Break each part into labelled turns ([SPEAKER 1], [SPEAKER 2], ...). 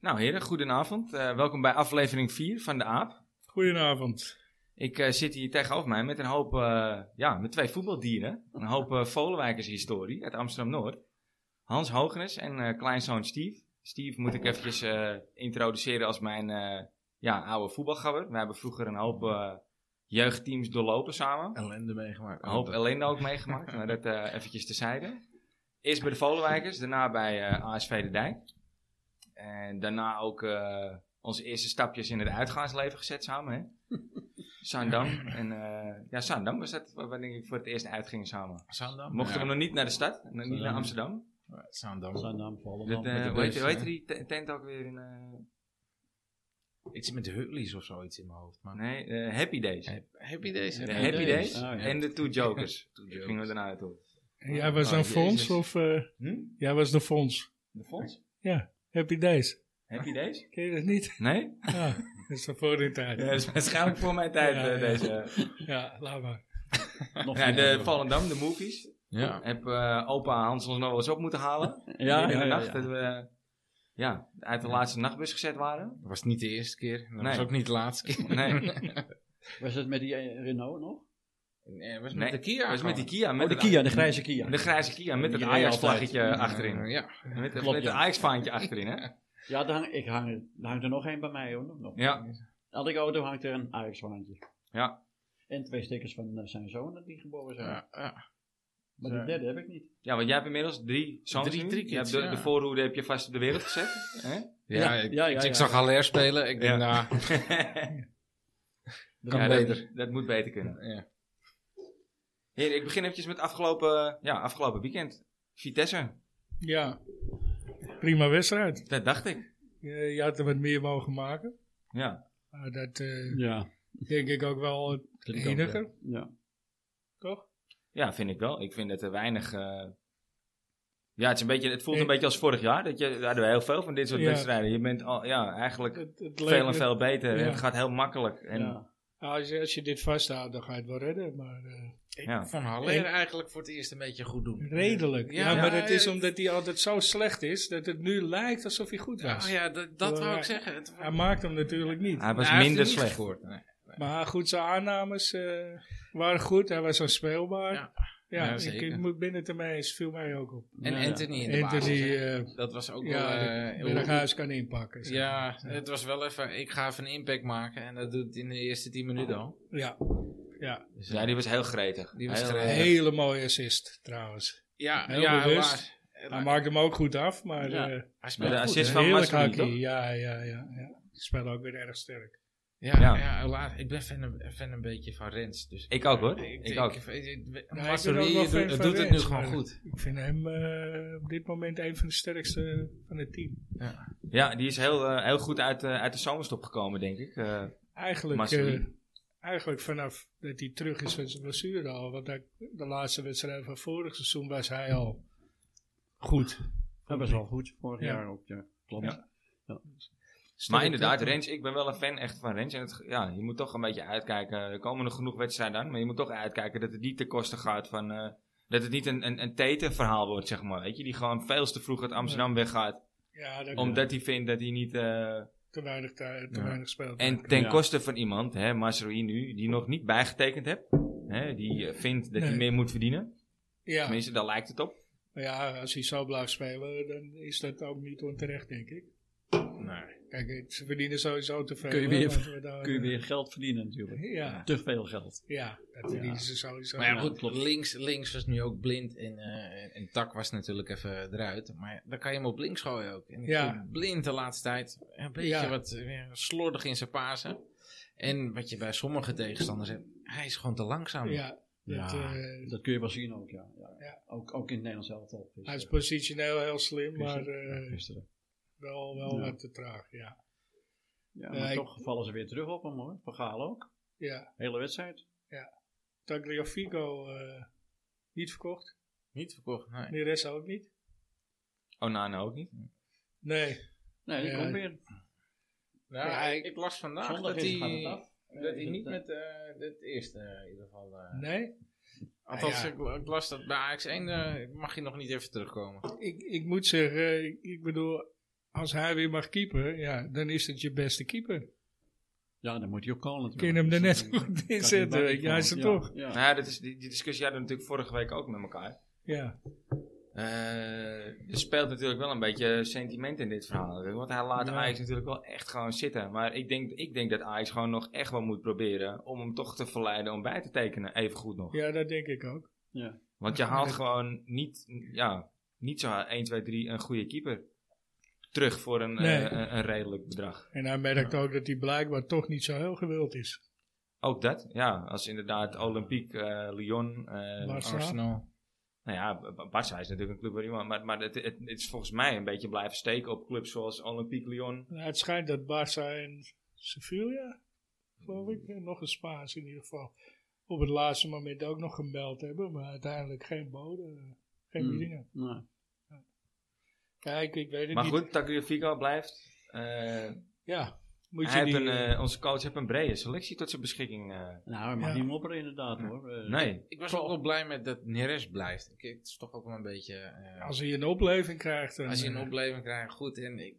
[SPEAKER 1] Nou heren, goedenavond. Eh, welkom bij aflevering 4 van De Aap.
[SPEAKER 2] Goedenavond.
[SPEAKER 1] Ik eh, zit hier tegenover mij met een hoop, eh, ja, met twee voetbaldieren. Een hoop eh Volenwijkershistorie uit Amsterdam-Noord. Hans Hogenes en eh, kleinzoon Steve. Steve moet ik eventjes eh, introduceren als mijn eh, ja, oude voetbalgabber. We hebben vroeger een hoop eh, jeugdteams doorlopen samen.
[SPEAKER 2] Ellende meegemaakt.
[SPEAKER 1] Een hoop ellende ook meegemaakt, maar dat eh eventjes tezijde. Eerst bij de Volenwijkers, daarna bij eh, ASV De Dijk. En daarna ook eh, onze eerste stapjes in het uitgaansleven gezet samen. Hè? Zaandam. En, eh, ja, Zaandam was dat wa- wanneer ik voor het eerst uitging samen.
[SPEAKER 2] Zaandam?
[SPEAKER 1] Mochten
[SPEAKER 2] ja.
[SPEAKER 1] we nog niet naar de stad, nog niet naar Amsterdam.
[SPEAKER 2] Zaandam.
[SPEAKER 3] Zaandam,
[SPEAKER 1] Dat,
[SPEAKER 3] Volendam.
[SPEAKER 1] eh,
[SPEAKER 2] de
[SPEAKER 1] hoe, heet,
[SPEAKER 2] bus,
[SPEAKER 1] hoe heet
[SPEAKER 2] hè?
[SPEAKER 1] die te- tent ook weer? In, eh,
[SPEAKER 2] Ik zit met de Hurleys of zoiets in mijn hoofd. Maar...
[SPEAKER 1] nee, eh, Happy Days.
[SPEAKER 2] Heb- Happy Days. Oh,
[SPEAKER 1] De Happy Days
[SPEAKER 3] Days. Ah, ja.
[SPEAKER 1] en de Two Jokers. Toen
[SPEAKER 2] Jokers.
[SPEAKER 1] gingen we daarna naartoe.
[SPEAKER 4] En jij was dan
[SPEAKER 2] Oh,
[SPEAKER 4] Fons
[SPEAKER 2] Jezus.
[SPEAKER 4] of... eh,
[SPEAKER 1] Hm?
[SPEAKER 4] jij was de Fons.
[SPEAKER 1] De Fonds?
[SPEAKER 4] Happy Days.
[SPEAKER 1] Happy Days?
[SPEAKER 4] Ken je dat niet?
[SPEAKER 1] Nee?
[SPEAKER 4] Ja, dat is dan voor die tijd.
[SPEAKER 1] Ja, dat is waarschijnlijk voor mijn tijd
[SPEAKER 4] Ja,
[SPEAKER 1] eh,
[SPEAKER 4] ja.
[SPEAKER 1] deze.
[SPEAKER 4] Ja, laat maar.
[SPEAKER 3] Nog
[SPEAKER 1] Ja,
[SPEAKER 3] niet.
[SPEAKER 1] de Volendam, de movies.
[SPEAKER 2] Ja.
[SPEAKER 1] Heb eh, opa Hans ons nog wel eens op moeten halen.
[SPEAKER 3] Ja,
[SPEAKER 1] Midden in
[SPEAKER 3] ja,
[SPEAKER 1] de
[SPEAKER 3] ja,
[SPEAKER 1] nacht
[SPEAKER 3] ja.
[SPEAKER 1] dat we eh, ja, uit de laatste nachtbus gezet waren.
[SPEAKER 2] Dat was niet de eerste keer. Dat was
[SPEAKER 1] Nee.
[SPEAKER 2] ook niet de laatste keer.
[SPEAKER 1] Nee,
[SPEAKER 3] Was dat met die eh, Renault nog?
[SPEAKER 2] Nee, het was
[SPEAKER 1] Nee,
[SPEAKER 2] met de Kia.
[SPEAKER 1] dat was met die Kia. Met
[SPEAKER 3] Oh, de
[SPEAKER 1] het-
[SPEAKER 3] Kia, de grijze Kia.
[SPEAKER 1] De grijze Kia met het
[SPEAKER 3] Die
[SPEAKER 1] Ajax-vlaggetje
[SPEAKER 3] altijd.
[SPEAKER 1] achterin.
[SPEAKER 2] Ja.
[SPEAKER 1] Met,
[SPEAKER 3] Klopt,
[SPEAKER 1] met het
[SPEAKER 3] ja.
[SPEAKER 1] Ajax-vaantje achterin, hè?
[SPEAKER 3] Ja, daar hang, ik hang, er- daar hangt er nog één bij mij hoor. Nog, nog.
[SPEAKER 1] Ja,
[SPEAKER 3] Elke auto hangt er een ajax handje.
[SPEAKER 1] Ja.
[SPEAKER 3] En twee stickers van eh, zijn zonen die geboren zijn.
[SPEAKER 2] Ja, ja.
[SPEAKER 3] Maar die derde heb ik niet.
[SPEAKER 1] ja, want jij hebt inmiddels drie zoons
[SPEAKER 2] Drie-
[SPEAKER 1] nu.
[SPEAKER 2] drie
[SPEAKER 1] Je hebt
[SPEAKER 2] kids,
[SPEAKER 1] de,
[SPEAKER 2] ja.
[SPEAKER 1] de voorhoede heb je vast op de wereld gezet. Hè?
[SPEAKER 2] Ja,
[SPEAKER 3] Ja,
[SPEAKER 2] ik, dus
[SPEAKER 3] ja, ja,
[SPEAKER 2] ik
[SPEAKER 3] ja.
[SPEAKER 2] zag Haller spelen. Ik denk, nou, kan
[SPEAKER 1] Ja,
[SPEAKER 2] beter.
[SPEAKER 1] dat, dat moet beter kunnen.
[SPEAKER 2] Ja.
[SPEAKER 1] Heer, ik begin eventjes met afgelopen, ja, afgelopen weekend. Vitesse,
[SPEAKER 4] Ja, prima wedstrijd.
[SPEAKER 1] dat dacht ik.
[SPEAKER 4] Je, je had er wat meer mogen maken.
[SPEAKER 1] Ja,
[SPEAKER 4] Maar dat eh,
[SPEAKER 3] Ja.
[SPEAKER 4] denk ik ook wel het enige,
[SPEAKER 3] ja.
[SPEAKER 4] toch?
[SPEAKER 1] ja vind ik wel. Ik vind dat er weinig... eh, ja, het, is een beetje, het voelt een
[SPEAKER 4] Ik-
[SPEAKER 1] beetje als vorig jaar. Dat je, daar hadden we heel veel van dit soort
[SPEAKER 4] Ja.
[SPEAKER 1] wedstrijden. Je bent al, ja, eigenlijk
[SPEAKER 4] Het, het leek-
[SPEAKER 1] veel en veel beter.
[SPEAKER 4] ja.
[SPEAKER 1] Het gaat heel makkelijk. En, ja.
[SPEAKER 3] ja.
[SPEAKER 4] Als, je, als je dit vasthoudt, dan ga je het wel redden. Maar eh,
[SPEAKER 2] Ik vond Haller eigenlijk voor het eerst een beetje goed doen.
[SPEAKER 4] redelijk. Ja,
[SPEAKER 2] Ja,
[SPEAKER 4] maar het is
[SPEAKER 2] het-
[SPEAKER 4] omdat hij altijd zo slecht is, dat het nu lijkt alsof hij goed
[SPEAKER 2] Ja,
[SPEAKER 4] was.
[SPEAKER 2] Oh ja, dat, dat wou ik
[SPEAKER 4] Ja.
[SPEAKER 2] zeggen. Het,
[SPEAKER 4] Hij maakt hem natuurlijk niet.
[SPEAKER 1] Hij was
[SPEAKER 2] Nou, hij heeft
[SPEAKER 1] minder
[SPEAKER 2] er niet
[SPEAKER 1] slecht.
[SPEAKER 2] gescoord, nee.
[SPEAKER 4] Maar goed, zijn aannames eh, waren goed. Hij was speelbaar.
[SPEAKER 2] Ja.
[SPEAKER 4] Ja,
[SPEAKER 2] Ja,
[SPEAKER 4] ik- ik,
[SPEAKER 2] zeker.
[SPEAKER 4] moet binnen te mij is viel mij ook op.
[SPEAKER 2] En
[SPEAKER 3] Ja, ja.
[SPEAKER 2] Anthony in de basis,
[SPEAKER 4] Anthony
[SPEAKER 2] hè.
[SPEAKER 4] eh
[SPEAKER 2] Dat was ook wel...
[SPEAKER 4] ja,
[SPEAKER 2] eh, hoe-
[SPEAKER 4] Berghuis kan inpakken. zeg.
[SPEAKER 2] Ja, het was wel even, ik ga even een impact maken. En dat doet in de eerste 10 minuten al.
[SPEAKER 4] ja. Ja.
[SPEAKER 1] die was heel gretig.
[SPEAKER 2] Die was
[SPEAKER 1] Heel,
[SPEAKER 2] gretig.
[SPEAKER 1] eh,
[SPEAKER 4] Hele mooie assist trouwens.
[SPEAKER 2] Ja,
[SPEAKER 4] Heel
[SPEAKER 2] ja
[SPEAKER 4] bewust.
[SPEAKER 2] helaas.
[SPEAKER 4] Hij maakte hem ook goed af, maar
[SPEAKER 3] Ja.
[SPEAKER 4] eh
[SPEAKER 2] Hij speelde
[SPEAKER 1] Maar de
[SPEAKER 2] goed,
[SPEAKER 1] assist
[SPEAKER 2] hè?
[SPEAKER 1] van
[SPEAKER 4] heerlijk
[SPEAKER 1] Masri,
[SPEAKER 4] hakkie.
[SPEAKER 1] toch?
[SPEAKER 4] Ja, ja, ja, ja. Spel ook weer erg sterk.
[SPEAKER 2] Ja,
[SPEAKER 1] Ja.
[SPEAKER 2] ja. helaas. Ik ben fan, een- fan een beetje van Rens. Dus
[SPEAKER 1] Ik ook hoor. Ik, ook.
[SPEAKER 2] Ik, ik-
[SPEAKER 4] ben
[SPEAKER 2] Masri,
[SPEAKER 4] ook wel
[SPEAKER 2] je
[SPEAKER 4] fan
[SPEAKER 2] doet,
[SPEAKER 4] van
[SPEAKER 2] doet het nu
[SPEAKER 4] Rens,
[SPEAKER 2] gewoon
[SPEAKER 4] maar-
[SPEAKER 2] goed.
[SPEAKER 4] Ik vind hem eh, op dit moment een van de sterkste van het team.
[SPEAKER 1] Ja, die is heel, eh, heel goed uit, eh, uit de zomerstop gekomen, denk ik. Eh,
[SPEAKER 4] Eigenlijk,
[SPEAKER 1] Masri.
[SPEAKER 4] eh, eigenlijk vanaf dat hij terug is van zijn blessure al. Want hij- de laatste wedstrijd van vorig seizoen was hij al goed.
[SPEAKER 3] Dat was wel goed. Vorig
[SPEAKER 4] Ja.
[SPEAKER 3] jaar ook, ja. Klopt.
[SPEAKER 1] Ja.
[SPEAKER 3] Ja.
[SPEAKER 1] Maar inderdaad, Rens, ik ben wel een fan echt van Rens. En het, ja, je moet toch een beetje uitkijken. Er komen nog genoeg wedstrijden aan, maar je moet toch uitkijken dat het niet ten koste gaat van. eh, dat het niet een, een, een tetenverhaal wordt, zeg maar. Weet je, die gewoon veel te vroeg uit Amsterdam weggaat.
[SPEAKER 4] Ja, dat
[SPEAKER 1] Omdat hij vindt dat hij niet. eh,
[SPEAKER 4] te weinig, tij- te
[SPEAKER 2] Ja.
[SPEAKER 4] weinig speelt.
[SPEAKER 1] en ten
[SPEAKER 3] Ja.
[SPEAKER 1] koste van iemand, hè, Masroi nu, die nog niet bijgetekend hebt. Hè, die eh, vindt dat hij
[SPEAKER 4] Nee.
[SPEAKER 1] meer moet verdienen.
[SPEAKER 4] ja.
[SPEAKER 1] Tenminste, daar lijkt het op.
[SPEAKER 4] Maar ja, als hij zo blijft spelen, dan is dat ook niet onterecht, denk ik.
[SPEAKER 2] Nee.
[SPEAKER 4] Kijk, eh, ze verdienen sowieso te veel.
[SPEAKER 3] Kun je
[SPEAKER 4] hè,
[SPEAKER 3] weer-
[SPEAKER 4] laten we daar,
[SPEAKER 3] Kun je
[SPEAKER 4] eh,
[SPEAKER 3] weer geld verdienen natuurlijk.
[SPEAKER 4] Ja,
[SPEAKER 3] Te veel geld.
[SPEAKER 4] ja, dat verdienen ze sowieso.
[SPEAKER 2] Maar ja,
[SPEAKER 3] Ja,
[SPEAKER 2] goed,
[SPEAKER 3] klopt.
[SPEAKER 2] links, links was nu ook blind. En, eh en Tak was natuurlijk even eruit. Maar dan kan je hem op links gooien ook. En ik
[SPEAKER 4] Ja.
[SPEAKER 2] vind blind de laatste tijd een beetje
[SPEAKER 4] Ja.
[SPEAKER 2] wat eh, slordig in zijn pasen. En wat je bij sommige tegenstanders hebt, hij is gewoon te langzaam.
[SPEAKER 4] Ja, dat,
[SPEAKER 3] Ja.
[SPEAKER 4] eh,
[SPEAKER 3] Dat kun je wel zien ook, ja. ja.
[SPEAKER 4] Ja.
[SPEAKER 3] Ook, ook in het Nederlands elftal.
[SPEAKER 4] hij is positioneel heel slim,
[SPEAKER 3] Gisteren.
[SPEAKER 4] maar eh,
[SPEAKER 3] gisteren.
[SPEAKER 4] wel, wel
[SPEAKER 3] Ja.
[SPEAKER 4] wat te traag. Ja,
[SPEAKER 3] Ja,
[SPEAKER 4] eh,
[SPEAKER 3] maar
[SPEAKER 4] ik-
[SPEAKER 3] toch vallen ze weer terug op hem hoor. Van Gaal ook.
[SPEAKER 4] ja.
[SPEAKER 3] Hele wedstrijd.
[SPEAKER 4] Tagliafico eh, niet verkocht.
[SPEAKER 2] Niet verkocht, nee.
[SPEAKER 4] Neres ook niet.
[SPEAKER 1] Onana Nou, ook niet.
[SPEAKER 4] Nee,
[SPEAKER 3] Nee, die
[SPEAKER 4] Ja,
[SPEAKER 3] komt weer.
[SPEAKER 2] Nou,
[SPEAKER 4] Ja,
[SPEAKER 2] ik, ik las vandaag
[SPEAKER 3] Zondag
[SPEAKER 2] dat
[SPEAKER 3] is gaat het
[SPEAKER 2] hij
[SPEAKER 3] af.
[SPEAKER 2] dat hij
[SPEAKER 3] Is
[SPEAKER 2] niet
[SPEAKER 3] het,
[SPEAKER 2] met
[SPEAKER 3] eh,
[SPEAKER 2] eh het eerste eh, in ieder geval. eh,
[SPEAKER 4] nee.
[SPEAKER 2] althans,
[SPEAKER 4] Ja.
[SPEAKER 2] ik, ik las dat bij AX1 eh, mag je nog niet even terugkomen.
[SPEAKER 4] Ik, ik moet zeggen, ik, ik bedoel, als hij weer mag keeper, ja, dan is het je beste keeper.
[SPEAKER 3] Ja, dan moet hij ook kolen
[SPEAKER 4] Ik
[SPEAKER 3] natuurlijk.
[SPEAKER 4] ken hem er
[SPEAKER 3] Dus
[SPEAKER 4] net
[SPEAKER 3] dan kan
[SPEAKER 4] goed in
[SPEAKER 3] hij
[SPEAKER 4] zetten,
[SPEAKER 3] bij
[SPEAKER 4] weet je, hij is er
[SPEAKER 3] komen.
[SPEAKER 4] toch.
[SPEAKER 3] Ja,
[SPEAKER 1] Nou ja, dat is, die, die discussie hadden we natuurlijk vorige week ook met elkaar.
[SPEAKER 4] Ja,
[SPEAKER 1] Eh, er speelt natuurlijk wel een beetje sentiment in dit verhaal. natuurlijk, Want hij laat
[SPEAKER 4] Ja.
[SPEAKER 1] Ajax natuurlijk wel echt gewoon zitten. Maar ik denk, ik denk dat Ajax gewoon nog echt wel moet proberen om hem toch te verleiden om bij te tekenen. Even goed nog.
[SPEAKER 4] ja, dat denk ik ook.
[SPEAKER 1] Want je haalt
[SPEAKER 4] Nee.
[SPEAKER 1] gewoon niet, ja, niet zo 1, 2, 3 een goede keeper terug voor een, eh,
[SPEAKER 4] Nee.
[SPEAKER 1] een, een redelijk bedrag.
[SPEAKER 4] En hij merkt ook dat hij blijkbaar toch niet zo heel gewild is.
[SPEAKER 1] Ook dat, ja. Als inderdaad Olympique, eh, Lyon, eh,
[SPEAKER 4] Maar- Arsenal.
[SPEAKER 2] Arsenal.
[SPEAKER 1] Nou ja, B- B- Barca is natuurlijk een club waar iemand... Maar, maar het, het, het is volgens mij een beetje blijven steken op clubs zoals Olympique Lyon.
[SPEAKER 4] Nou, het schijnt dat Barça en Sevilla, geloof ik, en nog een Spaans in ieder geval, op het laatste moment ook nog gebeld hebben, maar uiteindelijk geen boden, geen
[SPEAKER 3] Hmm.
[SPEAKER 4] biedingen.
[SPEAKER 3] nou,
[SPEAKER 4] Kijk, ik weet het
[SPEAKER 1] Maar
[SPEAKER 4] niet.
[SPEAKER 1] goed, Tagliafico blijft. Eh,
[SPEAKER 4] Ja, moet
[SPEAKER 1] hij
[SPEAKER 4] je die...
[SPEAKER 1] heeft een,
[SPEAKER 4] eh,
[SPEAKER 1] eh, onze coach heeft een brede selectie tot zijn beschikking. eh.
[SPEAKER 3] nou, hij mag
[SPEAKER 4] Ja.
[SPEAKER 3] niet mopperen inderdaad hoor. Eh,
[SPEAKER 1] nee,
[SPEAKER 2] Ik was ook wel blij met dat Neres blijft. Ik, het is toch ook wel een beetje... eh,
[SPEAKER 4] als hij een opleving krijgt, dan,
[SPEAKER 2] als je een
[SPEAKER 4] eh,
[SPEAKER 2] opleving krijgt, goed. En ik,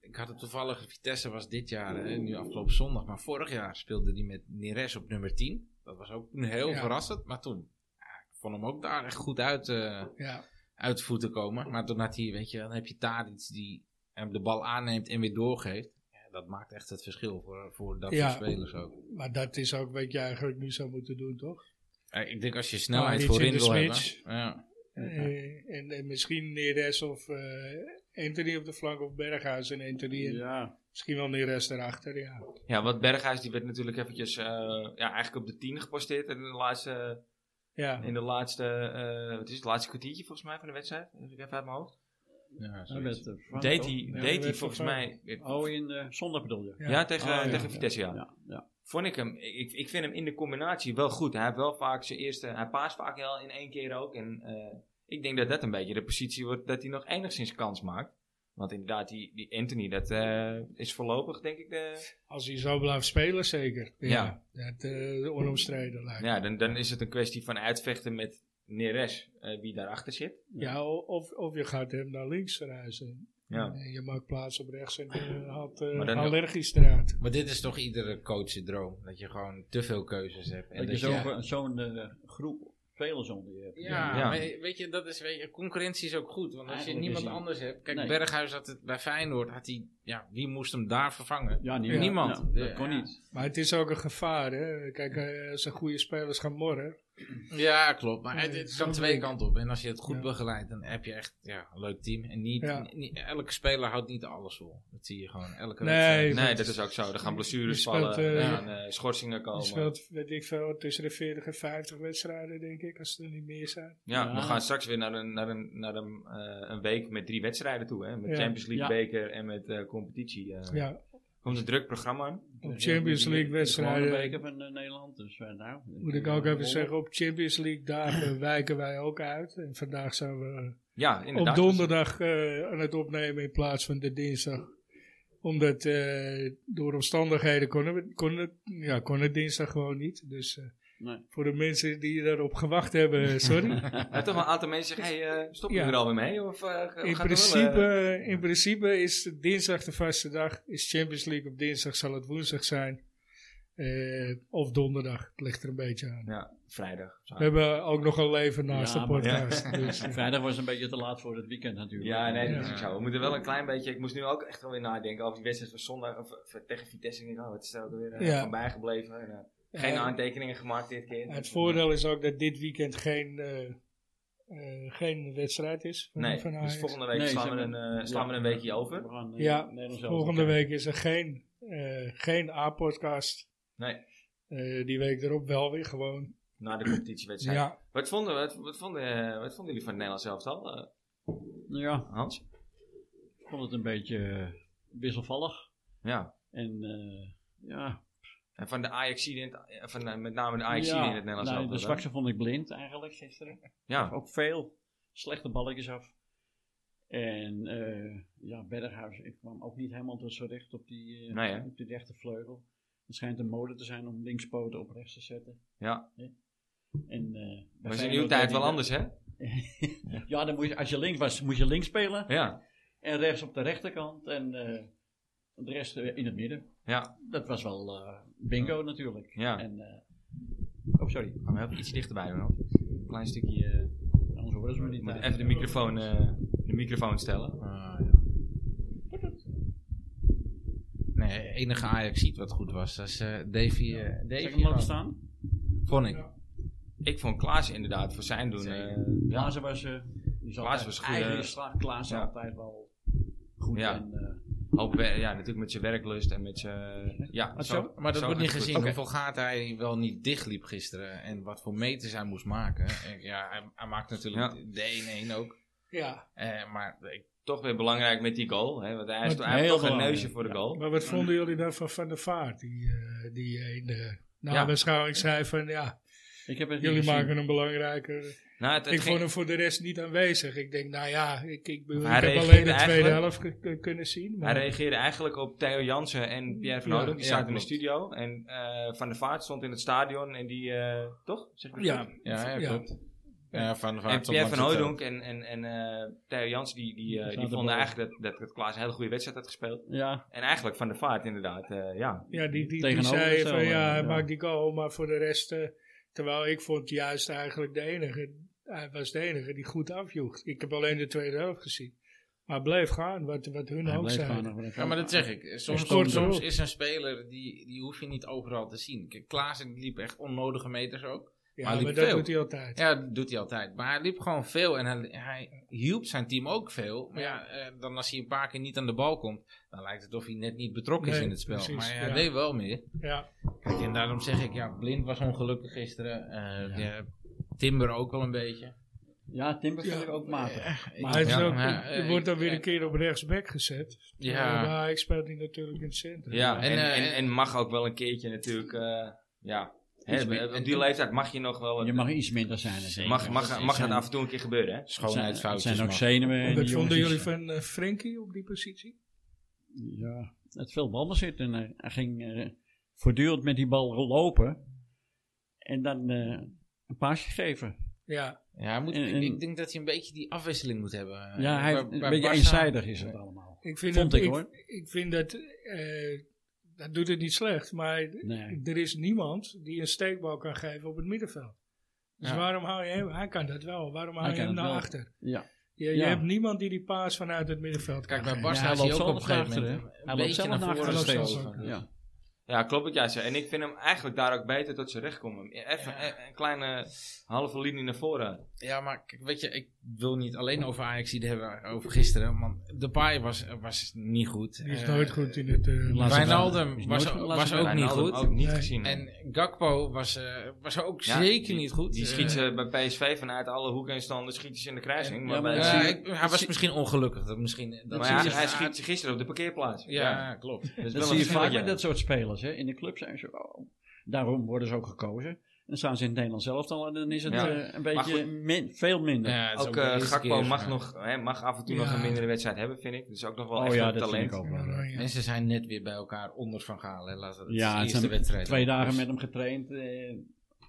[SPEAKER 2] ik had het toevallig, Vitesse was dit jaar, hè, nu afgelopen zondag. Maar vorig jaar speelde hij met Neres op nummer 10. Dat was ook toen heel
[SPEAKER 4] Ja.
[SPEAKER 2] verrassend. Maar toen, ja, ik vond hem ook daar echt goed uit... eh,
[SPEAKER 4] ja,
[SPEAKER 2] uit de voeten komen. Maar doordat hij, weet je, dan heb je Tadic die hem de bal aanneemt en weer doorgeeft. Ja, dat maakt echt het verschil voor, voor dat
[SPEAKER 4] Ja.
[SPEAKER 2] soort spelers ook.
[SPEAKER 4] maar dat is ook wat je eigenlijk nu zou moeten doen, toch?
[SPEAKER 2] Eh, ik denk als je
[SPEAKER 1] Nou,
[SPEAKER 2] snelheid
[SPEAKER 4] Tadic
[SPEAKER 2] voorin
[SPEAKER 4] in de
[SPEAKER 2] wil hebben.
[SPEAKER 4] spits.
[SPEAKER 2] Ja.
[SPEAKER 4] Eh, en, en misschien Neres of eh Anthony op de flank of Berghuis en Anthony. en
[SPEAKER 3] Ja,
[SPEAKER 4] Misschien wel Neres daarachter, ja.
[SPEAKER 1] ja, want Berghuis die werd natuurlijk eventjes eh, ja, eigenlijk op de 10 geposteerd. En in de laatste,
[SPEAKER 4] Ja,
[SPEAKER 1] in de laatste eh, wat is het, laatste kwartiertje volgens mij van de wedstrijd. Heb ik even uit mijn hoofd.
[SPEAKER 2] Ja,
[SPEAKER 3] hij
[SPEAKER 2] zoiets.
[SPEAKER 3] werd eh, vervangen,
[SPEAKER 1] Deed
[SPEAKER 3] toch?
[SPEAKER 1] hij,
[SPEAKER 4] Ja,
[SPEAKER 1] deed hij
[SPEAKER 4] werd
[SPEAKER 1] volgens mij...
[SPEAKER 4] vervangen.
[SPEAKER 1] ja,
[SPEAKER 3] Oh, in eh, zondag bedoel je?
[SPEAKER 4] Ja.
[SPEAKER 1] tegen,
[SPEAKER 3] Ah, ja,
[SPEAKER 1] tegen
[SPEAKER 3] ja.
[SPEAKER 1] Vitesse, ja.
[SPEAKER 3] Ja, ja.
[SPEAKER 1] Vond ik hem. Ik, ik vind hem in de combinatie wel goed. Hij heeft wel vaak zijn eerste. Hij paast vaak heel in één keer ook. En eh, ik denk dat dat een beetje de positie wordt dat hij nog enigszins kans maakt. Want inderdaad, die, die Anthony, dat eh, is voorlopig denk ik de.
[SPEAKER 4] als hij zo blijft spelen, zeker.
[SPEAKER 1] Ja.
[SPEAKER 4] Ja, dat eh, onomstreden lijkt me.
[SPEAKER 1] Ja, dan, dan is het een kwestie van uitvechten met Neres, eh, wie daarachter zit.
[SPEAKER 4] Ja, o- of, of je gaat hem naar links verhuizen.
[SPEAKER 1] Ja.
[SPEAKER 4] En je maakt plaats op rechts en je haalt eh,
[SPEAKER 1] Maar dan-
[SPEAKER 4] allergisch eruit.
[SPEAKER 2] Maar dit is toch iedere coach droom. Dat je gewoon te veel keuzes hebt. En
[SPEAKER 3] Dat je
[SPEAKER 2] dat
[SPEAKER 3] zo'n
[SPEAKER 2] je-
[SPEAKER 3] ge- zo'n eh, groep spelers onder je hebt.
[SPEAKER 2] Ja,
[SPEAKER 1] Ja.
[SPEAKER 2] maar weet je, dat is, weet je, concurrentie is ook goed. Want als je
[SPEAKER 3] Eigenlijk
[SPEAKER 2] niemand
[SPEAKER 3] is hij-
[SPEAKER 2] anders hebt. Kijk,
[SPEAKER 3] Nee.
[SPEAKER 2] Berghuis had het bij Feyenoord. Had hij, ja, wie moest hem daar vervangen?
[SPEAKER 3] Ja,
[SPEAKER 4] Ja.
[SPEAKER 2] Niemand.
[SPEAKER 3] Ja,
[SPEAKER 2] Ja.
[SPEAKER 3] dat kon niet.
[SPEAKER 4] Maar het is ook een gevaar, hè. Kijk, eh, als er goede spelers gaan morren.
[SPEAKER 2] Ja, klopt. Maar het,
[SPEAKER 4] Nee,
[SPEAKER 2] het
[SPEAKER 4] Eh, zo
[SPEAKER 2] kan
[SPEAKER 4] ben
[SPEAKER 2] twee
[SPEAKER 4] ik.
[SPEAKER 2] kanten op. En als je het goed
[SPEAKER 4] Ja.
[SPEAKER 2] begeleidt, dan heb je echt ja, een leuk team. En niet,
[SPEAKER 4] Ja.
[SPEAKER 2] ni- niet- elke speler houdt niet alles vol. Dat zie je gewoon elke
[SPEAKER 4] Nee.
[SPEAKER 2] wedstrijd.
[SPEAKER 1] Nee, dat is ook zo. Er gaan blessures
[SPEAKER 4] Je speelt,
[SPEAKER 1] vallen, er
[SPEAKER 4] eh,
[SPEAKER 1] gaan eh, schorsingen
[SPEAKER 4] Je
[SPEAKER 1] komen.
[SPEAKER 4] speelt, weet ik veel, tussen de 40 en 50 wedstrijden, denk ik, als er niet meer zijn.
[SPEAKER 1] ja, we
[SPEAKER 3] Ja.
[SPEAKER 1] gaan straks weer naar een, naar een, naar een, eh, een week met drie wedstrijden toe. Hè? Met
[SPEAKER 4] Ja.
[SPEAKER 1] Champions League,
[SPEAKER 3] Ja.
[SPEAKER 1] beker en met eh, competitie. eh.
[SPEAKER 4] Ja,
[SPEAKER 1] Komt een druk programma aan.
[SPEAKER 4] op Champions League
[SPEAKER 3] De
[SPEAKER 4] wedstrijden,
[SPEAKER 3] beker van eh, Nederland. Dus, eh, nou,
[SPEAKER 4] moet ik ook even zeggen, op Champions League dagen wijken wij ook uit. En vandaag zijn we
[SPEAKER 1] Ja, inderdaad.
[SPEAKER 4] op donderdag eh, aan het opnemen in plaats van de dinsdag. Omdat eh, door omstandigheden kon het, kon, het, ja, kon het dinsdag gewoon niet. Dus eh,
[SPEAKER 3] Nee.
[SPEAKER 4] voor de mensen die daarop gewacht hebben, eh, sorry.
[SPEAKER 1] Ja, toch wel een aantal mensen zeggen, hey, eh, stop je
[SPEAKER 4] Ja.
[SPEAKER 1] er alweer mee? Of, eh, ga-
[SPEAKER 4] in,
[SPEAKER 1] gaat er wel, eh,
[SPEAKER 4] principe, in principe is dinsdag de vaste dag. Is Champions League op dinsdag, zal het woensdag zijn. Eh, of donderdag, het ligt er een beetje aan.
[SPEAKER 1] ja, vrijdag.
[SPEAKER 4] We hebben ook nog een leven naast
[SPEAKER 3] Ja,
[SPEAKER 4] de
[SPEAKER 3] maar-
[SPEAKER 4] podcast. Dus, eh,
[SPEAKER 3] Vrijdag was een beetje te laat voor het weekend natuurlijk.
[SPEAKER 1] Ja, nee, dat is
[SPEAKER 4] Ja.
[SPEAKER 1] ook zo. We moeten wel een klein beetje... Ik moest nu ook echt wel weer nadenken over die wedstrijd van zondag of, of eh, tegen Vitesse. Ik denk, oh, het is er ook weer eh,
[SPEAKER 4] Ja.
[SPEAKER 1] van bijgebleven. En, eh, geen
[SPEAKER 4] eh,
[SPEAKER 1] aantekeningen gemaakt dit keer.
[SPEAKER 4] Het voordeel is ook dat dit weekend geen, eh, eh, geen wedstrijd is. Van,
[SPEAKER 1] Nee,
[SPEAKER 4] van
[SPEAKER 1] dus
[SPEAKER 4] Ajax.
[SPEAKER 1] volgende week
[SPEAKER 3] Nee,
[SPEAKER 1] slaan,
[SPEAKER 3] ze
[SPEAKER 1] we een,
[SPEAKER 3] hebben-
[SPEAKER 1] eh, slaan we een weekje over.
[SPEAKER 3] We gaan, eh,
[SPEAKER 4] Ja,
[SPEAKER 3] Nederland zelf
[SPEAKER 4] volgende
[SPEAKER 3] bekijken.
[SPEAKER 4] week is er geen, eh, geen A-podcast.
[SPEAKER 1] Nee,
[SPEAKER 4] Eh, die week erop wel weer gewoon.
[SPEAKER 1] na de competitiewedstrijd.
[SPEAKER 4] Ja,
[SPEAKER 1] Wat, vonden, wat, wat, vonden, eh, wat vonden jullie van het Nederlands elftal, eh,
[SPEAKER 3] Nou Ja,
[SPEAKER 1] Hans?
[SPEAKER 3] ik vond het een beetje eh, wisselvallig.
[SPEAKER 1] Ja.
[SPEAKER 3] En eh, ja,
[SPEAKER 1] En van de ajax van eh, met name de ajax
[SPEAKER 3] ja,
[SPEAKER 1] in het Nederlands
[SPEAKER 3] nee,
[SPEAKER 1] elftal.
[SPEAKER 3] De
[SPEAKER 1] dan?
[SPEAKER 3] zwakste vond ik blind eigenlijk gisteren.
[SPEAKER 1] Ja,
[SPEAKER 3] Ook veel slechte balletjes af. En eh, ja, Berghuis ik kwam ook niet helemaal tot z'n recht op die, eh,
[SPEAKER 1] Nee, hè?
[SPEAKER 3] op die rechtervleugel. Het schijnt een mode te zijn om linkspoten op rechts te zetten.
[SPEAKER 1] Ja.
[SPEAKER 3] Hè? En, eh, bij
[SPEAKER 1] was in uw
[SPEAKER 3] Feyenoord
[SPEAKER 1] tijd
[SPEAKER 3] deed
[SPEAKER 1] wel
[SPEAKER 3] hij
[SPEAKER 1] anders, hè?
[SPEAKER 3] dat- Ja, dan moet je, als je links was, moet je links spelen.
[SPEAKER 1] Ja,
[SPEAKER 3] En rechts op de rechterkant en eh, de rest eh, in het midden.
[SPEAKER 1] Ja.
[SPEAKER 3] Dat was wel eh, bingo natuurlijk.
[SPEAKER 1] Ja.
[SPEAKER 3] En, eh, oh, sorry.
[SPEAKER 1] Gaan we even iets dichterbij doen, Hans. Een klein stukje. eh,
[SPEAKER 3] Anders horen ze me niet.
[SPEAKER 1] moet even de microfoon, eh, de microfoon stellen.
[SPEAKER 2] Ah, ja. Nee, enige Ajax wat goed was, dat is eh Davy. eh,
[SPEAKER 3] Zal ik
[SPEAKER 2] Davy
[SPEAKER 3] hem laten
[SPEAKER 2] Lau-
[SPEAKER 3] staan?
[SPEAKER 2] Vond ik.
[SPEAKER 1] Ik vond Klaas inderdaad voor zijn doen.
[SPEAKER 2] Zeker.
[SPEAKER 1] eh, ja.
[SPEAKER 3] Klaas was, eh die zal
[SPEAKER 1] Klaassen
[SPEAKER 3] altijd-
[SPEAKER 1] was goed,
[SPEAKER 3] Eigenlijk
[SPEAKER 1] eh,
[SPEAKER 3] is Kla- Klaassen
[SPEAKER 1] ja.
[SPEAKER 3] altijd wel goed.
[SPEAKER 1] Ja.
[SPEAKER 3] En, eh,
[SPEAKER 1] Hoop wer- ja, natuurlijk met zijn werklust en met zijn. eh, Ja,
[SPEAKER 3] Wat
[SPEAKER 1] zo,
[SPEAKER 3] zo?
[SPEAKER 2] Maar dat
[SPEAKER 1] zo
[SPEAKER 2] wordt
[SPEAKER 1] gaat het
[SPEAKER 2] niet gezien
[SPEAKER 1] goed.
[SPEAKER 2] hoeveel gaten hij wel niet dichtliep gisteren. En wat voor meters hij moest maken. En ja, hij, hij maakt natuurlijk de 1-1 ook.
[SPEAKER 4] Ja,
[SPEAKER 2] Eh, maar ik,
[SPEAKER 1] Toch weer belangrijk met die goal. Hè? Want hij is
[SPEAKER 4] Wat
[SPEAKER 1] toch, hij heeft
[SPEAKER 3] heel
[SPEAKER 1] toch een
[SPEAKER 3] belangrijk.
[SPEAKER 1] neusje voor de
[SPEAKER 3] Ja.
[SPEAKER 1] goal.
[SPEAKER 4] maar wat vonden jullie dan van Van der Vaart? Die, eh, die in de
[SPEAKER 1] Ja.
[SPEAKER 4] nabeschouwing zei van ja,
[SPEAKER 3] ik heb het niet
[SPEAKER 4] jullie
[SPEAKER 3] gezien.
[SPEAKER 4] maken hem belangrijker.
[SPEAKER 1] Nou, het, het
[SPEAKER 4] Ik
[SPEAKER 1] ging-
[SPEAKER 4] vond hem voor de rest niet aanwezig. Ik denk, nou ja, ik, ik, bedoel,
[SPEAKER 1] Hij
[SPEAKER 4] ik heb alleen
[SPEAKER 1] reageerde
[SPEAKER 4] de tweede
[SPEAKER 1] eigenlijk-
[SPEAKER 4] helft ge- ge- kunnen zien.
[SPEAKER 1] Hij
[SPEAKER 4] Maar
[SPEAKER 1] reageerde eigenlijk op Theo Jansen en Pierre van
[SPEAKER 4] Ja,
[SPEAKER 1] Hooydonk. Die
[SPEAKER 2] ja,
[SPEAKER 1] zaten in de
[SPEAKER 2] klopt.
[SPEAKER 1] studio. En eh, Van der Vaart stond in het stadion. En die, eh, toch? Zeg ik dat
[SPEAKER 4] ja,
[SPEAKER 1] goed?
[SPEAKER 2] ja, ja,
[SPEAKER 4] Ja.
[SPEAKER 2] klopt. Ja, van de
[SPEAKER 1] En
[SPEAKER 2] Vaart
[SPEAKER 1] Pierre van
[SPEAKER 2] stond langs
[SPEAKER 1] Hooydonk en, en, en eh, Theo Jansen die, die, eh,
[SPEAKER 3] zaten
[SPEAKER 1] die vonden
[SPEAKER 3] boven.
[SPEAKER 1] eigenlijk dat, dat, dat Klaas een hele goede wedstrijd had gespeeld.
[SPEAKER 3] Ja,
[SPEAKER 1] En eigenlijk Van der Vaart inderdaad, eh, ja.
[SPEAKER 4] ja, die, die, die
[SPEAKER 3] Tegenover
[SPEAKER 4] zei
[SPEAKER 3] zo,
[SPEAKER 4] van
[SPEAKER 3] eh,
[SPEAKER 4] ja, hij
[SPEAKER 3] ja.
[SPEAKER 4] maakt die goal, maar voor de rest... eh, terwijl ik vond juist eigenlijk de enige, hij was de enige die goed afjoeg. Ik heb alleen de tweede helft gezien. Maar bleef gaan, wat, wat hun
[SPEAKER 3] hij
[SPEAKER 4] ook
[SPEAKER 3] bleef
[SPEAKER 4] zeiden.
[SPEAKER 3] gewoon nog
[SPEAKER 2] Ja, maar dat zeg ik. Soms,
[SPEAKER 4] stond
[SPEAKER 2] soms, soms
[SPEAKER 4] erop.
[SPEAKER 2] is een speler, die, die hoef je niet overal te zien. Kijk, Klaassen liep echt onnodige meters ook.
[SPEAKER 4] Ja,
[SPEAKER 2] Maar
[SPEAKER 4] maar,
[SPEAKER 2] liep
[SPEAKER 4] dat
[SPEAKER 2] veel.
[SPEAKER 4] doet hij altijd.
[SPEAKER 2] Ja, dat doet hij altijd. Maar hij liep gewoon veel en hij, hij hielp zijn team ook veel. Maar ja, eh, dan als hij een paar keer niet aan de bal komt, dan lijkt het of hij net niet betrokken is
[SPEAKER 4] Nee,
[SPEAKER 2] in het spel.
[SPEAKER 4] precies,
[SPEAKER 2] maar hij
[SPEAKER 4] ja.
[SPEAKER 2] deed wel meer.
[SPEAKER 4] Ja,
[SPEAKER 2] Kijk, en daarom zeg ik, ja, Blind was ongelukkig gisteren. Eh, ja, Timber ook wel een beetje.
[SPEAKER 3] Ja, Timber vind
[SPEAKER 4] Ja.
[SPEAKER 3] ik ook matig.
[SPEAKER 4] maar hij is
[SPEAKER 1] Ja,
[SPEAKER 4] ook,
[SPEAKER 2] maar, eh,
[SPEAKER 4] je wordt dan weer
[SPEAKER 2] eh,
[SPEAKER 4] een keer op rechtsback gezet. Eh,
[SPEAKER 2] Ja.
[SPEAKER 4] Maar hij speelt hij natuurlijk in het centrum.
[SPEAKER 1] ja en,
[SPEAKER 2] En,
[SPEAKER 1] en,
[SPEAKER 2] eh,
[SPEAKER 1] en, mag ook wel een keertje natuurlijk, eh, ja. Hè,
[SPEAKER 2] meer-
[SPEAKER 1] op die leeftijd mag je nog wel,
[SPEAKER 3] Je mag iets minder zijn. dan
[SPEAKER 1] mag,
[SPEAKER 3] zeker.
[SPEAKER 1] mag, mag dat
[SPEAKER 3] zijn-
[SPEAKER 1] af en toe een keer gebeuren hè.
[SPEAKER 3] Het zijn-
[SPEAKER 2] Schoonheidsfoutjes.
[SPEAKER 3] Het zijn ook
[SPEAKER 2] man.
[SPEAKER 3] zenuwen. en
[SPEAKER 4] Wat
[SPEAKER 3] die
[SPEAKER 4] vonden jullie
[SPEAKER 3] jongens die-
[SPEAKER 4] van eh, Frenkie op die positie?
[SPEAKER 3] Ja, het veel balbezit. En eh, hij ging eh, voortdurend met die bal lopen. En dan eh, een paasje geven.
[SPEAKER 4] Ja,
[SPEAKER 2] Ja, hij moet,
[SPEAKER 3] En-
[SPEAKER 2] ik-
[SPEAKER 3] en-
[SPEAKER 2] ik denk dat hij een beetje die afwisseling moet hebben.
[SPEAKER 3] ja,
[SPEAKER 2] Eh,
[SPEAKER 3] hij,
[SPEAKER 2] bij-
[SPEAKER 3] een
[SPEAKER 2] bij
[SPEAKER 3] beetje
[SPEAKER 2] Barca-
[SPEAKER 3] eenzijdig is het allemaal.
[SPEAKER 4] ik vind
[SPEAKER 3] Vond
[SPEAKER 4] dat,
[SPEAKER 3] ik, hoor.
[SPEAKER 4] ik vind dat, eh, dat doet het niet slecht, maar
[SPEAKER 3] Nee.
[SPEAKER 4] er is niemand die een steekbal kan geven op het middenveld. Dus
[SPEAKER 2] Ja.
[SPEAKER 4] waarom hou je hem, hij kan dat wel, waarom hou
[SPEAKER 3] Hij
[SPEAKER 4] je
[SPEAKER 3] kan
[SPEAKER 4] hem
[SPEAKER 3] het
[SPEAKER 4] naar
[SPEAKER 3] wel.
[SPEAKER 4] achter?
[SPEAKER 3] Ja.
[SPEAKER 4] Je, je
[SPEAKER 3] Ja.
[SPEAKER 4] hebt niemand die die paas vanuit het middenveld kan
[SPEAKER 2] Kijk, bij
[SPEAKER 4] geven.
[SPEAKER 2] Barca
[SPEAKER 3] hij
[SPEAKER 2] is hij
[SPEAKER 3] loopt
[SPEAKER 2] ook op een
[SPEAKER 3] zelf naar
[SPEAKER 2] gegeven
[SPEAKER 3] achteren.
[SPEAKER 2] moment
[SPEAKER 3] hè?
[SPEAKER 2] een
[SPEAKER 3] Hij loopt
[SPEAKER 2] beetje
[SPEAKER 3] zelf
[SPEAKER 2] naar
[SPEAKER 3] naar
[SPEAKER 2] voren
[SPEAKER 4] achteren. Hij loopt zelf
[SPEAKER 2] geschoven.
[SPEAKER 4] naar
[SPEAKER 3] Ja.
[SPEAKER 1] Ja, klopt wat jij zei. En ik vind hem eigenlijk daar ook beter tot zijn recht komen. Even een, een kleine halve linie naar voren.
[SPEAKER 2] Ja, maar kijk, weet je, ik wil niet alleen over Ajax die hebben over gisteren. Want Depay was, was niet goed.
[SPEAKER 4] Die is
[SPEAKER 2] Eh,
[SPEAKER 4] nooit goed in het... eh,
[SPEAKER 3] Laat-
[SPEAKER 2] Wijnaldum
[SPEAKER 3] Is
[SPEAKER 2] was,
[SPEAKER 3] nooit goed, laat
[SPEAKER 2] was
[SPEAKER 3] ze
[SPEAKER 2] ook niet
[SPEAKER 1] Wijnaldum
[SPEAKER 2] goed.
[SPEAKER 1] Ook niet
[SPEAKER 4] Nee.
[SPEAKER 1] gezien.
[SPEAKER 2] En Gakpo was, eh, was ook
[SPEAKER 1] Ja,
[SPEAKER 2] zeker
[SPEAKER 1] die-
[SPEAKER 2] niet goed.
[SPEAKER 1] die
[SPEAKER 2] Eh,
[SPEAKER 1] schiet ze bij PSV vanuit alle hoeken en standen schiet hij ze in de kruising.
[SPEAKER 2] en-
[SPEAKER 1] maar
[SPEAKER 3] ja,
[SPEAKER 1] bij-
[SPEAKER 3] maar
[SPEAKER 2] ja,
[SPEAKER 3] zie je-
[SPEAKER 2] ik- hij was misschien ongelukkig. Dat misschien, dat
[SPEAKER 1] maar
[SPEAKER 2] zie
[SPEAKER 1] ja,
[SPEAKER 2] je-
[SPEAKER 1] hij schiet ze gisteren op de parkeerplaats.
[SPEAKER 2] Ja, klopt.
[SPEAKER 1] dat is
[SPEAKER 3] Dat
[SPEAKER 1] wel
[SPEAKER 3] zie
[SPEAKER 1] een
[SPEAKER 3] je vaak met
[SPEAKER 1] verschilletje.
[SPEAKER 3] dat soort spelers. Hè. In de club zijn ze... oh, daarom worden ze ook gekozen. En dan staan ze in het Nederland zelf al en dan is het
[SPEAKER 1] Ja.
[SPEAKER 3] eh, een
[SPEAKER 1] Maar
[SPEAKER 3] beetje min- veel minder.
[SPEAKER 2] Ja, het is
[SPEAKER 1] Ook
[SPEAKER 2] de
[SPEAKER 1] eh,
[SPEAKER 2] eerste
[SPEAKER 1] Gakpo
[SPEAKER 2] keer,
[SPEAKER 1] mag,
[SPEAKER 2] ja.
[SPEAKER 1] nog, hè, mag af en toe
[SPEAKER 4] Ja.
[SPEAKER 1] nog een mindere wedstrijd hebben, vind ik. Dus ook nog wel
[SPEAKER 3] oh
[SPEAKER 1] echt
[SPEAKER 3] ja,
[SPEAKER 1] een
[SPEAKER 3] dat
[SPEAKER 1] talent.
[SPEAKER 3] vind ik ook wel.
[SPEAKER 4] Oranje.
[SPEAKER 2] En ze zijn net weer bij elkaar onder Van Gaal. Hè. Laat, dat is
[SPEAKER 3] Ja,
[SPEAKER 2] de
[SPEAKER 3] het
[SPEAKER 2] eerste
[SPEAKER 3] zijn
[SPEAKER 2] wedstrijd. Dus
[SPEAKER 3] twee dagen met hem getraind. eh,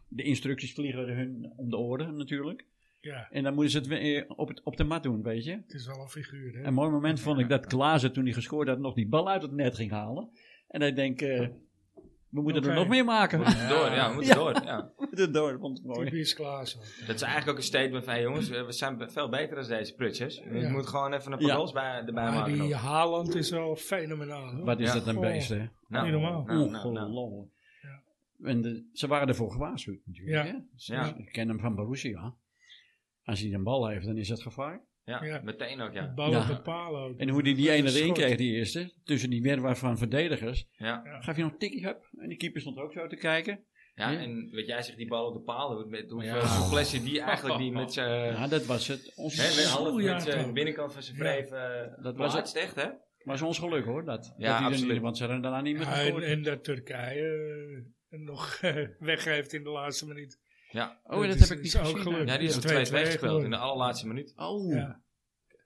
[SPEAKER 3] De instructies vliegen hun om de oren natuurlijk.
[SPEAKER 4] Ja,
[SPEAKER 3] En dan moeten ze het weer eh, op, het, op de mat doen, weet je.
[SPEAKER 4] het is wel een figuur, hè?
[SPEAKER 3] Een mooi moment vond ik dat Klaassen toen hij gescoord had nog die bal uit het net ging halen. En hij denkt, eh, we moeten
[SPEAKER 4] Oké.
[SPEAKER 3] er nog meer maken.
[SPEAKER 1] We moeten door, ja, we moeten
[SPEAKER 3] Ja.
[SPEAKER 1] door. Ja.
[SPEAKER 3] We moeten door, vond ik mooi.
[SPEAKER 4] Typisch Klaas. hoor.
[SPEAKER 1] Dat is eigenlijk ook een statement van, hey, jongens, eh, we zijn be- veel beter dan deze prutsjes. Je
[SPEAKER 4] Ja.
[SPEAKER 1] moet gewoon even een paar
[SPEAKER 3] Ja. Ah,
[SPEAKER 1] goals bij, erbij
[SPEAKER 4] Maar
[SPEAKER 1] maken.
[SPEAKER 4] die
[SPEAKER 1] nog.
[SPEAKER 4] Haaland is wel fenomenaal. hoor.
[SPEAKER 3] Wat is
[SPEAKER 1] Ja.
[SPEAKER 3] dat een
[SPEAKER 4] Goh.
[SPEAKER 3] beest, hè?
[SPEAKER 1] Nou,
[SPEAKER 4] niet normaal.
[SPEAKER 1] nou, nou, nou.
[SPEAKER 3] Ongelooflijk.
[SPEAKER 4] Ja.
[SPEAKER 3] En de- ze waren ervoor gewaarschuwd natuurlijk.
[SPEAKER 4] Ja.
[SPEAKER 3] hè. Ze,
[SPEAKER 1] Ja.
[SPEAKER 3] ze kennen hem van Borussia. Als hij een bal heeft, dan is dat gevaar.
[SPEAKER 1] Ja,
[SPEAKER 4] Ja.
[SPEAKER 1] meteen ook, ja.
[SPEAKER 4] Bal
[SPEAKER 3] Ja.
[SPEAKER 4] op de paal ook.
[SPEAKER 3] En hoe die die ene
[SPEAKER 4] Een
[SPEAKER 3] erin
[SPEAKER 4] schot.
[SPEAKER 3] kreeg, die eerste, tussen die werwaar van verdedigers,
[SPEAKER 1] Ja,
[SPEAKER 4] Ja.
[SPEAKER 3] gaf hij nog een tikkie hup. En die keeper stond ook zo te kijken.
[SPEAKER 1] ja
[SPEAKER 3] Ja.
[SPEAKER 1] en wat jij zegt, die bal op de paal, hoe- met hoeveel
[SPEAKER 2] Ja.
[SPEAKER 1] flessen die eigenlijk die met zijn
[SPEAKER 3] Ja, dat was het. Ons,
[SPEAKER 1] hè, met, half
[SPEAKER 4] ja,
[SPEAKER 1] met zijn
[SPEAKER 4] toch.
[SPEAKER 1] binnenkant van zijn
[SPEAKER 4] Ja.
[SPEAKER 1] wreef.
[SPEAKER 3] Dat
[SPEAKER 1] dat
[SPEAKER 3] was
[SPEAKER 1] was het echt, hè?
[SPEAKER 3] was ons geluk hoor, dat.
[SPEAKER 1] Ja,
[SPEAKER 3] dat
[SPEAKER 1] absoluut.
[SPEAKER 3] Niet, want ze hadden daarna niet meer
[SPEAKER 4] Ja, en,
[SPEAKER 3] gescoord.
[SPEAKER 4] en dat Turkije eh, nog eh, weggeeft in de laatste minuut.
[SPEAKER 1] Ja.
[SPEAKER 3] oh, dat
[SPEAKER 4] is-
[SPEAKER 3] heb ik niet
[SPEAKER 4] is ook
[SPEAKER 3] gezien.
[SPEAKER 4] geluk.
[SPEAKER 1] Ja, die is
[SPEAKER 4] Het
[SPEAKER 1] op
[SPEAKER 4] is
[SPEAKER 1] 2-2
[SPEAKER 4] 2-2
[SPEAKER 1] gespeeld in
[SPEAKER 4] geworden.
[SPEAKER 1] de allerlaatste minuut.
[SPEAKER 3] Oh,
[SPEAKER 4] Ja.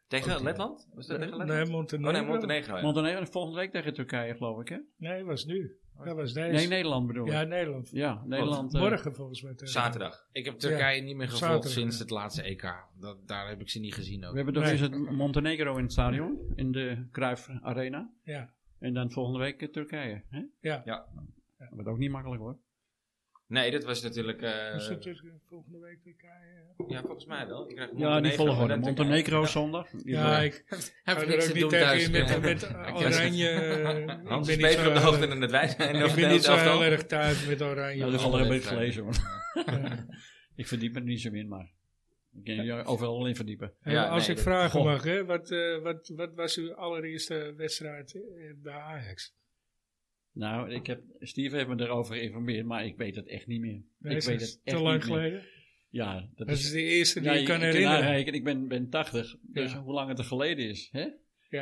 [SPEAKER 1] Tegen
[SPEAKER 2] Ook, eh,
[SPEAKER 1] Letland? Was dat tegen Letland?
[SPEAKER 4] Nee, Montenegro.
[SPEAKER 1] oh nee, Montenegro. ja.
[SPEAKER 3] Montenegro volgende week tegen Turkije, geloof ik, hè?
[SPEAKER 4] Nee, was nu.
[SPEAKER 1] Oh.
[SPEAKER 4] Dat was deze.
[SPEAKER 3] Nee, Nederland bedoel ik.
[SPEAKER 4] Ja,
[SPEAKER 3] Ja,
[SPEAKER 4] Nederland.
[SPEAKER 3] Nederland. eh,
[SPEAKER 4] Morgen volgens mij. tegen.
[SPEAKER 1] Zaterdag.
[SPEAKER 2] Ik heb Turkije niet meer gevolgd
[SPEAKER 4] Zaterdag,
[SPEAKER 2] sinds
[SPEAKER 4] ja.
[SPEAKER 2] het laatste EK. Dat, daar heb ik ze niet gezien ook.
[SPEAKER 3] we hebben toch
[SPEAKER 4] Nee.
[SPEAKER 3] eens het Montenegro in het stadion, in de Cruijff Arena.
[SPEAKER 4] Ja.
[SPEAKER 3] En dan volgende week eh, Turkije. Hè?
[SPEAKER 4] Ja.
[SPEAKER 1] Ja.
[SPEAKER 3] Dat wordt ook niet makkelijk hoor.
[SPEAKER 1] Nee, dat was natuurlijk... eh,
[SPEAKER 4] Dus dat is eh, volgende week Turkije. ja.
[SPEAKER 1] ja, volgens mij wel. Ik krijg
[SPEAKER 3] Ja, die
[SPEAKER 1] Montenegro en
[SPEAKER 3] volgorde.
[SPEAKER 1] dan Turkije.
[SPEAKER 3] Montenegro zondag. Die
[SPEAKER 4] Ja,
[SPEAKER 3] volgorde.
[SPEAKER 4] ik
[SPEAKER 2] Heb ik
[SPEAKER 4] ga er
[SPEAKER 2] niks
[SPEAKER 4] ook
[SPEAKER 2] te
[SPEAKER 4] niet
[SPEAKER 2] doen
[SPEAKER 4] tegen
[SPEAKER 2] thuis.
[SPEAKER 4] in met, met
[SPEAKER 2] Ik was-
[SPEAKER 4] oranje. eh,
[SPEAKER 1] Hans
[SPEAKER 4] ik
[SPEAKER 1] is
[SPEAKER 4] ben niet
[SPEAKER 1] beter
[SPEAKER 4] zo
[SPEAKER 1] op de
[SPEAKER 4] heel
[SPEAKER 1] hoogte
[SPEAKER 4] erg-
[SPEAKER 1] dan dat wij zijn.
[SPEAKER 4] Ik
[SPEAKER 1] over
[SPEAKER 4] ben
[SPEAKER 1] de
[SPEAKER 4] niet zo
[SPEAKER 1] elftal. Nou,
[SPEAKER 4] heel erg thuis met oranje.
[SPEAKER 3] Ja, dat had
[SPEAKER 2] alle
[SPEAKER 3] ik een beetje
[SPEAKER 2] wedstrijden.
[SPEAKER 3] gelezen hoor.
[SPEAKER 4] Ja.
[SPEAKER 3] ik verdiep me er niet zo in, maar ik kan je overal in verdiepen.
[SPEAKER 4] En
[SPEAKER 1] Ja,
[SPEAKER 4] als
[SPEAKER 1] nee,
[SPEAKER 4] ik
[SPEAKER 1] dat-
[SPEAKER 4] vragen
[SPEAKER 3] Goh.
[SPEAKER 4] mag, hè, wat, eh, wat, wat was uw allereerste wedstrijd eh, bij Ajax?
[SPEAKER 3] Nou, ik heb, Steve heeft me erover geïnformeerd, maar ik weet het echt niet meer.
[SPEAKER 4] Nee,
[SPEAKER 3] ik
[SPEAKER 4] is
[SPEAKER 3] weet
[SPEAKER 4] het
[SPEAKER 3] het echt
[SPEAKER 4] te lang
[SPEAKER 3] niet meer.
[SPEAKER 4] geleden.
[SPEAKER 3] Ja, dat
[SPEAKER 4] Dat
[SPEAKER 3] is...
[SPEAKER 4] is de eerste die
[SPEAKER 3] ja,
[SPEAKER 4] je kan
[SPEAKER 3] ik
[SPEAKER 4] herinneren.
[SPEAKER 3] Ik, ik ben, ben 80, dus
[SPEAKER 4] Ja.
[SPEAKER 3] hoe lang het er geleden is. Hè?
[SPEAKER 4] Ja.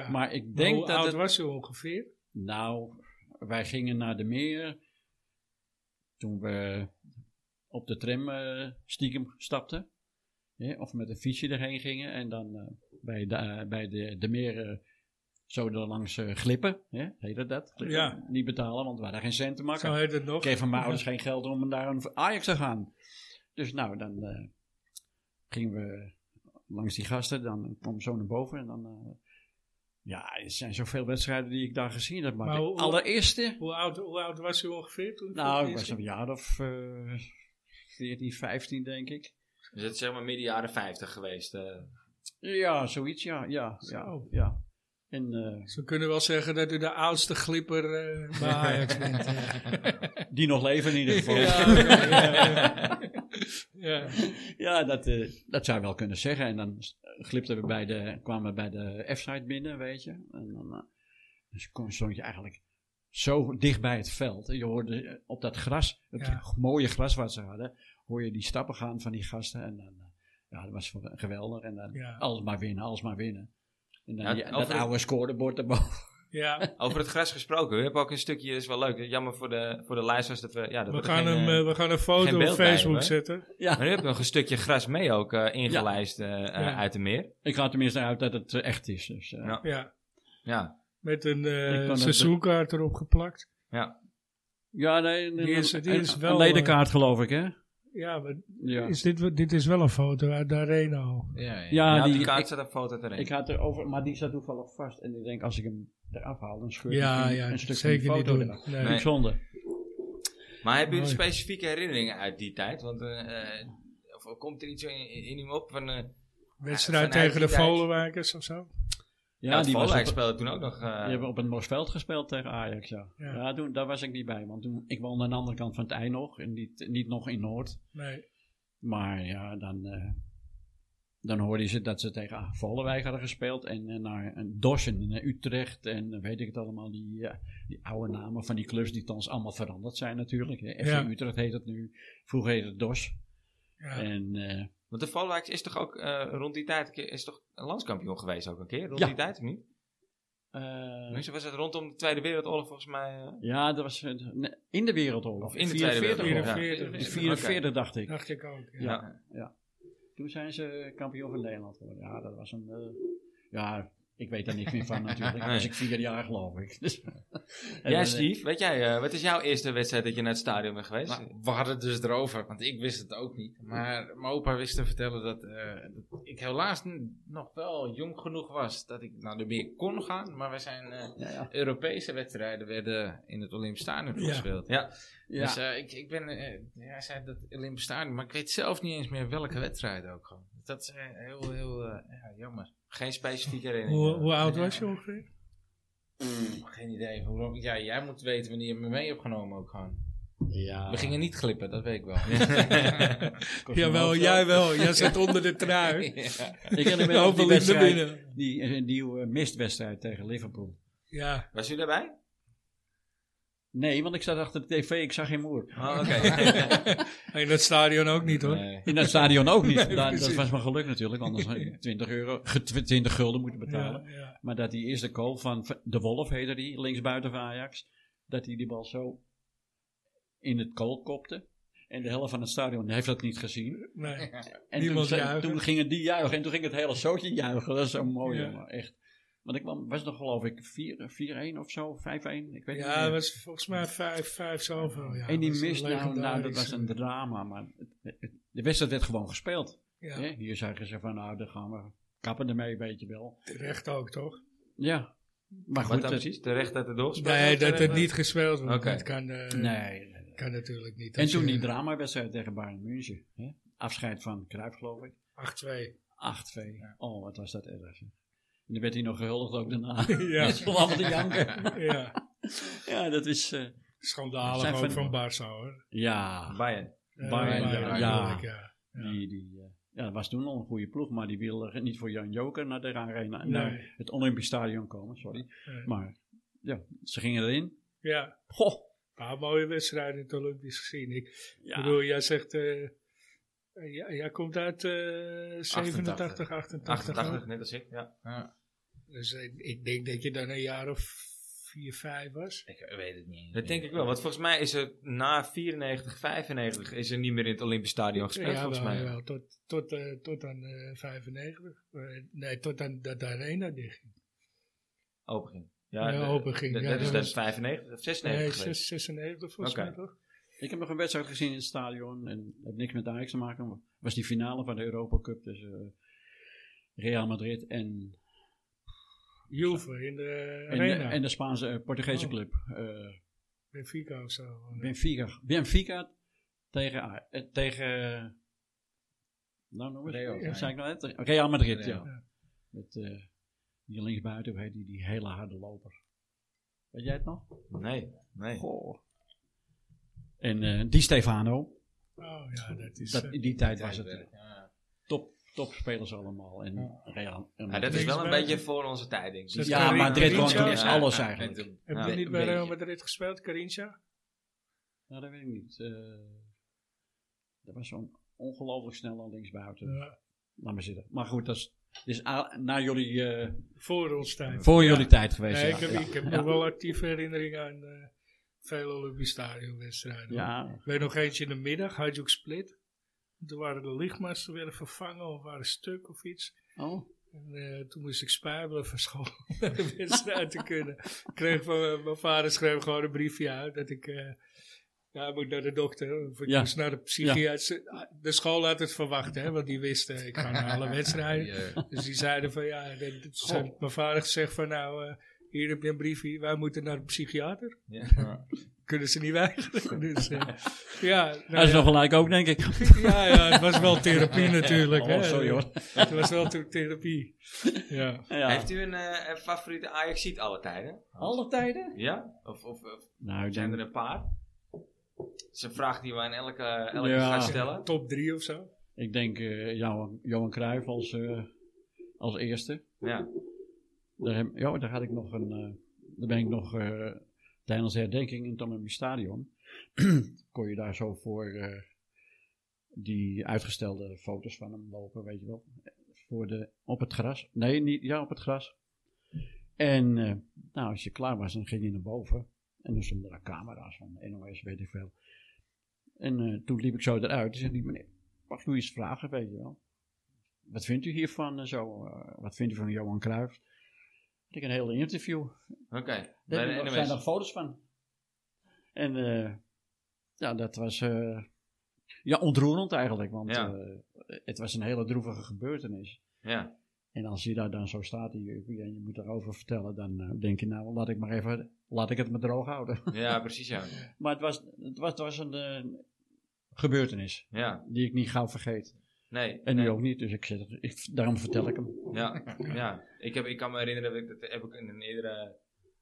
[SPEAKER 4] Maar
[SPEAKER 3] Maar ik denk
[SPEAKER 4] hoe
[SPEAKER 3] dat
[SPEAKER 4] oud
[SPEAKER 3] het...
[SPEAKER 4] was u ongeveer?
[SPEAKER 3] Nou, wij gingen naar de meer toen we op de tram eh, stiekem stapten. Hè, of met een fietsje erheen gingen en dan eh, bij, de, eh, bij de, de meer eh, zo er langs eh, glippen. Hè? Heette dat? Glippen.
[SPEAKER 4] Ja.
[SPEAKER 3] Niet betalen, want we hadden geen cent te maken.
[SPEAKER 4] Zo heet het nog.
[SPEAKER 3] Ik kreeg van mijn ouders geen geld om naar een Ajax te gaan. Dus nou, dan eh, gingen we langs die gasten. Dan kwam zo naar boven. En dan, eh, ja, er zijn zoveel wedstrijden die ik daar gezien heb. Maar,
[SPEAKER 4] Maar
[SPEAKER 3] de
[SPEAKER 4] hoe-
[SPEAKER 3] allereerste...
[SPEAKER 4] Hoe oud, hoe oud was u ongeveer toen?
[SPEAKER 3] Nou, ik
[SPEAKER 4] Voor
[SPEAKER 3] was
[SPEAKER 4] het
[SPEAKER 3] een
[SPEAKER 4] eerst?
[SPEAKER 3] jaar of eh 14, 15 denk ik.
[SPEAKER 1] Dus het is zeg maar midden jaren 50 geweest. eh.
[SPEAKER 3] Ja, zoiets, ja. ja, ja,
[SPEAKER 4] Zo.
[SPEAKER 3] ja. En eh,
[SPEAKER 4] Ze kunnen wel zeggen dat u de oudste glipper eh, bij Ajax bent.
[SPEAKER 3] die nog leven in ieder geval.
[SPEAKER 4] Eh. Ja, ja, ja, ja. ja.
[SPEAKER 3] Ja, dat, eh, dat zou je wel kunnen zeggen. En dan s- eh, glipten we bij de, kwamen we bij de F-site binnen, weet je. En dan eh, dus kon- stond je eigenlijk zo dicht bij het veld. En je hoorde eh, op dat gras, het
[SPEAKER 4] Ja.
[SPEAKER 3] g- mooie gras wat ze hadden, hoor je die stappen gaan van die gasten. En dan, eh, ja, dat was voor- geweldig. En dan
[SPEAKER 4] Ja.
[SPEAKER 3] alles maar winnen, alles maar winnen. En dan
[SPEAKER 1] Ja,
[SPEAKER 3] die- dat
[SPEAKER 1] over-
[SPEAKER 3] oude scorebord erboven.
[SPEAKER 4] ja.
[SPEAKER 1] Over het gras gesproken. We hebben ook een stukje, is wel leuk. Jammer voor de, voor de luisteraars dat we... Ja, dat
[SPEAKER 4] We,
[SPEAKER 1] er
[SPEAKER 4] gaan
[SPEAKER 1] geen,
[SPEAKER 4] hem,
[SPEAKER 1] eh,
[SPEAKER 4] eh, we gaan een
[SPEAKER 1] geen
[SPEAKER 4] foto op
[SPEAKER 1] beeld bij
[SPEAKER 4] Facebook
[SPEAKER 1] hebben.
[SPEAKER 4] zetten.
[SPEAKER 3] Ja,
[SPEAKER 1] Maar nu heb je nog een stukje gras mee ook eh, ingelijst eh, eh,
[SPEAKER 4] Ja.
[SPEAKER 1] uit de meer.
[SPEAKER 3] ik ga er tenminste uit dat het eh, echt is. Dus, eh,
[SPEAKER 1] Ja.
[SPEAKER 4] Ja.
[SPEAKER 1] Ja.
[SPEAKER 4] Met een eh,
[SPEAKER 3] Ik kan het-
[SPEAKER 4] seizoenkaart erop geplakt.
[SPEAKER 3] ja, nee, een-
[SPEAKER 4] Die is- die
[SPEAKER 3] een-
[SPEAKER 4] is
[SPEAKER 3] een
[SPEAKER 4] wel,
[SPEAKER 3] ledenkaart geloof ik, hè?
[SPEAKER 4] Ja, maar
[SPEAKER 3] Ja.
[SPEAKER 4] is dit, wat- dit is wel een foto uit de arena al.
[SPEAKER 2] Ja, ja.
[SPEAKER 3] Ja,
[SPEAKER 1] Nou, die,
[SPEAKER 3] die,
[SPEAKER 1] kaart staat een foto te
[SPEAKER 3] Ik had erover, maar die staat toevallig vast. En ik denk, als ik hem eraf haal, dan scheur ik
[SPEAKER 4] Ja,
[SPEAKER 3] misschien
[SPEAKER 4] ja,
[SPEAKER 3] een stuk
[SPEAKER 4] zeker
[SPEAKER 3] van die
[SPEAKER 4] niet
[SPEAKER 3] foto
[SPEAKER 4] doen.
[SPEAKER 3] eraf.
[SPEAKER 4] Nee.
[SPEAKER 3] Vind ik zonde.
[SPEAKER 1] Maar hebben jullie
[SPEAKER 4] Mooi.
[SPEAKER 1] specifieke herinneringen uit die tijd? Want eh, eh, of komt er iets in, in hem op van... eh,
[SPEAKER 4] Wedstrijd
[SPEAKER 1] Vanuit
[SPEAKER 4] tegen de
[SPEAKER 1] die tijd.
[SPEAKER 4] Volenwijkers of zo.
[SPEAKER 3] Ja,
[SPEAKER 1] ja,
[SPEAKER 3] die,
[SPEAKER 1] die
[SPEAKER 3] was op, die
[SPEAKER 1] speelde toen ook nog... eh,
[SPEAKER 3] hebben op het Mosveld gespeeld tegen Ajax, ja.
[SPEAKER 4] Ja.
[SPEAKER 3] Ja, toen, daar was ik niet bij, want toen, ik woonde aan de andere kant van het ei nog. En niet, niet nog in Noord.
[SPEAKER 4] Nee.
[SPEAKER 3] Maar ja, dan, eh, dan hoorde ze dat ze tegen Vollenwijk hadden gespeeld. En eh, naar een Dossen en naar Utrecht. En eh, weet ik het allemaal, die, eh, die oude namen van die clubs die thans allemaal veranderd zijn natuurlijk. hè. FC
[SPEAKER 4] Ja.
[SPEAKER 3] Utrecht heet het nu. Vroeger heette het Dos.
[SPEAKER 4] Ja.
[SPEAKER 3] En... eh,
[SPEAKER 1] Want de Valwijks is toch ook eh, rond die tijd een keer- is toch een landskampioen geweest ook een keer? Rond
[SPEAKER 3] Ja.
[SPEAKER 1] die tijd of niet?
[SPEAKER 3] eh,
[SPEAKER 1] Dus was het rondom de Tweede Wereldoorlog volgens mij... eh,
[SPEAKER 3] Ja, dat was eh, nee, in de Wereldoorlog.
[SPEAKER 1] of in de Tweede Wereldoorlog. ja.
[SPEAKER 4] 44.
[SPEAKER 3] De 44 dacht ik.
[SPEAKER 4] Dacht ik ook. Ja.
[SPEAKER 1] Ja.
[SPEAKER 3] Toen zijn ze kampioen van Nederland geworden. Ja, dat was een... eh, ja, ik weet daar niks meer van natuurlijk.
[SPEAKER 1] Nee.
[SPEAKER 3] Was ik vier jaar geloof ik. Dus- En
[SPEAKER 1] Jij
[SPEAKER 3] dan,
[SPEAKER 1] Steve, weet jij, eh, wat is jouw eerste wedstrijd dat je naar het stadion bent geweest?
[SPEAKER 2] Nou, we hadden het dus erover, want ik wist het ook niet. Maar mijn opa wist te vertellen dat, eh, dat ik helaas n- nog wel jong genoeg was dat ik naar de meer kon gaan. Maar wij zijn eh,
[SPEAKER 3] eh, ja, ja.
[SPEAKER 2] Europese wedstrijden werden in het Olympisch Stadion
[SPEAKER 4] Ja.
[SPEAKER 2] gespeeld.
[SPEAKER 1] Ja.
[SPEAKER 3] Ja.
[SPEAKER 2] Dus eh, ik, ik ben, eh, ja, hij zei dat Olympisch Stadion, maar ik weet zelf niet eens meer welke wedstrijd ook gewoon. Dat is eh, heel, heel eh, ja, jammer.
[SPEAKER 1] Geen specifieke herinnering.
[SPEAKER 4] Hoe, hoe oud was je ongeveer?
[SPEAKER 2] Geen idee. Hoe, lang- ja, jij moet weten wanneer je me mee hebt genomen ook gewoon.
[SPEAKER 3] ja.
[SPEAKER 1] Ah.
[SPEAKER 2] We gingen niet glippen, dat weet ik wel.
[SPEAKER 3] Kost me
[SPEAKER 4] Jawel,
[SPEAKER 3] wel
[SPEAKER 4] jij
[SPEAKER 3] veel.
[SPEAKER 4] wel. Jij zat onder de trui.
[SPEAKER 2] Ja.
[SPEAKER 3] Ik herinner me nog
[SPEAKER 4] Hopelijk
[SPEAKER 3] die
[SPEAKER 4] naar
[SPEAKER 3] wedstrijd,
[SPEAKER 4] binnen.
[SPEAKER 3] die, eh, die eh, mistwedstrijd tegen Liverpool.
[SPEAKER 4] Ja,
[SPEAKER 1] Was u daarbij?
[SPEAKER 3] Nee, want ik zat achter de tv, ik zag geen moer.
[SPEAKER 1] Oh, oké.
[SPEAKER 4] in dat stadion ook niet hoor.
[SPEAKER 2] Nee.
[SPEAKER 3] In dat stadion ook niet. Daar- dat
[SPEAKER 4] precies.
[SPEAKER 3] was mijn geluk natuurlijk, anders had ik 20, euro, ge- 20 gulden moeten betalen.
[SPEAKER 4] Ja, ja.
[SPEAKER 3] Maar dat die eerste goal van V- De Wolf, heette die, linksbuiten van Ajax, dat hij die bal zo in het goal kopte. En de helft van het stadion heeft dat niet gezien.
[SPEAKER 4] Nee.
[SPEAKER 3] En
[SPEAKER 4] Niemand
[SPEAKER 3] toen, zei-
[SPEAKER 4] juichen.
[SPEAKER 3] toen gingen die juichen en toen ging het hele zootje juichen. Dat is zo mooi,
[SPEAKER 4] Ja.
[SPEAKER 3] jongen. Echt. Want ik kwam- was nog geloof ik 4 4-1 of zo, 5-1. Ik weet niet
[SPEAKER 4] Ja,
[SPEAKER 3] meer.
[SPEAKER 4] het was volgens mij vijf, vijf zoveel. Ja,
[SPEAKER 3] en die
[SPEAKER 4] Dat is
[SPEAKER 3] mist, nou, nou, dat
[SPEAKER 4] legendarisch.
[SPEAKER 3] was een drama. Maar het- het- het- de wedstrijd werd gewoon gespeeld.
[SPEAKER 4] Ja,
[SPEAKER 3] Hè? Hier zeggen ze van, nou, daar gaan we kappen ermee, weet je wel.
[SPEAKER 4] terecht ook, toch?
[SPEAKER 3] Ja. Maar
[SPEAKER 1] Wat
[SPEAKER 3] goed,
[SPEAKER 1] dan
[SPEAKER 3] het-
[SPEAKER 1] precies? Terecht dat er doorgespeeld
[SPEAKER 4] Nee,
[SPEAKER 1] wordt,
[SPEAKER 4] dat
[SPEAKER 1] eh,
[SPEAKER 4] het niet gespeeld wordt.
[SPEAKER 1] Oké.
[SPEAKER 4] Dat kan, eh,
[SPEAKER 3] nee, nee.
[SPEAKER 4] kan natuurlijk niet.
[SPEAKER 3] En
[SPEAKER 4] Als
[SPEAKER 3] toen
[SPEAKER 4] je
[SPEAKER 3] die dramawedstrijd tegen Bayern München. Hè? Afscheid van Cruijff, geloof ik.
[SPEAKER 4] 8-2.
[SPEAKER 3] 8-2. Oh, wat was dat erg. zeg. En dan werd hij nog gehuldigd ook daarna.
[SPEAKER 4] Ja.
[SPEAKER 3] Ja. Met z'n allen te janken.
[SPEAKER 4] ja,
[SPEAKER 3] Ja, dat is... eh,
[SPEAKER 4] schandalig
[SPEAKER 3] Zijn
[SPEAKER 4] ook
[SPEAKER 3] van-
[SPEAKER 4] van, van Barça hoor.
[SPEAKER 3] ja,
[SPEAKER 1] Bayern.
[SPEAKER 4] Eh,
[SPEAKER 3] Bayern,
[SPEAKER 4] Bayern,
[SPEAKER 3] ja.
[SPEAKER 4] bedoel ik, ja. Ja.
[SPEAKER 3] die, die, eh, ja, dat was toen al een goede ploeg. Maar die wilde niet voor Jan Joker naar de arena.
[SPEAKER 4] Nee.
[SPEAKER 3] Naar het Olympisch Stadion komen, sorry.
[SPEAKER 4] Nee.
[SPEAKER 3] Maar ja, ze gingen erin.
[SPEAKER 4] Ja,
[SPEAKER 3] Goh.
[SPEAKER 4] een paar mooie wedstrijden in het Olympisch gezien. Ik
[SPEAKER 3] Ja.
[SPEAKER 4] bedoel, jij zegt... eh, eh, ja, jij komt uit eh 87, 88.
[SPEAKER 1] 88, net als ik. Ja.
[SPEAKER 2] Ja.
[SPEAKER 4] Dus ik, ik denk dat je dan een jaar of 4, 5 was.
[SPEAKER 2] Ik weet het niet. eens meer.
[SPEAKER 1] Dat denk ik wel. Want volgens mij is er na 94, 95 is er niet meer in het Olympisch Stadion gespeeld.
[SPEAKER 4] ja,
[SPEAKER 1] volgens
[SPEAKER 4] wel,
[SPEAKER 1] mij.
[SPEAKER 4] wel. Tot, tot, eh, tot aan eh 95. Eh, nee, tot aan dat de arena dicht ging.
[SPEAKER 1] Open ging.
[SPEAKER 4] Ja,
[SPEAKER 1] de-
[SPEAKER 4] open ging.
[SPEAKER 1] de-
[SPEAKER 4] Ja,
[SPEAKER 1] dat
[SPEAKER 4] dat
[SPEAKER 1] is dan
[SPEAKER 3] dus-
[SPEAKER 4] was-
[SPEAKER 1] 95 of 96
[SPEAKER 4] Nee,
[SPEAKER 1] geweest.
[SPEAKER 4] 96, 96 volgens
[SPEAKER 1] Oké.
[SPEAKER 4] mij toch?
[SPEAKER 3] Ik heb nog een wedstrijd gezien in het stadion en heeft niks met Ajax te maken. maar was die finale van de Europa Cup tussen eh, Real Madrid en,
[SPEAKER 4] Juve in de
[SPEAKER 3] en, de,
[SPEAKER 4] arena.
[SPEAKER 3] en de Spaanse eh, Portugese
[SPEAKER 4] Oh.
[SPEAKER 3] club. eh,
[SPEAKER 4] Benfica of zo. Oh,
[SPEAKER 3] Benfica. Benfica tegen, A- eh, tegen eh, nou, noem eens,
[SPEAKER 2] Real.
[SPEAKER 3] Wat zei ik nou net? Real Madrid,
[SPEAKER 2] Real.
[SPEAKER 3] ja. Met eh, die linksbuiten, hoe heet die, die hele harde loper. Weet jij het nog?
[SPEAKER 1] Nee, nee.
[SPEAKER 3] Goh. En eh, Di Stefano,
[SPEAKER 4] Oh ja, dat is...
[SPEAKER 3] dat,
[SPEAKER 4] eh,
[SPEAKER 3] in die tijd was
[SPEAKER 2] Ja,
[SPEAKER 3] het eh, top, topspelers allemaal. En Real en
[SPEAKER 1] Ja, dat is wel een
[SPEAKER 3] Madrid.
[SPEAKER 4] Linksbuiten.
[SPEAKER 1] beetje voor onze tijd, denk ik.
[SPEAKER 4] Zes-
[SPEAKER 3] Ja, Madrid won toen
[SPEAKER 4] Carrillo.
[SPEAKER 3] is alles
[SPEAKER 1] Ja,
[SPEAKER 3] eigenlijk.
[SPEAKER 2] en toen-
[SPEAKER 4] heb
[SPEAKER 1] Ja,
[SPEAKER 4] je niet
[SPEAKER 2] een
[SPEAKER 4] bij Real
[SPEAKER 2] beetje.
[SPEAKER 4] Madrid gespeeld, Carincha?
[SPEAKER 3] Nou, dat weet ik niet. Eh dat was zo'n ongelooflijk snelle linksbuiten.
[SPEAKER 4] Ja.
[SPEAKER 3] Laat maar zitten. Maar goed, dat is, dat is a- na jullie, eh,
[SPEAKER 4] Voor ons tijd.
[SPEAKER 3] voor
[SPEAKER 4] Ja.
[SPEAKER 3] jullie tijd geweest.
[SPEAKER 4] Nee,
[SPEAKER 3] ja.
[SPEAKER 4] ik heb,
[SPEAKER 3] ja.
[SPEAKER 4] ik heb
[SPEAKER 3] ja.
[SPEAKER 4] nog wel actieve herinneringen aan eh veel Olympisch Stadionwedstrijden.
[SPEAKER 3] Ja,
[SPEAKER 4] Ik weet nog eentje in de middag, Hajduk Split. Toen waren de lichtmasten werden vervangen of waren stuk of iets.
[SPEAKER 3] oh.
[SPEAKER 4] En, eh, toen moest ik spijbelen van school om naar de wedstrijd te kunnen. Ik Kreeg van, eh, mijn- mijn vader schreef gewoon een briefje uit dat ik... eh ja, ik moet naar de dokter. Of ik
[SPEAKER 3] Ja.
[SPEAKER 4] moest naar de psychiater. De school had het verwacht, hè, want die wisten, ik ga naar alle wedstrijden.
[SPEAKER 2] Ja.
[SPEAKER 4] Dus die zeiden van ja, dat- dat- ze hebben mijn vader gezegd van nou, eh, hier heb je een briefje, wij moeten naar de psychiater.
[SPEAKER 1] Ja.
[SPEAKER 4] Kunnen ze niet weigeren. Dus, eh, ja, nou
[SPEAKER 3] dat is
[SPEAKER 4] ja,
[SPEAKER 3] nog gelijk ook, denk ik.
[SPEAKER 4] ja, ja, het was wel therapie natuurlijk. hè.
[SPEAKER 3] Oh, sorry hoor.
[SPEAKER 4] Het was wel toen therapie. Ja.
[SPEAKER 3] Ja.
[SPEAKER 1] Heeft u een eh, een favoriete Ajaxiet alle tijden?
[SPEAKER 3] Alle tijden?
[SPEAKER 1] Ja? Of, of, of
[SPEAKER 3] Nou, ik
[SPEAKER 1] zijn er
[SPEAKER 3] denk,
[SPEAKER 1] een paar? Dat is een vraag die we aan elke, elke
[SPEAKER 3] Ja.
[SPEAKER 1] gaan stellen.
[SPEAKER 4] Top drie of zo.
[SPEAKER 3] ik denk eh, Johan, Johan Cruijff als, eh, als eerste.
[SPEAKER 1] Ja.
[SPEAKER 3] Daar, heb, ja, daar had ik nog een. eh, daar ben ik nog eh, tijdens de herdenking in het Amsterdam Stadion. kon je daar zo voor eh, die uitgestelde foto's van hem lopen, weet je wel. Voor de, op het gras. Nee, niet, ja, op het gras. En eh, nou, als je klaar was, dan ging je naar boven. En dan stonden er camera's van NOS, weet ik veel. En eh, toen liep ik zo eruit. En zei die meneer, mag ik u iets vragen, weet je wel. Wat vindt u hiervan en zo? eh, wat vindt u van Johan Cruijff? Ik heb een hele interview.
[SPEAKER 1] Oké. Bij
[SPEAKER 3] Daar
[SPEAKER 1] de
[SPEAKER 3] heb ik- zijn er
[SPEAKER 1] NOS.
[SPEAKER 3] foto's van. En eh, ja, dat was eh, ja, ontroerend eigenlijk. Want
[SPEAKER 1] Ja.
[SPEAKER 3] eh, het was een hele droevige gebeurtenis.
[SPEAKER 1] Ja.
[SPEAKER 3] En als je daar dan zo staat en je, en je moet erover vertellen, dan eh, denk je nou, laat ik maar even, laat ik het me droog houden.
[SPEAKER 1] ja, precies ja.
[SPEAKER 3] maar het was, het was, het was een eh, gebeurtenis
[SPEAKER 1] Ja,
[SPEAKER 3] die ik niet gauw vergeet.
[SPEAKER 1] nee.
[SPEAKER 3] En
[SPEAKER 1] nee.
[SPEAKER 3] nu ook niet, dus ik zit, er- ik, daarom vertel ik hem.
[SPEAKER 1] Ja, ja. Ik, heb, ik kan me herinneren, dat ik, dat heb ik in een eerdere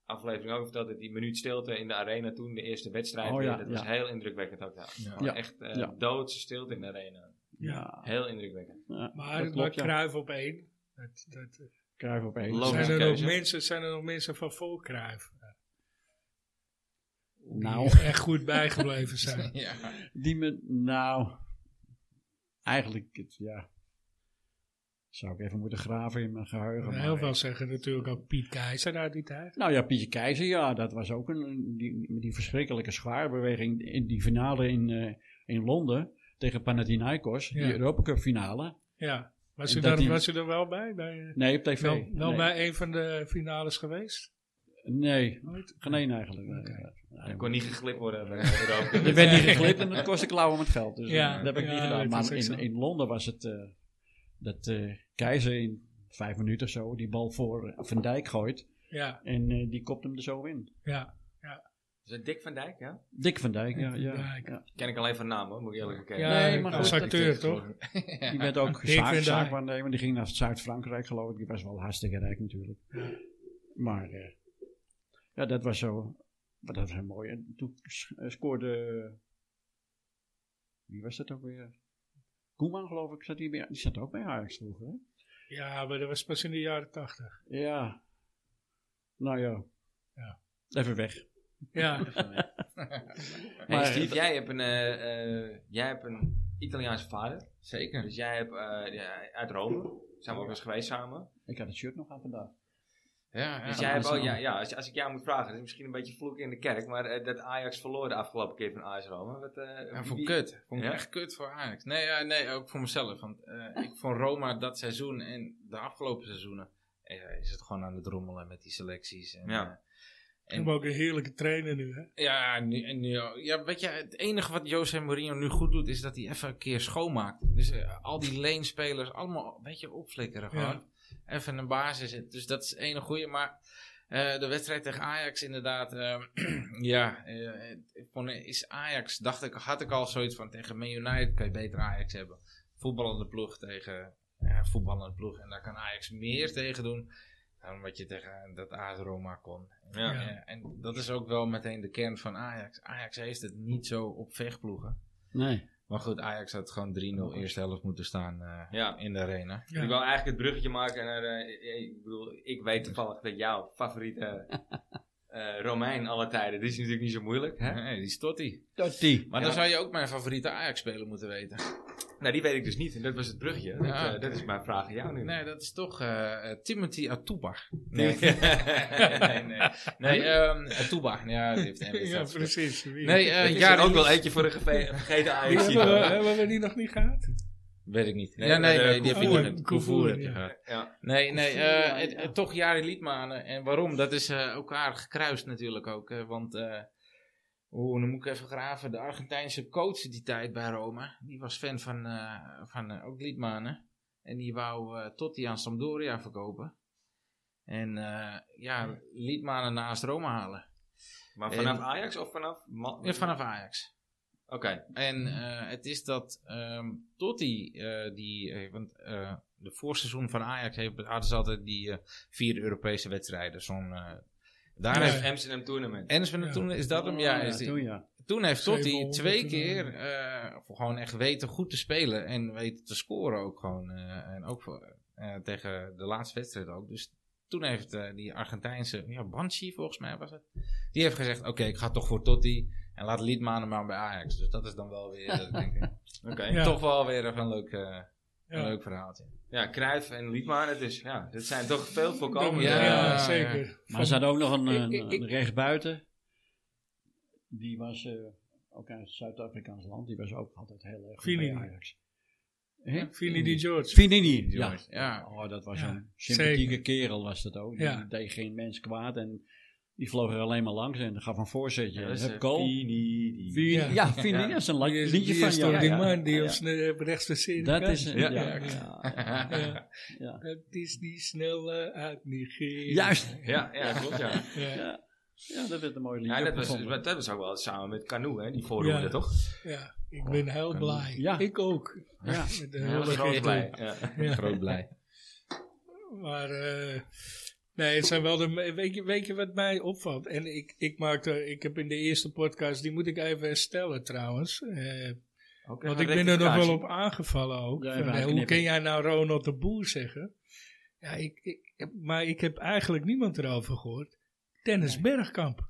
[SPEAKER 1] aflevering ook verteld, dat die minuut stilte in de arena toen, de eerste wedstrijd,
[SPEAKER 3] Oh
[SPEAKER 1] weer,
[SPEAKER 3] ja,
[SPEAKER 1] dat was
[SPEAKER 3] ja.
[SPEAKER 1] heel indrukwekkend ook. Ja. Gewoon
[SPEAKER 3] Ja.
[SPEAKER 1] Echt eh
[SPEAKER 3] Ja.
[SPEAKER 1] doodse stilte in de arena.
[SPEAKER 3] Ja,
[SPEAKER 1] Heel indrukwekkend.
[SPEAKER 3] ja,
[SPEAKER 4] Maar
[SPEAKER 3] dat
[SPEAKER 4] het was
[SPEAKER 3] klopt, ja.
[SPEAKER 4] Cruijff op één. Dat, dat,
[SPEAKER 3] Cruijff op één.
[SPEAKER 1] Logisch.
[SPEAKER 4] zijn, er nog
[SPEAKER 1] keuze.
[SPEAKER 4] mensen, zijn er nog mensen van vol Cruijff? eh,
[SPEAKER 3] Nou,
[SPEAKER 4] Die echt goed bijgebleven zijn.
[SPEAKER 2] Ja.
[SPEAKER 3] Die me, nou, eigenlijk, het, ja, zou ik even moeten graven in mijn geheugen. maar
[SPEAKER 4] Nou, Heel
[SPEAKER 3] ik-
[SPEAKER 4] veel zeggen natuurlijk ook Piet Keizer uit die tijd.
[SPEAKER 3] Nou ja, Pietje Keizer, ja, dat was ook een, die, die verschrikkelijke schaarbeweging in die finale in, eh, in Londen tegen Panathinaikos,
[SPEAKER 4] Ja.
[SPEAKER 3] die Europa Cup finale.
[SPEAKER 4] Ja. Was
[SPEAKER 3] En
[SPEAKER 4] u,
[SPEAKER 3] dat
[SPEAKER 4] daar,
[SPEAKER 3] die-
[SPEAKER 4] was u er wel bij? bij
[SPEAKER 3] Nee, op tv.
[SPEAKER 4] wel wel
[SPEAKER 3] nee.
[SPEAKER 4] bij een van de finales geweest?
[SPEAKER 3] nee,
[SPEAKER 4] Nooit?
[SPEAKER 3] geen één eigenlijk. Eh, Nee,
[SPEAKER 1] Ik
[SPEAKER 3] nee.
[SPEAKER 1] kon niet geglipt worden. bij de Europa Cup.
[SPEAKER 3] Je bent niet geglipt en Eh, het kostte klauwen met geld. Dus
[SPEAKER 4] Ja,
[SPEAKER 3] eh, dat heb ik
[SPEAKER 4] ja,
[SPEAKER 3] niet
[SPEAKER 4] dat
[SPEAKER 3] gedaan.
[SPEAKER 4] is
[SPEAKER 3] Maar
[SPEAKER 4] ook zo.
[SPEAKER 3] in, in Londen was het eh, dat eh, Keizer in vijf minuten of zo die bal voor eh, Van Dijk gooit.
[SPEAKER 4] Ja,
[SPEAKER 3] En eh, die kopt hem er zo in.
[SPEAKER 4] ja.
[SPEAKER 1] Is dat Dick van Dijk, ja?
[SPEAKER 3] Dick van Dijk, ja.
[SPEAKER 4] Van
[SPEAKER 3] ja,
[SPEAKER 4] Dijk.
[SPEAKER 3] ja.
[SPEAKER 1] Ken ik alleen van naam hoor, moet ik eerlijk
[SPEAKER 4] ja,
[SPEAKER 1] erkennen.
[SPEAKER 3] Nee, maar
[SPEAKER 4] dat is
[SPEAKER 3] goed,
[SPEAKER 4] acteur toch?
[SPEAKER 3] Die werd ook
[SPEAKER 4] Dick van
[SPEAKER 3] zaak,
[SPEAKER 4] Dijk.
[SPEAKER 3] zaakwaarnemer. Die ging naar Zuid-Frankrijk geloof ik. Die was wel hartstikke rijk natuurlijk. Maar eh, ja, dat was zo. Maar dat was heel mooi. En toen s- eh, scoorde... eh, Wie was dat ook weer? Koeman geloof ik. Zat die, bij, die zat ook bij Ajax vroeger hè?
[SPEAKER 4] Ja, maar dat was pas in de jaren tachtig.
[SPEAKER 3] Ja. Nou ja.
[SPEAKER 4] Ja.
[SPEAKER 3] Even weg.
[SPEAKER 4] Ja,
[SPEAKER 1] Hey
[SPEAKER 3] Maar-
[SPEAKER 1] Steve, jij hebt, een, eh, eh, jij hebt een Italiaanse vader.
[SPEAKER 2] Zeker.
[SPEAKER 1] Dus jij hebt eh, ja, uit Rome. Zijn we ook eens geweest samen.
[SPEAKER 3] Ik had het shirt nog aan vandaag.
[SPEAKER 2] Ja, ja.
[SPEAKER 1] Dus jij hebt
[SPEAKER 3] dat is
[SPEAKER 1] ook, ja,
[SPEAKER 3] wel-
[SPEAKER 1] ja, als, je- als ik jou moet vragen, dat is misschien een beetje vloek in de kerk, maar eh, dat Ajax verloor de afgelopen keer van AS Rome. Wat, eh,
[SPEAKER 2] Ja, vond ik
[SPEAKER 1] wie-
[SPEAKER 2] kut. Vond ik
[SPEAKER 1] Ja?
[SPEAKER 2] echt kut voor Ajax. Nee, ja, nee, ook voor mezelf. Want eh, ik vond Roma dat seizoen en de afgelopen seizoenen eh, is het gewoon aan het rommelen met die selecties. En,
[SPEAKER 1] Ja.
[SPEAKER 2] eh,
[SPEAKER 4] we hebben ook een heerlijke trainer nu, hè?
[SPEAKER 2] Ja, nu, en nu, ja, weet je, het enige wat Jose Mourinho nu goed doet, is dat hij even een keer schoonmaakt. Dus eh, al die leenspelers, allemaal een beetje opflikkeren
[SPEAKER 4] Ja.
[SPEAKER 2] gewoon. Even een basis. Dus dat is het ene goede. Maar eh, de wedstrijd tegen Ajax inderdaad, eh, ja, eh, ik vond, eh, is Ajax, dacht ik, had ik al zoiets van, tegen Man United kan je beter Ajax hebben. Voetballende ploeg tegen ja, voetballende ploeg. En daar kan Ajax meer tegen doen dan wat je tegen dat AS Roma kon.
[SPEAKER 1] Ja.
[SPEAKER 4] Ja.
[SPEAKER 2] Ja, en dat is ook wel meteen de kern van Ajax. Ajax heeft het niet zo op vechtploegen.
[SPEAKER 3] Nee.
[SPEAKER 2] Maar goed, Ajax had gewoon 3-0 eerste helft moeten staan eh,
[SPEAKER 1] Ja.
[SPEAKER 2] in de arena.
[SPEAKER 4] Ja.
[SPEAKER 1] Ik wil eigenlijk het bruggetje maken naar, eh, ik bedoel, ik weet toevallig dat jouw favoriete eh, Romein alle tijden, dit is natuurlijk niet zo moeilijk, hè?
[SPEAKER 2] Nee, die Stotti.
[SPEAKER 3] Totti.
[SPEAKER 2] Maar
[SPEAKER 1] Ja.
[SPEAKER 2] dan zou je ook mijn favoriete Ajax-speler moeten weten.
[SPEAKER 1] Nou, die weet ik dus niet en dat was het bruggetje. Dat,
[SPEAKER 4] Ah,
[SPEAKER 2] Ja.
[SPEAKER 1] eh, dat is mijn vraag aan jou nu.
[SPEAKER 2] Nee, dat is toch eh, eh, Timothy Atuba.
[SPEAKER 1] Nee.
[SPEAKER 2] Nee, nee, nee. nee. nee ehm, Atuba. Ja, die heeft een
[SPEAKER 4] Ja,
[SPEAKER 2] wedstrijd.
[SPEAKER 4] precies. Wie-
[SPEAKER 2] Nee,
[SPEAKER 1] Dat
[SPEAKER 2] eh
[SPEAKER 1] is
[SPEAKER 2] ja,
[SPEAKER 1] er ook wel eentje voor een geve- vergeten
[SPEAKER 4] Die eh,
[SPEAKER 1] Ajax.
[SPEAKER 4] hebben, we, hebben we die nog niet gehad?
[SPEAKER 2] Weet ik niet.
[SPEAKER 1] Nee,
[SPEAKER 2] ja, nee,
[SPEAKER 1] eh,
[SPEAKER 2] nee, die heb je
[SPEAKER 4] Koevoer.
[SPEAKER 2] niet. Koevoer heb je
[SPEAKER 4] Ja.
[SPEAKER 2] gehad.
[SPEAKER 1] Ja.
[SPEAKER 2] Nee, nee,
[SPEAKER 3] Voel je
[SPEAKER 2] eh,
[SPEAKER 3] maar,
[SPEAKER 2] het-
[SPEAKER 3] ja.
[SPEAKER 2] het- toch Jari Liedmanen. En waarom? Dat is eh, elkaar gekruist natuurlijk ook. eh, want, eh oeh, dan moet ik even graven. De Argentijnse coach die tijd bij Roma, die was fan van, eh, van eh, ook Liedmanen. En die wou eh Totti aan Sampdoria verkopen. En eh, ja, Liedmanen naast Roma halen.
[SPEAKER 1] Maar vanaf
[SPEAKER 2] En-
[SPEAKER 1] Ajax of vanaf? Ma-
[SPEAKER 2] En vanaf Ajax.
[SPEAKER 1] Oké.
[SPEAKER 2] En
[SPEAKER 4] Mhm.
[SPEAKER 2] eh, het is dat ehm Totti, eh, die, eh, want eh, de voorseizoen van Ajax heeft, hadden ze altijd die eh, vier Europese wedstrijden. Zo'n, eh, daar
[SPEAKER 4] Ja.
[SPEAKER 2] heeft,
[SPEAKER 1] Amsterdam- Amsterdam Tournament.
[SPEAKER 2] en is van de-
[SPEAKER 4] Ja.
[SPEAKER 2] toen is dat hem, ja, is die-
[SPEAKER 3] toen ja.
[SPEAKER 2] toen heeft Totti
[SPEAKER 4] 700
[SPEAKER 2] twee
[SPEAKER 4] en,
[SPEAKER 2] keer eh, gewoon echt weten goed te spelen en weten te scoren ook gewoon. eh, en ook voor, eh, tegen de laatste wedstrijd ook. Dus toen heeft eh, die Argentijnse, ja, Banshee volgens mij was het, die heeft gezegd, oké, ik ga toch voor Totti en laat Liedmanen maar bij Ajax. Dus dat is dan wel weer, dat ik denk, eh,
[SPEAKER 1] Oké.
[SPEAKER 4] Ja.
[SPEAKER 2] toch wel weer even een leuk, eh, een
[SPEAKER 4] Ja,
[SPEAKER 2] leuk verhaaltje.
[SPEAKER 1] Ja, Cruijff en Liedmanen, het is, ja, dat zijn toch veel voorkomende. eh,
[SPEAKER 4] ja,
[SPEAKER 2] ja,
[SPEAKER 4] zeker.
[SPEAKER 3] Maar ze hadden ook nog een,
[SPEAKER 2] Ik-
[SPEAKER 3] een,
[SPEAKER 2] ik- ik-
[SPEAKER 3] een rechtsbuiten. Die was eh, ook uit het Zuid-Afrikaans land. Die was ook altijd heel erg goed bij
[SPEAKER 4] Finidi.
[SPEAKER 3] Ajax. Hè?
[SPEAKER 4] Vinnie die George.
[SPEAKER 3] Finidi, ja.
[SPEAKER 2] Jongens, ja.
[SPEAKER 3] Oh, dat was
[SPEAKER 4] Ja,
[SPEAKER 3] een sympathieke
[SPEAKER 4] zeker.
[SPEAKER 3] kerel was dat ook. Die
[SPEAKER 4] Ja.
[SPEAKER 3] deed geen mens kwaad en die vloog er alleen maar langs en gaf een voorzetje.
[SPEAKER 1] Ja,
[SPEAKER 3] Ja,
[SPEAKER 1] dat is, eh,
[SPEAKER 3] heb goal.
[SPEAKER 1] Fini, die-
[SPEAKER 3] Fini-
[SPEAKER 4] Ja.
[SPEAKER 3] Ja, Finidi, dat is een lang
[SPEAKER 4] Die is-
[SPEAKER 3] liedje
[SPEAKER 4] die
[SPEAKER 3] van
[SPEAKER 4] is
[SPEAKER 3] jou.
[SPEAKER 4] toch die
[SPEAKER 3] Ja,
[SPEAKER 4] man die
[SPEAKER 3] ja.
[SPEAKER 4] ons eh, rechts van Syrië
[SPEAKER 3] Dat
[SPEAKER 4] kent?
[SPEAKER 3] is een,
[SPEAKER 1] Ja,
[SPEAKER 3] ja,
[SPEAKER 1] ja,
[SPEAKER 3] ja,
[SPEAKER 4] Ja.
[SPEAKER 3] ja.
[SPEAKER 4] Dat is die snelle uit Nigeria.
[SPEAKER 3] Juist.
[SPEAKER 1] Ja, ja, klopt, ja.
[SPEAKER 4] Ja,
[SPEAKER 3] Ja. ja, dat werd een mooi liedje.
[SPEAKER 1] Ja, dat was,
[SPEAKER 3] gevonden.
[SPEAKER 1] dat was ook wel samen met Canoe, hè, die voorronde,
[SPEAKER 4] Ja.
[SPEAKER 1] toch?
[SPEAKER 4] ja. ik ben heel blij.
[SPEAKER 3] Ja.
[SPEAKER 4] Ik ook.
[SPEAKER 3] Ja.
[SPEAKER 4] Met de
[SPEAKER 1] Ja,
[SPEAKER 4] hele
[SPEAKER 1] was groot
[SPEAKER 4] gedoe.
[SPEAKER 1] blij. Ja.
[SPEAKER 4] Ja.
[SPEAKER 2] Groot blij.
[SPEAKER 4] Maar eh, nee, het zijn wel de. Weet je, weet je wat mij opvalt? En ik, ik maakte. Ik heb in de eerste podcast. Die moet ik even herstellen trouwens. eh,
[SPEAKER 1] Ook
[SPEAKER 4] want
[SPEAKER 1] even
[SPEAKER 4] ik ben er nog
[SPEAKER 1] rectificatie.
[SPEAKER 4] wel op aangevallen ook.
[SPEAKER 3] Ja,
[SPEAKER 4] Van,
[SPEAKER 3] even
[SPEAKER 4] eh, hoe
[SPEAKER 3] knippen.
[SPEAKER 4] kun jij nou Ronald de Boer zeggen? Ja, ik, ik, maar ik heb eigenlijk niemand erover gehoord. Dennis Bergkamp.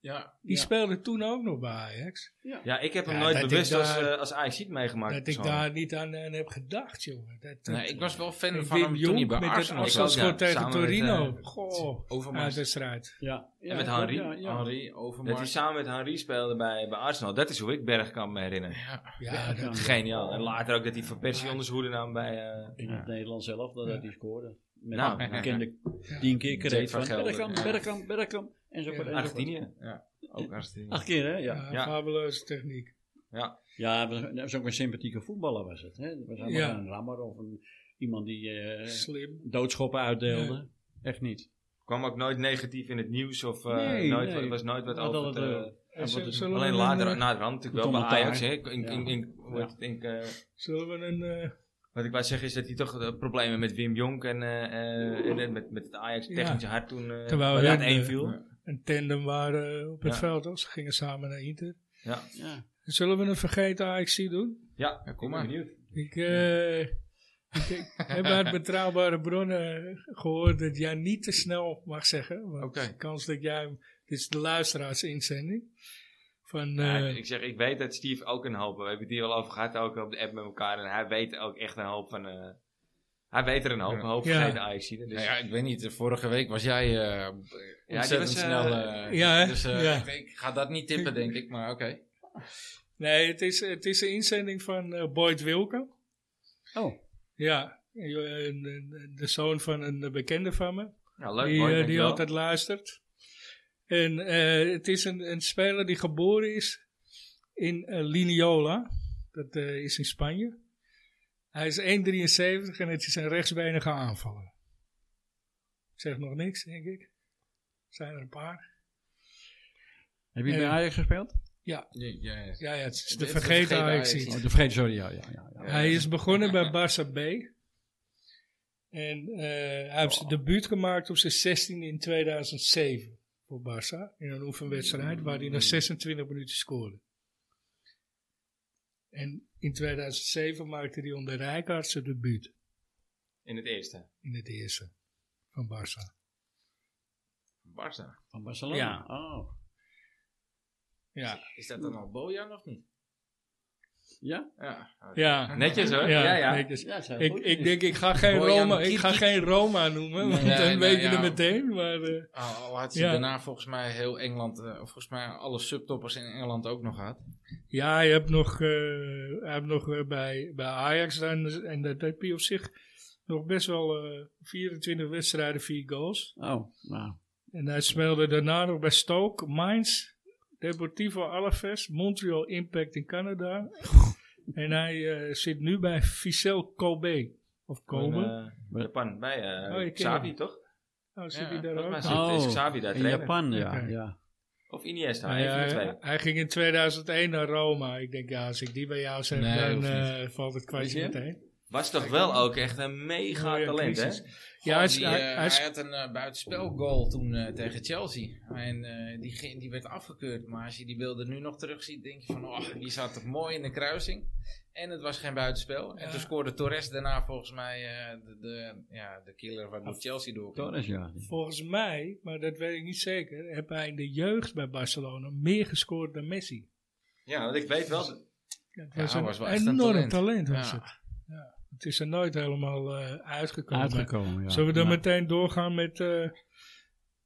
[SPEAKER 2] Ja,
[SPEAKER 4] Die
[SPEAKER 3] Ja.
[SPEAKER 4] speelde toen ook nog bij Ajax.
[SPEAKER 1] Ja, ik heb hem
[SPEAKER 4] Ja,
[SPEAKER 1] nooit
[SPEAKER 4] dat ik
[SPEAKER 1] bewust als,
[SPEAKER 4] daar-
[SPEAKER 1] eh, als Ajax meegemaakt.
[SPEAKER 4] dat ik
[SPEAKER 1] persoonlijk.
[SPEAKER 4] daar niet aan, aan heb gedacht, jongen. Dat, dat-
[SPEAKER 2] nee, ik was wel fan
[SPEAKER 4] en
[SPEAKER 2] van
[SPEAKER 4] Wim
[SPEAKER 2] hem toen hij
[SPEAKER 4] Jong
[SPEAKER 2] bij
[SPEAKER 4] met het
[SPEAKER 2] Arsenal was.
[SPEAKER 1] afstands-
[SPEAKER 4] afstandsschot
[SPEAKER 1] ook, ja,
[SPEAKER 4] tegen
[SPEAKER 1] samen met,
[SPEAKER 4] Torino.
[SPEAKER 1] eh,
[SPEAKER 4] Goh, uit
[SPEAKER 2] Overmars.
[SPEAKER 4] de strijd.
[SPEAKER 3] Ja. ja
[SPEAKER 1] met
[SPEAKER 3] klopt,
[SPEAKER 1] Henri.
[SPEAKER 3] Ja, ja.
[SPEAKER 2] Henri,
[SPEAKER 1] Dat hij
[SPEAKER 2] Overmars.
[SPEAKER 1] samen met Henri speelde bij, bij Arsenal. Dat is hoe ik Bergkamp me herinner.
[SPEAKER 2] Ja,
[SPEAKER 4] Ja, dat-
[SPEAKER 1] Geniaal. En later ook dat hij Van Persie onder zijn hoede nam bij... eh
[SPEAKER 3] In het Nederlands zelf dat hij scoorde. Met
[SPEAKER 1] Nou,
[SPEAKER 3] een
[SPEAKER 1] ja.
[SPEAKER 3] bekende die een keer kreeg
[SPEAKER 1] van
[SPEAKER 3] van
[SPEAKER 1] Gelder,
[SPEAKER 3] Bergkamp,
[SPEAKER 1] ja.
[SPEAKER 3] Bergkamp, Bergkamp. En zo
[SPEAKER 4] Ja.
[SPEAKER 3] voort, en zo voort.
[SPEAKER 1] Argentinië.
[SPEAKER 2] ook Arsenal.
[SPEAKER 3] Acht keer hè? Ja.
[SPEAKER 4] ja,
[SPEAKER 1] Ja.
[SPEAKER 4] fabuleuze techniek.
[SPEAKER 3] Ja, maar dat was ook een sympathieke voetballer was het. Hè? Dat was allemaal
[SPEAKER 4] Ja.
[SPEAKER 3] een rammer of een, iemand die eh,
[SPEAKER 4] Slim.
[SPEAKER 3] doodschoppen uitdeelde. Echt niet.
[SPEAKER 1] Kwam ook nooit negatief in het nieuws of eh,
[SPEAKER 3] Nee,
[SPEAKER 1] nooit,
[SPEAKER 3] nee.
[SPEAKER 1] was nooit wat
[SPEAKER 3] Wat
[SPEAKER 1] over
[SPEAKER 3] hadden
[SPEAKER 1] te-
[SPEAKER 3] we-
[SPEAKER 4] En
[SPEAKER 3] wat
[SPEAKER 4] z-
[SPEAKER 3] een-
[SPEAKER 4] zullen eh, we
[SPEAKER 1] Alleen
[SPEAKER 4] een,
[SPEAKER 1] later,
[SPEAKER 4] eh,
[SPEAKER 1] naderhand natuurlijk wel bij
[SPEAKER 3] commentaar.
[SPEAKER 1] Ajax. Hè? In, in,
[SPEAKER 3] Ja.
[SPEAKER 1] in, in- hoe heet het, in, eh,
[SPEAKER 4] Zullen we een... eh,
[SPEAKER 1] wat ik wou zeggen is dat hij toch eh, problemen met Wim Jonk en, eh, eh, en, en met, met het Ajax technische hart toen eh
[SPEAKER 4] Terwijl we
[SPEAKER 1] waar
[SPEAKER 4] dat,
[SPEAKER 1] het één
[SPEAKER 4] eh,
[SPEAKER 1] viel.
[SPEAKER 2] ja.
[SPEAKER 4] een tandem waren op het
[SPEAKER 1] Ja.
[SPEAKER 4] veld. hoor. Ze gingen samen naar Inter.
[SPEAKER 3] Ja.
[SPEAKER 4] Zullen we een vergeten AXC doen?
[SPEAKER 1] Ja,
[SPEAKER 2] Ja,
[SPEAKER 1] ik
[SPEAKER 2] kom
[SPEAKER 1] ben
[SPEAKER 2] maar.
[SPEAKER 1] benieuwd.
[SPEAKER 4] Ik, eh, ik, ik heb uit betrouwbare bronnen gehoord dat jij niet te snel mag zeggen. Want
[SPEAKER 2] Oké.
[SPEAKER 4] de kans dat jij hem... Dit is de luisteraarsinzending. Van,
[SPEAKER 1] Ja,
[SPEAKER 4] eh,
[SPEAKER 1] ik zeg, ik weet dat Steve ook een hoop. We hebben het hier al over gehad, ook op de app met elkaar. En hij weet ook echt een hoop van. eh, hij weet er een hoop, een hoop
[SPEAKER 4] Ja.
[SPEAKER 1] vergeten Ajax. Dus
[SPEAKER 2] Nou ja, ik weet niet. eh, Vorige week was jij eh ontzettend
[SPEAKER 1] was, eh,
[SPEAKER 2] snel. eh,
[SPEAKER 4] ja, hè?
[SPEAKER 2] dus eh,
[SPEAKER 4] Ja.
[SPEAKER 2] ik, ik ga dat niet tippen, denk ik. Maar oké.
[SPEAKER 4] Nee, het is, het is een inzending van eh, Boyd Wilke.
[SPEAKER 3] Oh,
[SPEAKER 4] Ja, eh, een- een- de zoon van een eh, bekende van me.
[SPEAKER 1] Ja, nou, leuk
[SPEAKER 4] die,
[SPEAKER 1] mooi,
[SPEAKER 4] eh, die
[SPEAKER 1] dankjewel.
[SPEAKER 4] altijd luistert. En eh, het is een, een speler die geboren is in eh, Liniola. Dat eh, is in Spanje. Hij is 1,73 en het is een rechtsbenige aanvaller. Zegt nog niks, denk ik. Zijn er een paar?
[SPEAKER 3] heb je
[SPEAKER 4] Eh,
[SPEAKER 3] bij Ajax gespeeld?
[SPEAKER 2] Ja, ja, ja.
[SPEAKER 4] Ja, ja het is
[SPEAKER 2] Het
[SPEAKER 4] de
[SPEAKER 2] is de
[SPEAKER 4] vergeten
[SPEAKER 2] vergeten
[SPEAKER 4] Ajax.
[SPEAKER 2] Ajaxiet.
[SPEAKER 3] Oh, de vrede, sorry. Ja, ja, ja. ja.
[SPEAKER 4] Hij is begonnen bij Barça B. En eh, hij heeft zijn debuut gemaakt op zijn 16 in 2007 voor Barça. In een oefenwedstrijd waar hij nog 26 minuten scoorde. En in 2007 maakte hij onder Rijkaard zijn debuut
[SPEAKER 1] In het eerste.
[SPEAKER 4] in het eerste van Barça.
[SPEAKER 2] Barca.
[SPEAKER 3] Van Barcelona?
[SPEAKER 4] Ja.
[SPEAKER 3] Oh.
[SPEAKER 4] Ja,
[SPEAKER 2] Is dat dan al Bojan of niet?
[SPEAKER 3] Ja?
[SPEAKER 2] Ja. oké.
[SPEAKER 4] ja.
[SPEAKER 1] Netjes hoor.
[SPEAKER 4] ja,
[SPEAKER 1] Ja, ja.
[SPEAKER 4] netjes.
[SPEAKER 3] Ja, zijn
[SPEAKER 4] Ik,
[SPEAKER 3] goed.
[SPEAKER 4] ik denk, ik ga geen
[SPEAKER 2] Bojan
[SPEAKER 4] Roma, ik ga
[SPEAKER 2] Kirkic.
[SPEAKER 4] geen Roma noemen, want
[SPEAKER 2] Nee,
[SPEAKER 4] dan
[SPEAKER 2] nee,
[SPEAKER 4] weet je
[SPEAKER 2] ja.
[SPEAKER 4] er meteen. Maar, eh,
[SPEAKER 2] Al, al had hij
[SPEAKER 4] Ja.
[SPEAKER 2] daarna volgens mij heel Engeland, eh, of volgens mij alle subtoppers in Engeland ook nog gehad.
[SPEAKER 4] Ja, je hebt nog, eh, hij heeft nog eh, bij, bij Ajax dan, en dat heb je op zich nog best wel eh, 24 wedstrijden, 4 goals.
[SPEAKER 3] Oh, nou.
[SPEAKER 4] En hij speelde daarna nog bij Stoke, Mainz, Deportivo Alaves, Montreal Impact in Canada. en hij eh, zit nu bij Vissel Kobe. Of Kobe.
[SPEAKER 1] Van, eh, Japan, bij eh
[SPEAKER 4] Oh, je kent
[SPEAKER 1] Xavi
[SPEAKER 4] hem.
[SPEAKER 1] toch?
[SPEAKER 4] oh, zit
[SPEAKER 2] ja,
[SPEAKER 4] hij daar
[SPEAKER 1] Volgens
[SPEAKER 4] ook?
[SPEAKER 1] mij
[SPEAKER 4] nog?
[SPEAKER 1] zit,
[SPEAKER 3] Oh,
[SPEAKER 1] is Xavi daar
[SPEAKER 3] In
[SPEAKER 1] trainer.
[SPEAKER 3] Japan, ja.
[SPEAKER 4] Oké.
[SPEAKER 3] ja.
[SPEAKER 1] Of Iniesta,
[SPEAKER 4] Hij,
[SPEAKER 1] één van de twee.
[SPEAKER 4] hij, hij ging in 2001 naar Roma. Ik denk, ja, als ik die bij jou zeg,
[SPEAKER 2] Nee,
[SPEAKER 4] dan
[SPEAKER 2] hoeft niet.
[SPEAKER 4] eh, valt het kwartje
[SPEAKER 3] Is hij?
[SPEAKER 4] meteen.
[SPEAKER 1] Was toch wel ook echt een mega
[SPEAKER 4] Oh ja,
[SPEAKER 1] talent, hè?
[SPEAKER 4] crisis.
[SPEAKER 2] Ja,
[SPEAKER 4] Ja, hij,
[SPEAKER 2] die,
[SPEAKER 4] is- hij-
[SPEAKER 2] eh,
[SPEAKER 4] hij is-
[SPEAKER 2] hij had een eh, buitenspelgoal toen eh, tegen Chelsea. En eh, die, ging- die werd afgekeurd. Maar als je die beelden nu nog terugziet, denk je van... Oh, die zat toch mooi in de kruising. En het was geen buitenspel. En
[SPEAKER 4] Ja.
[SPEAKER 2] toen scoorde Torres daarna volgens mij eh, de, de, ja, de killer waar door Chelsea door.
[SPEAKER 3] Torres, ja.
[SPEAKER 4] Volgens mij, maar dat weet ik niet zeker, heb hij in de jeugd bij Barcelona meer gescoord dan Messi.
[SPEAKER 1] Ja, want ik weet wel.
[SPEAKER 4] Dat
[SPEAKER 2] Ja,
[SPEAKER 4] was
[SPEAKER 2] hij
[SPEAKER 4] een
[SPEAKER 2] was wel echt een
[SPEAKER 4] enorm
[SPEAKER 2] talent.
[SPEAKER 4] talent. was
[SPEAKER 2] Ja.
[SPEAKER 4] het. Ja. Het is er nooit helemaal eh, uitgekomen.
[SPEAKER 3] Uitgekomen, ja.
[SPEAKER 4] Zullen we dan
[SPEAKER 3] Ja.
[SPEAKER 4] meteen doorgaan met, eh,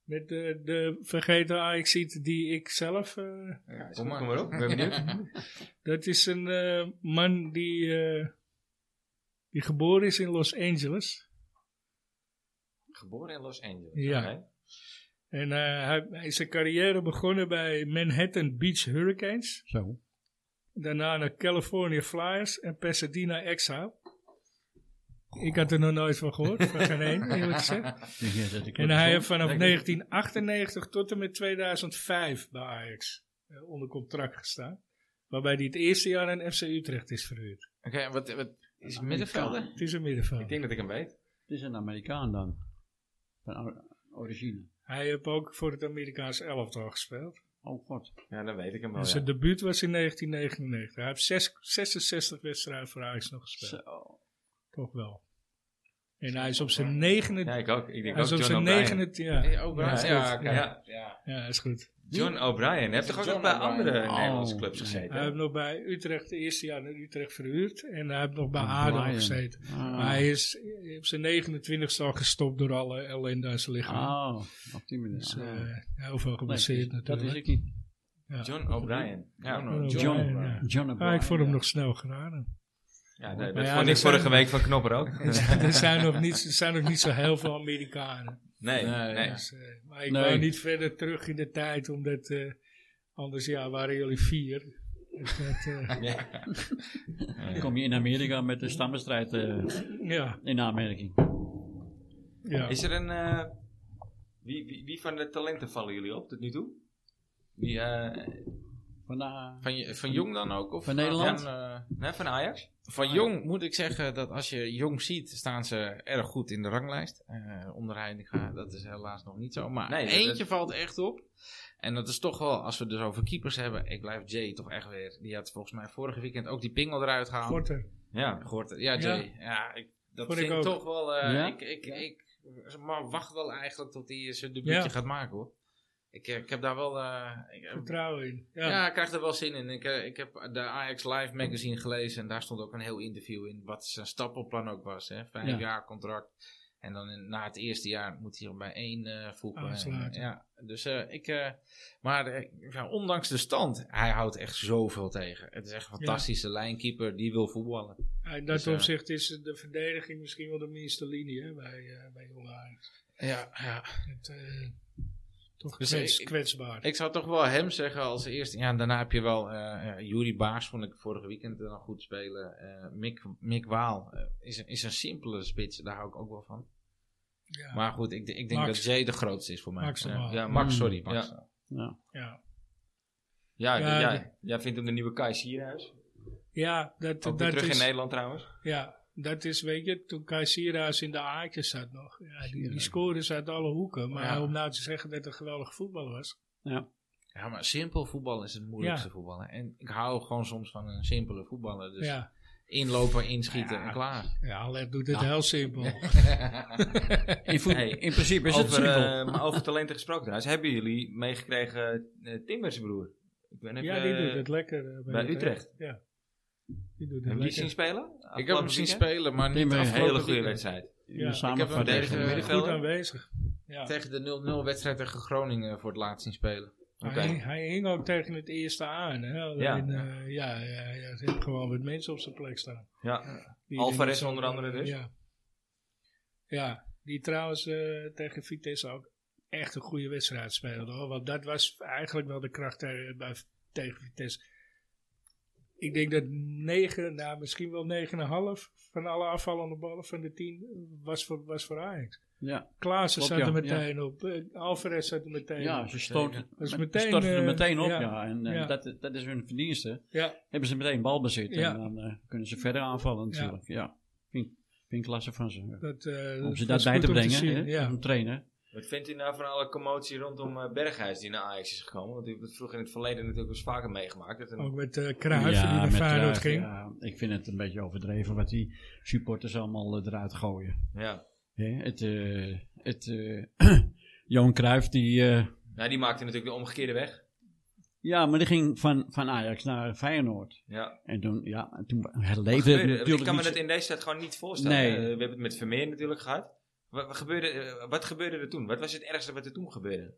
[SPEAKER 4] met de, de vergeten Ajaxiet die ik zelf... eh,
[SPEAKER 2] Ja,
[SPEAKER 1] Kom maar, kom maar op, ik ben benieuwd.
[SPEAKER 4] dat is een eh, man die, eh, die geboren is in Los Angeles.
[SPEAKER 1] Geboren in Los Angeles.
[SPEAKER 4] Ja.
[SPEAKER 1] oké.
[SPEAKER 4] En eh, hij, hij is zijn carrière begonnen bij Manhattan Beach Hurricanes.
[SPEAKER 3] Zo.
[SPEAKER 4] Daarna naar California Flyers en Pasadena Exile. Ik had er nog nooit van gehoord, van geen één eerlijk gezegd.
[SPEAKER 3] Ik denk, ja, zet ik
[SPEAKER 4] En
[SPEAKER 3] wel
[SPEAKER 4] hij
[SPEAKER 3] eens
[SPEAKER 4] heeft
[SPEAKER 3] op.
[SPEAKER 4] vanaf
[SPEAKER 1] Lekker.
[SPEAKER 4] 1998 tot en met 2005 bij Ajax eh, onder contract gestaan. Waarbij hij het eerste jaar aan FC Utrecht is verhuurd.
[SPEAKER 2] Oké, wat, wat is het middenvelder?
[SPEAKER 4] Het is een
[SPEAKER 1] Ik
[SPEAKER 4] middenveld.
[SPEAKER 1] denk dat ik hem weet.
[SPEAKER 3] Het is een Amerikaan dan. Van or- origine.
[SPEAKER 4] Hij heeft ook voor het Amerikaanse elftal gespeeld.
[SPEAKER 3] Oh god.
[SPEAKER 1] Ja, dan weet ik hem wel. Oh,
[SPEAKER 4] En
[SPEAKER 1] ja.
[SPEAKER 4] Dus zijn debuut was in 1999. Hij heeft zes- 66 wedstrijden voor Ajax nog gespeeld.
[SPEAKER 3] Zo.
[SPEAKER 4] Toch wel. En hij is op zijn negende...
[SPEAKER 1] Ja, ik ook. Ik denk
[SPEAKER 4] hij is
[SPEAKER 1] ook
[SPEAKER 4] op
[SPEAKER 1] John
[SPEAKER 4] zijn
[SPEAKER 1] O'Brien.
[SPEAKER 4] negende... Ja,
[SPEAKER 2] Hey, ook
[SPEAKER 4] Ja,
[SPEAKER 2] Brans,
[SPEAKER 4] is
[SPEAKER 2] ja,
[SPEAKER 4] goed.
[SPEAKER 2] kijk,
[SPEAKER 1] Ja.
[SPEAKER 2] ja.
[SPEAKER 4] ja, is goed.
[SPEAKER 1] John O'Brien. Heeft
[SPEAKER 2] John
[SPEAKER 1] toch ook nog bij
[SPEAKER 2] O'Brien.
[SPEAKER 1] andere
[SPEAKER 3] Oh,
[SPEAKER 1] Nederlandse clubs
[SPEAKER 3] nee.
[SPEAKER 1] gezeten?
[SPEAKER 4] Hij heeft nog bij Utrecht, de eerste jaar naar Utrecht verhuurd. En hij heeft nog bij
[SPEAKER 3] Ah,
[SPEAKER 4] ADO
[SPEAKER 3] Brian.
[SPEAKER 4] gezeten.
[SPEAKER 3] Ah.
[SPEAKER 4] Maar hij is eh, op zijn 29ste al gestopt door alle ellende aan zijn lichaam.
[SPEAKER 3] Oh, op die manier.
[SPEAKER 4] Dus,
[SPEAKER 3] Ah.
[SPEAKER 4] eh, heel veel
[SPEAKER 3] Nee,
[SPEAKER 4] geblesseerd
[SPEAKER 3] dat
[SPEAKER 4] natuurlijk.
[SPEAKER 3] is ik niet.
[SPEAKER 4] Ja.
[SPEAKER 1] John O'Brien. Ja,
[SPEAKER 2] John.
[SPEAKER 3] John.
[SPEAKER 4] O'Brien, ja.
[SPEAKER 3] John
[SPEAKER 4] Ah, ik
[SPEAKER 3] O'Brien,
[SPEAKER 4] vond hem
[SPEAKER 3] ja.
[SPEAKER 4] nog snel geraden.
[SPEAKER 1] ja nee,
[SPEAKER 4] Maar
[SPEAKER 1] dat
[SPEAKER 4] ja,
[SPEAKER 1] vond
[SPEAKER 4] dat
[SPEAKER 1] ik
[SPEAKER 4] zijn-
[SPEAKER 1] vorige week van Knopper ook.
[SPEAKER 4] er, zijn nog niet, er zijn nog niet zo heel veel Amerikanen.
[SPEAKER 1] Nee,
[SPEAKER 2] Nee,
[SPEAKER 1] nee.
[SPEAKER 2] ja.
[SPEAKER 4] Dus, eh, maar ik
[SPEAKER 3] Nee.
[SPEAKER 4] wou niet verder terug in de tijd, omdat eh, anders ja, waren jullie vier. Dus dat, eh,
[SPEAKER 3] Dan kom je in Amerika met de stammenstrijd eh,
[SPEAKER 4] ja,
[SPEAKER 3] in aanmerking.
[SPEAKER 4] ja.
[SPEAKER 1] Is er een... eh, wie, wie, wie van de talenten vallen jullie op tot nu toe? Wie, eh,
[SPEAKER 3] Van, eh,
[SPEAKER 2] Van, je- van Jong dan ook? Of
[SPEAKER 3] Van Nederland?
[SPEAKER 2] Van, eh,
[SPEAKER 1] nee, van Ajax?
[SPEAKER 2] van Jong moet ik zeggen dat als je Jong ziet, staan ze erg goed in de ranglijst. Eh onder Heitinga, dat is helaas nog niet zo. Maar
[SPEAKER 1] Nee, dat-
[SPEAKER 2] eentje
[SPEAKER 1] dat-
[SPEAKER 2] valt echt op. En dat is toch wel, als we het dus over keepers hebben, ik blijf Jay toch echt weer. Die had volgens mij vorige weekend ook die pingel eruit gehaald.
[SPEAKER 4] Gorter.
[SPEAKER 1] Ja.
[SPEAKER 2] Gehoord. Ja,
[SPEAKER 4] Ja.
[SPEAKER 2] Jay. Ja, ik, dat
[SPEAKER 4] Vond ik
[SPEAKER 2] vind ik
[SPEAKER 4] ook.
[SPEAKER 2] toch wel. eh,
[SPEAKER 3] Ja?
[SPEAKER 2] Ik, ik, ik, maar wacht wel eigenlijk tot hij zijn debuutje
[SPEAKER 4] Ja.
[SPEAKER 2] gaat maken hoor. Ik, eh, ik heb daar wel. eh, ik, eh,
[SPEAKER 4] Vertrouwen in. Ja.
[SPEAKER 2] ja. ik krijg er wel zin in. Ik, eh, ik heb de Ajax Live magazine gelezen en daar stond ook een heel interview in. Wat zijn stappenplan ook was. Hè? Vijf
[SPEAKER 3] Ja.
[SPEAKER 2] jaar contract. En dan in- na het eerste jaar moet hij hem bij één eh voegen.
[SPEAKER 4] Aansluiten.
[SPEAKER 2] En, ja, dus eh, ik. eh, maar eh, ja, ondanks de stand, hij houdt echt zoveel tegen. Het is echt een fantastische lijnkeeper die wil voetballen.
[SPEAKER 4] In dat
[SPEAKER 2] Dus, eh,
[SPEAKER 4] opzicht is de verdediging misschien wel de minste linie hè, bij, eh bij Jong Ajax.
[SPEAKER 2] Ja, ja.
[SPEAKER 4] Het, eh, toch
[SPEAKER 2] Dus
[SPEAKER 4] kwets-
[SPEAKER 2] ik-
[SPEAKER 4] kwetsbaar.
[SPEAKER 2] Ik zou toch wel hem zeggen als eerste. Ja, en daarna heb je wel eh eh, Yuri Baars, vond ik vorige weekend dan goed spelen. Eh, Mick, Mick Waal eh, is, een- is een simpele spits, daar hou ik ook wel van.
[SPEAKER 4] ja,
[SPEAKER 2] Maar goed, ik, ik denk dat
[SPEAKER 4] Max.
[SPEAKER 2] Jay de grootste is voor mij.
[SPEAKER 4] Max de
[SPEAKER 2] Ja,
[SPEAKER 4] Waal.
[SPEAKER 2] ja, Max,
[SPEAKER 3] Mm.
[SPEAKER 2] sorry. Max.
[SPEAKER 1] Ja.
[SPEAKER 4] ja.
[SPEAKER 1] Ja,
[SPEAKER 4] Ja,
[SPEAKER 1] ja,
[SPEAKER 4] de-
[SPEAKER 1] jij vindt hem de nieuwe Kai Sierhuis.
[SPEAKER 4] ja, dat,
[SPEAKER 1] Ook
[SPEAKER 4] dat
[SPEAKER 1] weer terug in
[SPEAKER 4] is...
[SPEAKER 1] Nederland trouwens.
[SPEAKER 4] Ja, dat is, weet je, toen Kai Sierhuis in de aardjes zat nog. Ja, die, die scoorde ze uit alle hoeken. Maar
[SPEAKER 2] Ja.
[SPEAKER 4] om nou te zeggen dat het een geweldig voetbal was.
[SPEAKER 2] Ja, maar simpel voetbal is het moeilijkste voetballen. En ik hou gewoon soms van een simpele voetballer. Dus
[SPEAKER 4] Ja,
[SPEAKER 2] inlopen, inschieten
[SPEAKER 4] Ja.
[SPEAKER 2] en klaar.
[SPEAKER 4] ja Alert doet het heel simpel.
[SPEAKER 3] In, voet-
[SPEAKER 1] Hey,
[SPEAKER 3] in principe is het
[SPEAKER 1] Over,
[SPEAKER 3] simpel.
[SPEAKER 1] eh, maar over talenten gesproken trouwens. Hebben jullie meegekregen eh Timbers broer? Ik ben even,
[SPEAKER 4] ja, die doet
[SPEAKER 1] eh,
[SPEAKER 4] het lekker. eh,
[SPEAKER 1] bij Utrecht.
[SPEAKER 4] Ja. Die doet het
[SPEAKER 1] Heb je die zien
[SPEAKER 4] lekker.
[SPEAKER 1] spelen?
[SPEAKER 2] ik heb hem zien spelen, maar niet
[SPEAKER 3] Timmer,
[SPEAKER 2] de
[SPEAKER 1] Een
[SPEAKER 2] afgelopen
[SPEAKER 1] hele goede
[SPEAKER 2] weekend.
[SPEAKER 1] wedstrijd.
[SPEAKER 3] In de samenvatting.
[SPEAKER 2] ik heb hem
[SPEAKER 4] Eh,
[SPEAKER 2] tegen-
[SPEAKER 4] Goed
[SPEAKER 1] middenvelder.
[SPEAKER 4] aanwezig. Ja.
[SPEAKER 2] Tegen de 0-0 wedstrijd tegen Groningen voor het laatst zien spelen.
[SPEAKER 1] Oké.
[SPEAKER 4] Hij, hing- hij hing ook tegen het eerste aan. Hè? Alleen, eh, ja, ja, ja, hij heeft gewoon wat mensen op zijn plek staan.
[SPEAKER 1] Ja.
[SPEAKER 4] Die
[SPEAKER 1] Alvarez
[SPEAKER 4] dingen-
[SPEAKER 1] onder andere dus?
[SPEAKER 4] Ja, ja die trouwens eh, tegen Vitesse ook echt een goede wedstrijd speelde. Hoor. Want dat was eigenlijk wel de kracht tegen, bij, tegen Vitesse. Ik denk dat 9, nou misschien wel 9,5 van alle afvallende ballen van de 10 was voor, was voor Ajax.
[SPEAKER 3] Ja,
[SPEAKER 4] Klaassen
[SPEAKER 3] Klopt,
[SPEAKER 4] zat er
[SPEAKER 3] ja,
[SPEAKER 4] meteen op. eh, Alvarez zat er meteen
[SPEAKER 3] ja,
[SPEAKER 4] op.
[SPEAKER 3] ze stoten
[SPEAKER 2] Zeker.
[SPEAKER 4] Dat is
[SPEAKER 3] ze
[SPEAKER 4] meteen,
[SPEAKER 3] storten er
[SPEAKER 4] eh,
[SPEAKER 3] meteen op.
[SPEAKER 4] ja.
[SPEAKER 3] Ja. En eh,
[SPEAKER 4] Ja.
[SPEAKER 3] Dat, dat is hun verdienste.
[SPEAKER 4] Ja,
[SPEAKER 3] Hebben ze meteen balbezit.
[SPEAKER 4] Ja.
[SPEAKER 3] En dan eh, kunnen ze verder aanvallen
[SPEAKER 4] Ja.
[SPEAKER 3] natuurlijk. Ja. Vind, vind ik klasse van ze.
[SPEAKER 4] dat, eh,
[SPEAKER 3] Om ze
[SPEAKER 4] dat
[SPEAKER 3] dat
[SPEAKER 4] is
[SPEAKER 3] bij
[SPEAKER 4] goed
[SPEAKER 3] te
[SPEAKER 4] om
[SPEAKER 3] brengen.
[SPEAKER 4] zien,
[SPEAKER 3] hè,
[SPEAKER 4] ja.
[SPEAKER 3] Om te trainen.
[SPEAKER 1] Wat vindt u nou van alle commotie rondom eh, Berghuis die naar Ajax is gekomen? Want u hebt het vroeger in het verleden natuurlijk wel eens vaker meegemaakt. Dat
[SPEAKER 3] Oh.
[SPEAKER 1] een-
[SPEAKER 4] Ook met eh Cruijff die naar
[SPEAKER 3] met
[SPEAKER 4] Feyenoord
[SPEAKER 3] Cruijff,
[SPEAKER 4] ging.
[SPEAKER 3] ja. ik vind het een beetje overdreven wat die supporters allemaal eh, eruit gooien.
[SPEAKER 1] ja.
[SPEAKER 3] Hè, het, eh, het, eh, Johan Cruijff, die, eh,
[SPEAKER 1] Nou, die maakte natuurlijk de omgekeerde weg.
[SPEAKER 3] ja, maar die ging van, van Ajax naar Feyenoord.
[SPEAKER 1] Ja.
[SPEAKER 3] En toen, ja, toen
[SPEAKER 1] Wat
[SPEAKER 3] herleefde het
[SPEAKER 1] gebeurde?
[SPEAKER 3] natuurlijk
[SPEAKER 1] Ik kan me
[SPEAKER 3] niet
[SPEAKER 1] dat
[SPEAKER 3] zo-
[SPEAKER 1] in deze tijd gewoon niet voorstellen.
[SPEAKER 3] Nee.
[SPEAKER 1] Eh, we hebben het met Vermeer natuurlijk gehad. Wat, wat gebeurde, eh, wat gebeurde er toen? Wat was het ergste wat er toen gebeurde?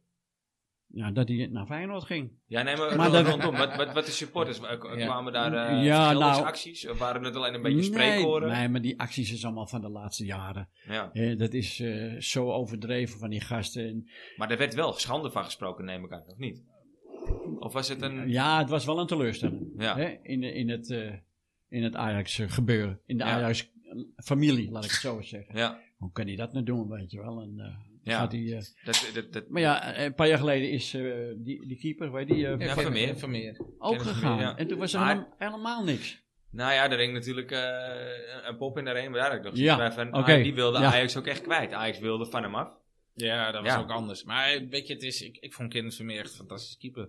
[SPEAKER 3] ja, dat hij naar Feyenoord ging.
[SPEAKER 1] Ja, nee, maar,
[SPEAKER 3] Maar
[SPEAKER 1] rond-
[SPEAKER 3] dat-
[SPEAKER 1] rondom. Wat, wat, wat de supporters? eh, k-
[SPEAKER 2] Ja.
[SPEAKER 1] Kwamen daar eh
[SPEAKER 3] Ja, nou-
[SPEAKER 1] vergeldingsacties? Of Waren het alleen een beetje spreekkoren?
[SPEAKER 3] Nee, nee, maar die acties is allemaal van de laatste jaren.
[SPEAKER 1] Ja.
[SPEAKER 3] Hè, dat is eh, zo overdreven van die gasten. En,
[SPEAKER 1] Maar er werd wel schande van gesproken, neem ik aan, of niet? Of was het een...
[SPEAKER 3] eh, ja, het was wel een teleurstelling.
[SPEAKER 1] Ja.
[SPEAKER 3] Hè, in, de- in het, eh, in het Ajax eh, gebeuren. In de
[SPEAKER 1] Ja.
[SPEAKER 3] Ajax familie, laat ik het zo zeggen.
[SPEAKER 1] Ja,
[SPEAKER 3] Hoe kan hij dat nou doen, weet je wel? En, eh,
[SPEAKER 1] Ja.
[SPEAKER 3] gaat hij, eh,
[SPEAKER 1] dat, dat, dat,
[SPEAKER 3] maar ja, een paar jaar geleden is eh, die, die keeper, weet je, die, eh,
[SPEAKER 1] Ja, Vermeer.
[SPEAKER 2] Vermeer.
[SPEAKER 3] ook
[SPEAKER 1] Dennis
[SPEAKER 3] gegaan.
[SPEAKER 1] Vermeer, ja.
[SPEAKER 3] En toen was er
[SPEAKER 1] Maar-
[SPEAKER 3] helemaal, helemaal niks.
[SPEAKER 1] nou ja, er hing natuurlijk eh, een- een pop in de reen. Maar daar had ik nog zoiets
[SPEAKER 3] Ja,
[SPEAKER 1] bij van,
[SPEAKER 3] oké,
[SPEAKER 1] ah, die wilde
[SPEAKER 3] ja.
[SPEAKER 1] Ajax ook echt kwijt. Ajax wilde van hem af.
[SPEAKER 2] Ja, dat was
[SPEAKER 1] Ja.
[SPEAKER 2] ook anders. Maar weet je, het is, ik, ik vond Kenneth Vermeer echt een fantastisch keeper.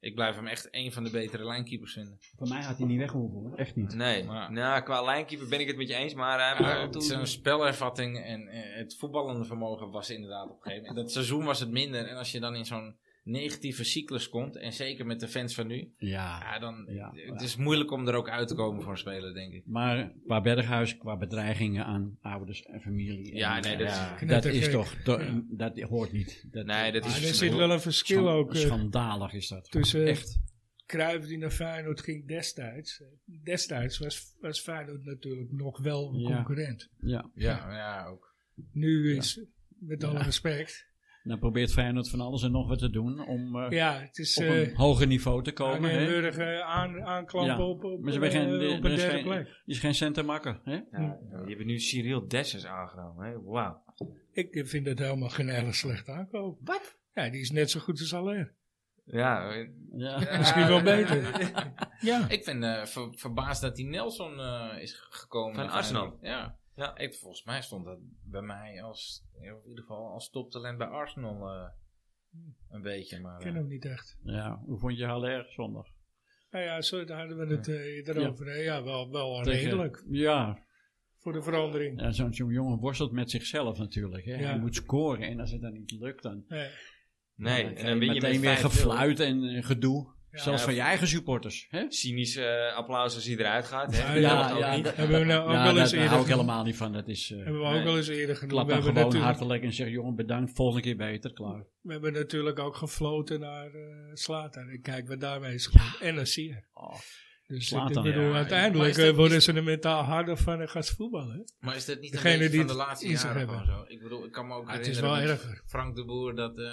[SPEAKER 2] Ik blijf hem echt een van de betere lijnkeepers vinden.
[SPEAKER 3] Voor mij had hij niet weg hoeven, hoor. Echt niet.
[SPEAKER 1] Nee,
[SPEAKER 2] Maar-
[SPEAKER 1] nou, qua lijnkeeper ben ik het met je eens, maar... eh, maar
[SPEAKER 2] Ja,
[SPEAKER 1] toen-
[SPEAKER 2] zijn spelervatting en eh, het voetballende vermogen was inderdaad op een gegeven moment. Dat seizoen was het minder. En als je dan in zo'n negatieve cyclus komt, en zeker met de fans van nu,
[SPEAKER 3] Ja.
[SPEAKER 2] ja, dan
[SPEAKER 3] Ja.
[SPEAKER 2] het is moeilijk om er ook uit te komen voor een speler, denk ik.
[SPEAKER 3] Maar qua Berghuis, qua bedreigingen aan ouders en familie.
[SPEAKER 1] Ja,
[SPEAKER 3] en,
[SPEAKER 1] nee,
[SPEAKER 3] eh,
[SPEAKER 1] dat is-
[SPEAKER 3] dat
[SPEAKER 4] Knettergek.
[SPEAKER 3] is toch... to- Dat hoort niet. Dat,
[SPEAKER 1] Nee, dat
[SPEAKER 4] Maar
[SPEAKER 1] is...
[SPEAKER 4] er zit wel een verschil
[SPEAKER 3] Schan-
[SPEAKER 4] ook eh,
[SPEAKER 3] Schandalig is dat.
[SPEAKER 4] tussen
[SPEAKER 3] Echt.
[SPEAKER 4] Cruijff die naar Feyenoord ging destijds. Destijds was, was Feyenoord natuurlijk nog wel een
[SPEAKER 3] Ja.
[SPEAKER 4] concurrent.
[SPEAKER 3] Ja.
[SPEAKER 2] Ja, ja ook.
[SPEAKER 4] Nu is, met alle
[SPEAKER 3] Ja.
[SPEAKER 4] respect...
[SPEAKER 3] Dan probeert Feyenoord van alles en nog wat te doen om eh,
[SPEAKER 4] Ja, het is...
[SPEAKER 3] op een
[SPEAKER 4] eh,
[SPEAKER 3] hoger niveau te komen. hè? Er
[SPEAKER 4] Arnhem-Burg eh, aan, aanklampen
[SPEAKER 3] Ja,
[SPEAKER 4] op, op,
[SPEAKER 3] maar ze hebben geen-
[SPEAKER 4] eh,
[SPEAKER 3] er- er
[SPEAKER 4] op een
[SPEAKER 3] is
[SPEAKER 4] derde
[SPEAKER 3] geen-
[SPEAKER 4] plek.
[SPEAKER 3] is geen cent te makken. Hè?
[SPEAKER 1] Ja, die hebben nu Cyril Dessers aangenomen, hè. Wauw.
[SPEAKER 4] Ik vind dat helemaal geen hele slecht aankoop. Wat? Ja, die is net zo goed als alleen.
[SPEAKER 1] Ja, eh,
[SPEAKER 3] Ja.
[SPEAKER 4] Misschien wel
[SPEAKER 2] Ja,
[SPEAKER 4] beter. Ja.
[SPEAKER 2] eh, Ik ben eh, ver- verbaasd dat die Nelson eh, is g- gekomen.
[SPEAKER 1] Van
[SPEAKER 2] naar
[SPEAKER 1] Arsenal.
[SPEAKER 2] Feyenoord. Ja.
[SPEAKER 1] Ja.
[SPEAKER 2] ja. Ik, volgens mij stond dat bij mij als, in ieder geval als toptalent bij Arsenal eh, een beetje. Maar,
[SPEAKER 4] Ik ken
[SPEAKER 2] eh,
[SPEAKER 4] hem niet echt.
[SPEAKER 3] Ja, hoe vond je Haller zondag?
[SPEAKER 4] Nou ja, zo daar hadden we het eh, erover. hè. Ja, wel, wel
[SPEAKER 3] Tegen-
[SPEAKER 4] redelijk.
[SPEAKER 3] Ja,
[SPEAKER 4] Voor de verandering.
[SPEAKER 3] ja zo'n zo'n jongen worstelt met zichzelf natuurlijk. Hè.
[SPEAKER 4] Ja.
[SPEAKER 3] Hij moet scoren en als het dan niet lukt, dan,
[SPEAKER 4] Nee.
[SPEAKER 1] nee.
[SPEAKER 3] dan
[SPEAKER 1] En dan ben je met
[SPEAKER 3] meteen weer
[SPEAKER 1] 5-0.
[SPEAKER 3] gefluit en eh, gedoe.
[SPEAKER 4] Ja.
[SPEAKER 3] Zelfs
[SPEAKER 1] Ja,
[SPEAKER 3] van je eigen supporters. Hè?
[SPEAKER 1] Cynisch eh, applaus als hij eruit gaat, hè.
[SPEAKER 4] Ja,
[SPEAKER 1] Dat
[SPEAKER 4] ja,
[SPEAKER 1] mag ook niet.
[SPEAKER 3] dat-
[SPEAKER 4] Hebben we nou ook
[SPEAKER 3] ja,
[SPEAKER 4] wel
[SPEAKER 3] dat-
[SPEAKER 4] eens
[SPEAKER 3] daar
[SPEAKER 4] eerder
[SPEAKER 3] hou ik
[SPEAKER 4] genoemd.
[SPEAKER 3] helemaal niet van. Dat is, eh,
[SPEAKER 4] Hebben we ook
[SPEAKER 1] Nee.
[SPEAKER 4] wel eens eerder genoemd.
[SPEAKER 3] klap
[SPEAKER 4] We
[SPEAKER 3] hem
[SPEAKER 4] hebben,
[SPEAKER 3] gewoon
[SPEAKER 4] natuurlijk,
[SPEAKER 3] hartelijk en zeg, jongen, bedankt, volgende keer beter, klaar.
[SPEAKER 4] we hebben natuurlijk ook gefloten naar eh Slatan. En kijk wat daarmee is gebeurd. En dan zie je.
[SPEAKER 3] Oh,
[SPEAKER 4] Dus ik
[SPEAKER 3] Zlatan,
[SPEAKER 4] bedoel,
[SPEAKER 2] ja. Maar
[SPEAKER 4] uiteindelijk
[SPEAKER 2] is dat
[SPEAKER 4] eh, worden ze er mentaal harder van en gaat ze voetballen. hè.
[SPEAKER 2] Maar is dat niet
[SPEAKER 4] Degene
[SPEAKER 2] een beetje
[SPEAKER 4] die
[SPEAKER 2] van de
[SPEAKER 4] het
[SPEAKER 2] laatste
[SPEAKER 4] in zich
[SPEAKER 2] jaren
[SPEAKER 4] hebben.
[SPEAKER 2] gewoon zo? Ik bedoel, ik kan me ook
[SPEAKER 4] Ah, het is
[SPEAKER 2] herinneren
[SPEAKER 4] wel
[SPEAKER 2] met
[SPEAKER 4] erger.
[SPEAKER 2] Frank de Boer dat eh,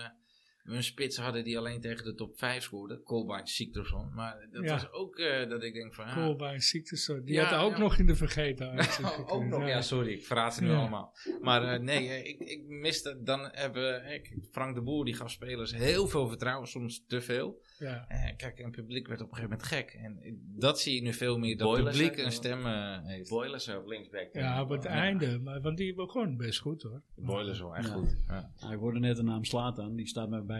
[SPEAKER 2] we een spits hadden die alleen tegen de top 5 scoorde. Kolbein, Siktorsson. Maar dat
[SPEAKER 4] Ja.
[SPEAKER 2] was ook eh, dat ik denk van... ja,
[SPEAKER 4] Cool, bij een ziekte. Die
[SPEAKER 2] Ja,
[SPEAKER 4] had ook
[SPEAKER 2] ja.
[SPEAKER 4] nog in de vergetenheid. zitten.
[SPEAKER 2] Oh, ook nog, ja, sorry, ik verraad ze nu
[SPEAKER 4] Ja.
[SPEAKER 2] allemaal. Maar eh, nee, eh, ik, ik miste, dan hebben eh, Frank de Boer, die gaf spelers heel veel vertrouwen, soms te veel.
[SPEAKER 4] Ja.
[SPEAKER 2] Eh, kijk, een publiek werd op een gegeven moment gek. En eh, dat zie je nu veel meer, dat
[SPEAKER 1] Boilers,
[SPEAKER 2] publiek
[SPEAKER 1] hè?
[SPEAKER 2] een stem eh, heeft.
[SPEAKER 1] Boilers op linksback.
[SPEAKER 4] Ja, op het einde. Maar, want die begon best goed hoor.
[SPEAKER 2] Boilers wel, echt
[SPEAKER 3] Ja.
[SPEAKER 2] goed. Ja.
[SPEAKER 3] Hij hoorde net de naam Slatan, die staat mij bij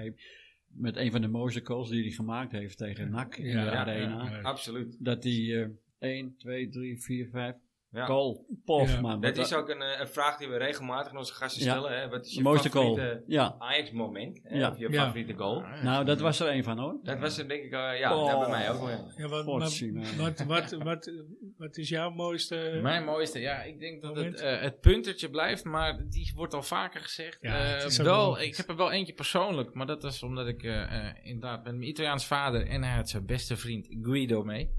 [SPEAKER 3] met een van de mooiste goals die hij gemaakt heeft tegen NAC in
[SPEAKER 4] Ja,
[SPEAKER 3] de
[SPEAKER 4] ja,
[SPEAKER 3] arena.
[SPEAKER 4] ja, ja.
[SPEAKER 1] Absoluut.
[SPEAKER 3] Dat hij eh 1, 2, 3, 4, 5,
[SPEAKER 1] Ja.
[SPEAKER 3] goal, pof,
[SPEAKER 4] Ja.
[SPEAKER 3] man.
[SPEAKER 1] Dat
[SPEAKER 3] Wat-
[SPEAKER 1] is ook een, eh, een vraag die we regelmatig aan onze gasten
[SPEAKER 3] Ja.
[SPEAKER 1] stellen. Hè? Wat is
[SPEAKER 3] de
[SPEAKER 1] je
[SPEAKER 3] mooiste
[SPEAKER 1] favoriete
[SPEAKER 3] goal. Ja,
[SPEAKER 1] Ajax-moment? hè?
[SPEAKER 3] Ja.
[SPEAKER 1] Of je
[SPEAKER 4] Ja.
[SPEAKER 1] favoriete goal?
[SPEAKER 3] nou dat was er een van hoor.
[SPEAKER 1] Dat was er denk ik, eh, ja,
[SPEAKER 3] Oh.
[SPEAKER 1] dat bij mij ook wel. ja.
[SPEAKER 4] Ja, wat,
[SPEAKER 3] Godzien,
[SPEAKER 4] maar-
[SPEAKER 3] hè.
[SPEAKER 4] wat, wat, wat, wat is jouw mooiste...
[SPEAKER 2] Mijn mooiste, ja, ik denk dat het,
[SPEAKER 4] Eh, Moment?
[SPEAKER 2] eh, het puntertje blijft, maar die wordt al vaker gezegd.
[SPEAKER 4] Ja,
[SPEAKER 2] Eh,
[SPEAKER 4] het is ook
[SPEAKER 2] wel,
[SPEAKER 4] wel-
[SPEAKER 2] ik heb er wel eentje persoonlijk, maar dat is omdat ik eh, eh, inderdaad met mijn Italiaans vader en hij had zijn beste vriend Guido mee.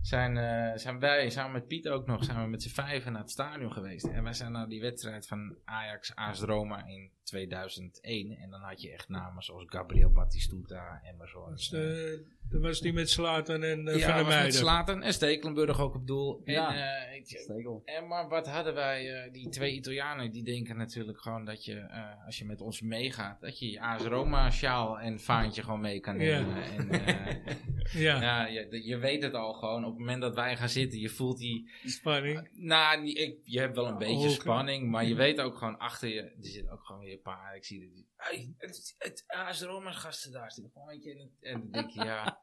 [SPEAKER 2] Zijn, eh, zijn wij samen met Piet ook nog, zijn we met z'n vijven naar het stadion geweest. En wij zijn naar die wedstrijd van Ajax AS Roma in 2001. En dan had je echt namen zoals Gabriel Batistuta, Emerson.
[SPEAKER 4] was,
[SPEAKER 2] eh,
[SPEAKER 4] de, dat was die met Slatan en eh, Van
[SPEAKER 2] ja,
[SPEAKER 4] der
[SPEAKER 2] was met
[SPEAKER 4] Meijden.
[SPEAKER 2] Slaten en Stekelenburg ook op doel.
[SPEAKER 3] Ja.
[SPEAKER 2] En, eh, ik-
[SPEAKER 3] Stegel.
[SPEAKER 2] en maar wat hadden wij, eh, die twee Italianen, die denken natuurlijk gewoon dat je, eh, als je met ons meegaat, dat je je AS Roma sjaal en vaantje gewoon mee kan nemen. En, eh,
[SPEAKER 4] ja,
[SPEAKER 2] ja, je, je weet het al gewoon, op het moment dat wij gaan zitten, je voelt die,
[SPEAKER 4] spanning.
[SPEAKER 2] nou, die- ik, je hebt wel een beetje
[SPEAKER 4] Oké.
[SPEAKER 2] spanning, maar je weet ook gewoon achter je, er zitten ook gewoon weer een paar, ik zie dat die, hey, het, het AS Roma's gasten daar zitten gewoon eentje in het- en dan denk je, ja,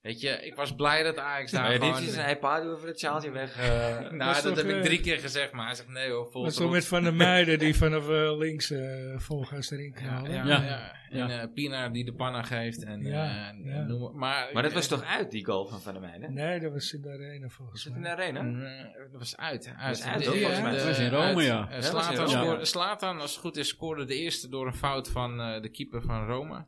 [SPEAKER 2] weet je, ik was blij dat Ajax daar
[SPEAKER 1] Maar
[SPEAKER 2] gewoon...
[SPEAKER 1] dit
[SPEAKER 4] dus
[SPEAKER 1] is een hypado voor het sjaaltje weg. eh.
[SPEAKER 2] nou, dat
[SPEAKER 4] toch,
[SPEAKER 2] heb
[SPEAKER 4] eh,
[SPEAKER 2] ik drie keer gezegd, maar hij zegt nee hoor,
[SPEAKER 4] Dat
[SPEAKER 2] volgens
[SPEAKER 4] zo met Van der Meijden die vanaf eh, links eh volgas erin
[SPEAKER 2] Ja,
[SPEAKER 4] knallen.
[SPEAKER 2] ja,
[SPEAKER 3] Ja.
[SPEAKER 2] ja. En eh, Pina die de panna geeft. En,
[SPEAKER 4] Ja,
[SPEAKER 2] eh, en-
[SPEAKER 4] ja.
[SPEAKER 2] en noem maar, maar,
[SPEAKER 1] maar dat was
[SPEAKER 2] eh,
[SPEAKER 1] toch uit, die goal van Van der Meijden?
[SPEAKER 4] Nee, dat was in de arena
[SPEAKER 1] Was
[SPEAKER 4] volgens
[SPEAKER 1] dat in de
[SPEAKER 4] mij.
[SPEAKER 1] arena?
[SPEAKER 2] mm, Dat was uit. uit.
[SPEAKER 1] was uit,
[SPEAKER 2] De-
[SPEAKER 1] hoor,
[SPEAKER 2] de-
[SPEAKER 1] volgens mij.
[SPEAKER 2] de-
[SPEAKER 1] Dat
[SPEAKER 3] was in Rome,
[SPEAKER 2] uit.
[SPEAKER 3] ja.
[SPEAKER 2] Eh,
[SPEAKER 1] Ja, dat was in
[SPEAKER 2] Zlatan,
[SPEAKER 1] Rome.
[SPEAKER 2] scoorde- Zlatan, als het goed is, scoorde de eerste door een fout van eh, de keeper van Rome.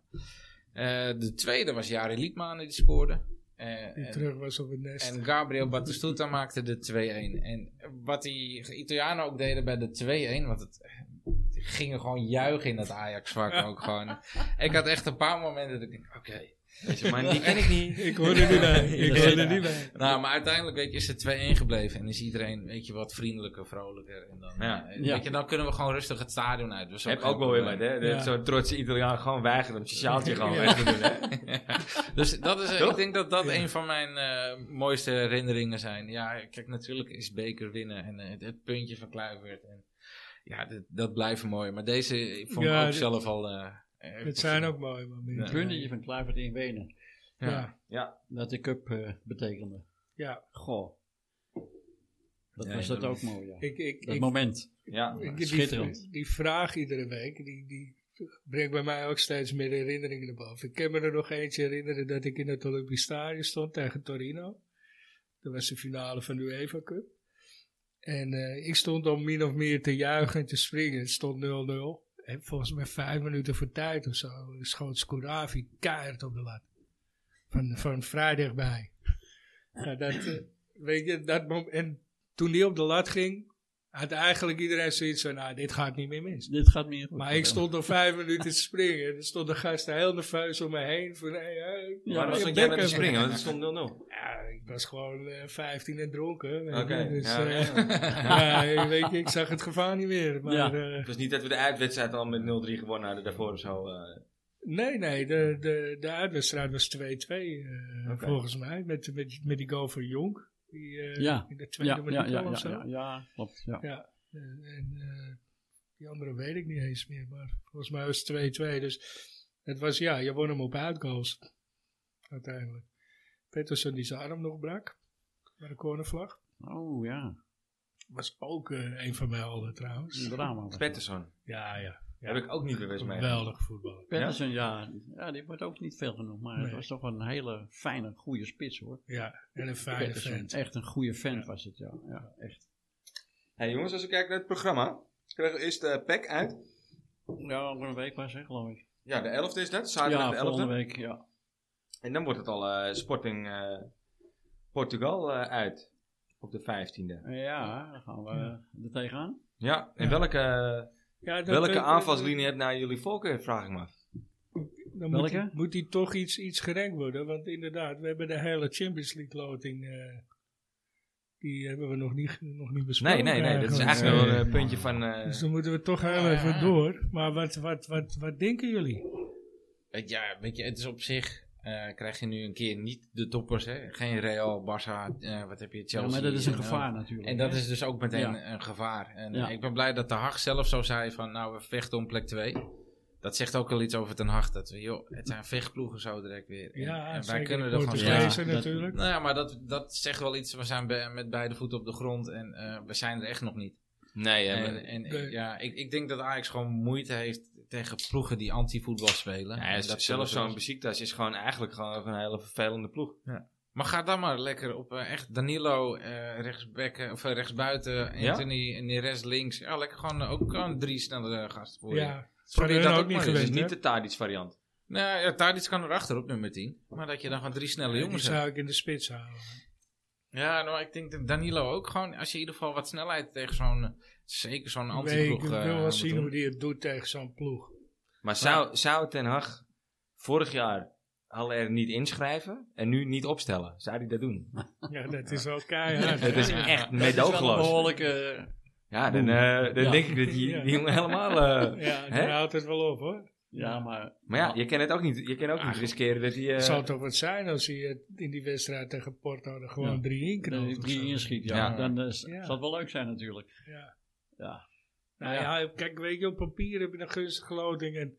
[SPEAKER 2] Eh, de tweede was Jari Liedmanen die scoorde. Eh,
[SPEAKER 4] Die
[SPEAKER 2] en-
[SPEAKER 4] terug was op het nest.
[SPEAKER 2] en Gabriel Batistuta maakte de 2-1. En wat die Italianen ook deden bij de 2-1, want het die gingen gewoon juichen in dat Ajax-vak ook gewoon. Ik had echt een paar momenten dat ik dacht, oké.
[SPEAKER 1] Weet je, maar die ken ik niet.
[SPEAKER 4] Ik hoorde er niet bij. Ik
[SPEAKER 3] Ja.
[SPEAKER 4] hoorde er niet bij.
[SPEAKER 2] Nou, maar uiteindelijk weet je, is het 2-1 gebleven en is iedereen weet je, wat vriendelijker, vrolijker. En dan,
[SPEAKER 1] Ja.
[SPEAKER 2] eh,
[SPEAKER 3] Ja.
[SPEAKER 2] Weet je, dan kunnen we gewoon rustig het stadion uit. Dus
[SPEAKER 1] Heb ook wel weer met, hè?
[SPEAKER 4] eh, Ja.
[SPEAKER 1] Zo'n trotse Italiaan gewoon weigert om het sjaaltje gewoon
[SPEAKER 4] Ja.
[SPEAKER 1] weg te doen, hè?
[SPEAKER 2] Dus dat is, eh,
[SPEAKER 1] Toch?
[SPEAKER 2] ik denk dat dat
[SPEAKER 4] Ja.
[SPEAKER 2] een van mijn eh, mooiste herinneringen zijn. Ja, kijk, natuurlijk is beker winnen en eh, het, het puntje van Kluivert. En, ja, dit- dat blijft mooi. Maar deze vond
[SPEAKER 4] Ja,
[SPEAKER 2] ik ook
[SPEAKER 4] dit-
[SPEAKER 2] zelf al... eh, eh,
[SPEAKER 4] Het zijn ook mooie momenten.
[SPEAKER 3] Puntje van Kluivert in Wenen.
[SPEAKER 2] Ja.
[SPEAKER 4] Ja.
[SPEAKER 3] Dat de cup eh, betekende.
[SPEAKER 4] ja.
[SPEAKER 3] Goh. Dat
[SPEAKER 2] Ja,
[SPEAKER 3] was
[SPEAKER 2] ja,
[SPEAKER 3] dat
[SPEAKER 2] dat-
[SPEAKER 3] ook mooi, ja.
[SPEAKER 4] Ik, ik,
[SPEAKER 3] Dat
[SPEAKER 4] ik,
[SPEAKER 3] moment.
[SPEAKER 1] Ja,
[SPEAKER 4] ik- die,
[SPEAKER 3] Schitterend.
[SPEAKER 4] die vraag iedere week, die, die brengt bij mij ook steeds meer herinneringen naar boven. Ik kan me er nog eentje herinneren dat ik in het Olympisch Stadion stond tegen Torino. Dat was de finale van de UEFA Cup. En eh, ik stond om min of meer te juichen en te springen. Het stond 0-0. En volgens mij vijf minuten voor tijd of zo schoot Skouravi keihard op de lat. Van, van vrij dichtbij. Nou, dat, eh, weet je, dat mom- en toen die op de lat ging, had eigenlijk iedereen zoiets van, nou, dit gaat niet meer mis.
[SPEAKER 3] Dit gaat meer goed.
[SPEAKER 4] Maar ik stond nog vijf minuten te springen. En er stonden gasten heel nerveus om me heen. Van, hey, hey,
[SPEAKER 3] Ja,
[SPEAKER 1] waarom
[SPEAKER 4] je
[SPEAKER 1] stond jij
[SPEAKER 4] bek
[SPEAKER 1] met te
[SPEAKER 4] even.
[SPEAKER 1] springen? Want het stond 0-0.
[SPEAKER 4] Ja, ik was gewoon eh 15 en dronken. weet
[SPEAKER 1] Oké.
[SPEAKER 4] je. Dus,
[SPEAKER 1] ja,
[SPEAKER 4] eh,
[SPEAKER 1] ja.
[SPEAKER 4] ja, ik weet je, ik zag het gevaar niet meer. Maar,
[SPEAKER 3] Ja.
[SPEAKER 4] eh,
[SPEAKER 1] Het was niet dat we de uitwedstrijd al met 0-3 gewonnen hadden daarvoor of zo. eh.
[SPEAKER 4] nee, nee, de, de, de uitwedstrijd was 2-2 eh,
[SPEAKER 1] Oké.
[SPEAKER 4] volgens mij. Met, met, met die goal van Jonk. Die, eh,
[SPEAKER 3] Ja.
[SPEAKER 4] In de tweede
[SPEAKER 3] Ja, ja,
[SPEAKER 4] minuut
[SPEAKER 3] ja,
[SPEAKER 4] al
[SPEAKER 3] ja,
[SPEAKER 4] of zo.
[SPEAKER 3] ja, ja, klopt. Ja.
[SPEAKER 4] Ja, eh, en eh, die andere weet ik niet eens meer, maar volgens mij was het 2-2. Dus het was, ja, je won hem op uitgoals. Uiteindelijk. Peterson die zijn arm nog brak. Bij de cornervlag.
[SPEAKER 3] Oh ja,
[SPEAKER 4] Was ook eh, een van mijn helden trouwens.
[SPEAKER 3] een drama. was dat.
[SPEAKER 1] Patterson.
[SPEAKER 4] Ja, ja. ja.
[SPEAKER 1] Heb ik ook niet bewust mee.
[SPEAKER 4] Geweldig voetballer.
[SPEAKER 3] Patterson, ja. ja, die wordt ook niet veel genoemd, maar het
[SPEAKER 4] Nee.
[SPEAKER 3] was toch wel een hele fijne, goede spits hoor.
[SPEAKER 4] Ja, en een fijne
[SPEAKER 3] Patterson,
[SPEAKER 4] vent.
[SPEAKER 3] echt een goede vent was het, ja. ja echt.
[SPEAKER 1] Hey jongens, als we kijken naar het programma. Krijgen we eerst de pack eh, uit.
[SPEAKER 3] Ja, over een week was het, geloof ik.
[SPEAKER 1] Ja, de 11e is dat.
[SPEAKER 3] Ja,
[SPEAKER 1] Zaterdag de 11e.
[SPEAKER 3] volgende week, ja.
[SPEAKER 1] En dan wordt het al eh, Sporting eh, Portugal eh, uit. Op de 15e.
[SPEAKER 3] Ja, dan gaan we er tegenaan.
[SPEAKER 1] Ja, en
[SPEAKER 4] Ja.
[SPEAKER 1] welke,
[SPEAKER 4] Ja, dan-
[SPEAKER 1] welke
[SPEAKER 4] dan-
[SPEAKER 1] aanvalslinie hebt naar jullie voorkeur, vraag ik me af.
[SPEAKER 4] Dan
[SPEAKER 3] Welke?
[SPEAKER 4] Moet, die- moet die toch iets, iets gerenkt worden? Want inderdaad, we hebben de hele Champions League loting. eh, die hebben we nog niet, nog niet besproken.
[SPEAKER 1] Nee, nee, nee. Dat is eigenlijk
[SPEAKER 4] Nee.
[SPEAKER 1] wel een puntje van... eh,
[SPEAKER 4] Dus dan moeten we toch heel even door. Maar wat, wat, wat, wat denken jullie?
[SPEAKER 2] Weet je, Ja, weet je, het is op zich... eh, krijg je nu een keer niet de toppers, hè? Geen Real, Barça, eh, wat heb je, Chelsea.
[SPEAKER 3] Ja, maar dat is een
[SPEAKER 2] en, eh,
[SPEAKER 3] gevaar natuurlijk.
[SPEAKER 2] En dat is dus ook meteen
[SPEAKER 3] Ja.
[SPEAKER 2] een gevaar. En
[SPEAKER 3] Ja.
[SPEAKER 2] ik ben blij dat de Hag zelf zo zei van, nou, we vechten om plek 2. Dat zegt ook al iets over Ten Hag. Dat we, joh, het zijn vechtploegen zo direct weer. En,
[SPEAKER 4] Ja,
[SPEAKER 2] en wij
[SPEAKER 4] zeker
[SPEAKER 2] kunnen
[SPEAKER 4] de
[SPEAKER 2] er gewoon
[SPEAKER 4] Portugezen
[SPEAKER 2] zijn.
[SPEAKER 3] Ja, dat-
[SPEAKER 4] natuurlijk.
[SPEAKER 2] Nou ja, maar dat, dat zegt wel iets. We zijn be- met beide voeten op de grond en eh, we zijn er echt nog niet.
[SPEAKER 1] nee, eh,
[SPEAKER 2] en en
[SPEAKER 4] Nee.
[SPEAKER 2] ja, ik, ik denk dat Ajax gewoon moeite heeft tegen ploegen die anti-voetbal spelen.
[SPEAKER 1] Ja,
[SPEAKER 2] En
[SPEAKER 1] dat
[SPEAKER 2] dat
[SPEAKER 1] zelfs
[SPEAKER 2] zullen
[SPEAKER 1] zo'n
[SPEAKER 2] ze-
[SPEAKER 1] beziektas is gewoon eigenlijk gewoon een hele vervelende ploeg.
[SPEAKER 2] Maar ga dan maar lekker op eh, echt Danilo eh rechtsbekken, of eh, rechtsbuiten,
[SPEAKER 1] Ja?
[SPEAKER 2] Anthony en die rest links. Ja, lekker gewoon eh, ook gewoon drie snelle eh, gasten voor je.
[SPEAKER 4] Ja,
[SPEAKER 2] Probeer
[SPEAKER 4] Van
[SPEAKER 2] dat
[SPEAKER 4] hun
[SPEAKER 2] ook
[SPEAKER 4] ook niet
[SPEAKER 2] maar eens,
[SPEAKER 1] Dus
[SPEAKER 4] geweest.
[SPEAKER 1] niet
[SPEAKER 4] hè?
[SPEAKER 1] de Tadic variant.
[SPEAKER 2] Nou ja, Tadic kan erachter op nummer 10. Maar dat je dan gewoon drie snelle
[SPEAKER 4] Die
[SPEAKER 2] jongens hebt.
[SPEAKER 4] zou ik in de spits houden.
[SPEAKER 2] Ja, nou, ik denk dat Danilo ook gewoon, als je in ieder geval wat snelheid tegen zo'n, eh, zeker zo'n
[SPEAKER 4] Ik weet-
[SPEAKER 2] anti-ploeg...
[SPEAKER 4] ik wil
[SPEAKER 2] eh,
[SPEAKER 4] wel
[SPEAKER 2] moet
[SPEAKER 4] zien
[SPEAKER 2] doen.
[SPEAKER 4] hoe die het doet tegen zo'n ploeg.
[SPEAKER 1] Maar zou, zou Ten Hag vorig jaar Haller niet inschrijven en nu niet opstellen? Zou hij dat doen?
[SPEAKER 4] Ja, dat is wel keihard.
[SPEAKER 1] Het is
[SPEAKER 4] Ja.
[SPEAKER 1] echt
[SPEAKER 3] een
[SPEAKER 1] medogeloos.
[SPEAKER 3] behoorlijke...
[SPEAKER 1] Ja, dan, eh, dan
[SPEAKER 3] Ja.
[SPEAKER 1] denk ik dat die,
[SPEAKER 4] Ja.
[SPEAKER 1] die jongen helemaal... eh,
[SPEAKER 4] Ja,
[SPEAKER 1] Hè?
[SPEAKER 4] daar houdt het wel op hoor.
[SPEAKER 3] Ja, maar...
[SPEAKER 1] Maar ja, je kan het ook niet, je kan ook niet riskeren dat hij... eh,
[SPEAKER 4] Het zal toch wat zijn als hij het in die wedstrijd tegen Porto er gewoon
[SPEAKER 3] Ja.
[SPEAKER 4] drie in knalt.
[SPEAKER 3] Dan
[SPEAKER 4] of
[SPEAKER 3] drie
[SPEAKER 4] zo.
[SPEAKER 3] inschiet, ja.
[SPEAKER 1] Ja.
[SPEAKER 3] Dan eh, z-
[SPEAKER 4] Ja.
[SPEAKER 3] zal het wel leuk zijn natuurlijk.
[SPEAKER 4] Ja.
[SPEAKER 3] Ja.
[SPEAKER 4] Nou
[SPEAKER 3] Ja.
[SPEAKER 4] ja. kijk, weet je, op papier heb je een gunstige loting en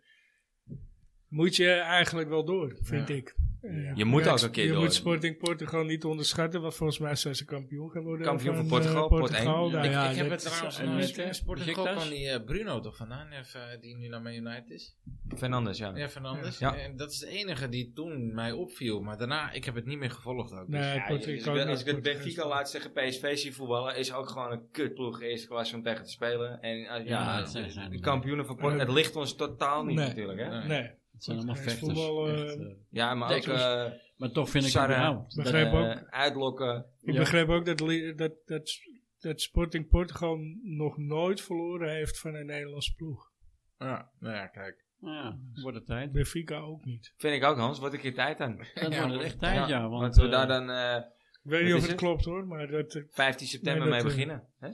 [SPEAKER 4] moet je eigenlijk wel door, vind
[SPEAKER 2] Ja.
[SPEAKER 4] ik. Eh,
[SPEAKER 1] Je moet
[SPEAKER 4] ja,
[SPEAKER 1] ook een keer
[SPEAKER 4] je
[SPEAKER 1] door.
[SPEAKER 4] moet Sporting Portugal niet onderschatten, want volgens mij zijn ze kampioen geworden.
[SPEAKER 1] Kampioen van
[SPEAKER 4] eh,
[SPEAKER 1] Portugal, pot één.
[SPEAKER 4] Nou
[SPEAKER 2] ik,
[SPEAKER 4] ja,
[SPEAKER 2] ik heb
[SPEAKER 4] dat-
[SPEAKER 2] het trouwens
[SPEAKER 4] en
[SPEAKER 2] nog
[SPEAKER 4] met,
[SPEAKER 2] eens
[SPEAKER 4] eh,
[SPEAKER 2] in Sporting
[SPEAKER 3] Beşiktaş?
[SPEAKER 2] van die eh, Bruno toch vandaan, eh, van- die nu naar Man United is.
[SPEAKER 1] Fernandes, ja.
[SPEAKER 2] Ja, Fernandes.
[SPEAKER 1] Ja.
[SPEAKER 2] En dat is de enige die toen mij opviel. Maar daarna, ik heb het niet meer gevolgd ook. Dus-
[SPEAKER 4] Nee,
[SPEAKER 1] Ja, als
[SPEAKER 4] Portugal
[SPEAKER 1] ik
[SPEAKER 4] kan
[SPEAKER 1] dat-
[SPEAKER 4] niet
[SPEAKER 1] als ik het
[SPEAKER 4] Portugees
[SPEAKER 1] Benfica
[SPEAKER 4] doen.
[SPEAKER 1] laat zeggen, PSV zie voetballen, is ook gewoon een kutploeg eerste klasse om tegen te spelen. En eh, ja,
[SPEAKER 3] Ja, dat zijn ze
[SPEAKER 1] de
[SPEAKER 3] niet.
[SPEAKER 1] kampioenen van Porto, het ligt ons totaal niet
[SPEAKER 4] Nee.
[SPEAKER 1] natuurlijk, hè?
[SPEAKER 2] Nee.
[SPEAKER 4] Nee,
[SPEAKER 3] Het zijn allemaal
[SPEAKER 4] Portugees
[SPEAKER 3] vechters.
[SPEAKER 4] voetbal, eh,
[SPEAKER 3] echt, eh,
[SPEAKER 1] Ja, maar ook
[SPEAKER 3] Dat is-
[SPEAKER 1] eh,
[SPEAKER 3] maar toch vind ik
[SPEAKER 1] Sarah,
[SPEAKER 3] überhaupt... dat-
[SPEAKER 4] begrijp ook.
[SPEAKER 1] eh, uitlokken.
[SPEAKER 4] ik
[SPEAKER 3] Ja.
[SPEAKER 4] begreep ook dat, li- dat, dat, dat Sporting Portugal nog nooit verloren heeft van een Nederlandse ploeg.
[SPEAKER 2] Ja, nou ja, kijk.
[SPEAKER 3] Ja, wordt het tijd.
[SPEAKER 4] Benfica ook niet.
[SPEAKER 1] Vind ik ook, Hans. Wat ik keer tijd aan.
[SPEAKER 3] Dat
[SPEAKER 2] Ja,
[SPEAKER 3] wordt
[SPEAKER 2] dat-
[SPEAKER 3] het echt tijd, ja.
[SPEAKER 1] want
[SPEAKER 3] Want
[SPEAKER 1] we
[SPEAKER 3] eh,
[SPEAKER 1] daar dan eh,
[SPEAKER 4] Ik weet
[SPEAKER 1] Wat
[SPEAKER 4] niet
[SPEAKER 1] is
[SPEAKER 4] of het
[SPEAKER 1] het?
[SPEAKER 4] klopt hoor, maar dat, eh,
[SPEAKER 1] 15 september
[SPEAKER 4] Nee, dat,
[SPEAKER 1] mee
[SPEAKER 4] eh,
[SPEAKER 1] beginnen. Hè?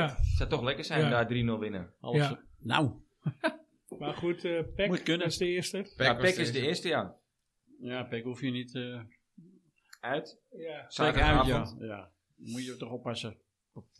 [SPEAKER 1] Uit. Zou toch lekker zijn
[SPEAKER 4] Ja.
[SPEAKER 1] daar 3-0 winnen.
[SPEAKER 3] alles-
[SPEAKER 4] Ja.
[SPEAKER 3] Nou,
[SPEAKER 4] maar goed, eh Peck
[SPEAKER 3] Moet kunnen.
[SPEAKER 4] was de eerste.
[SPEAKER 1] Ja, Peck is
[SPEAKER 2] was
[SPEAKER 1] de eerste, ja.
[SPEAKER 3] ja, Pek hoef je niet... eh
[SPEAKER 1] Uit.
[SPEAKER 4] Ja.
[SPEAKER 3] Pek uit,
[SPEAKER 1] Zaterdagavond.
[SPEAKER 3] ja. ja. Moet je toch oppassen.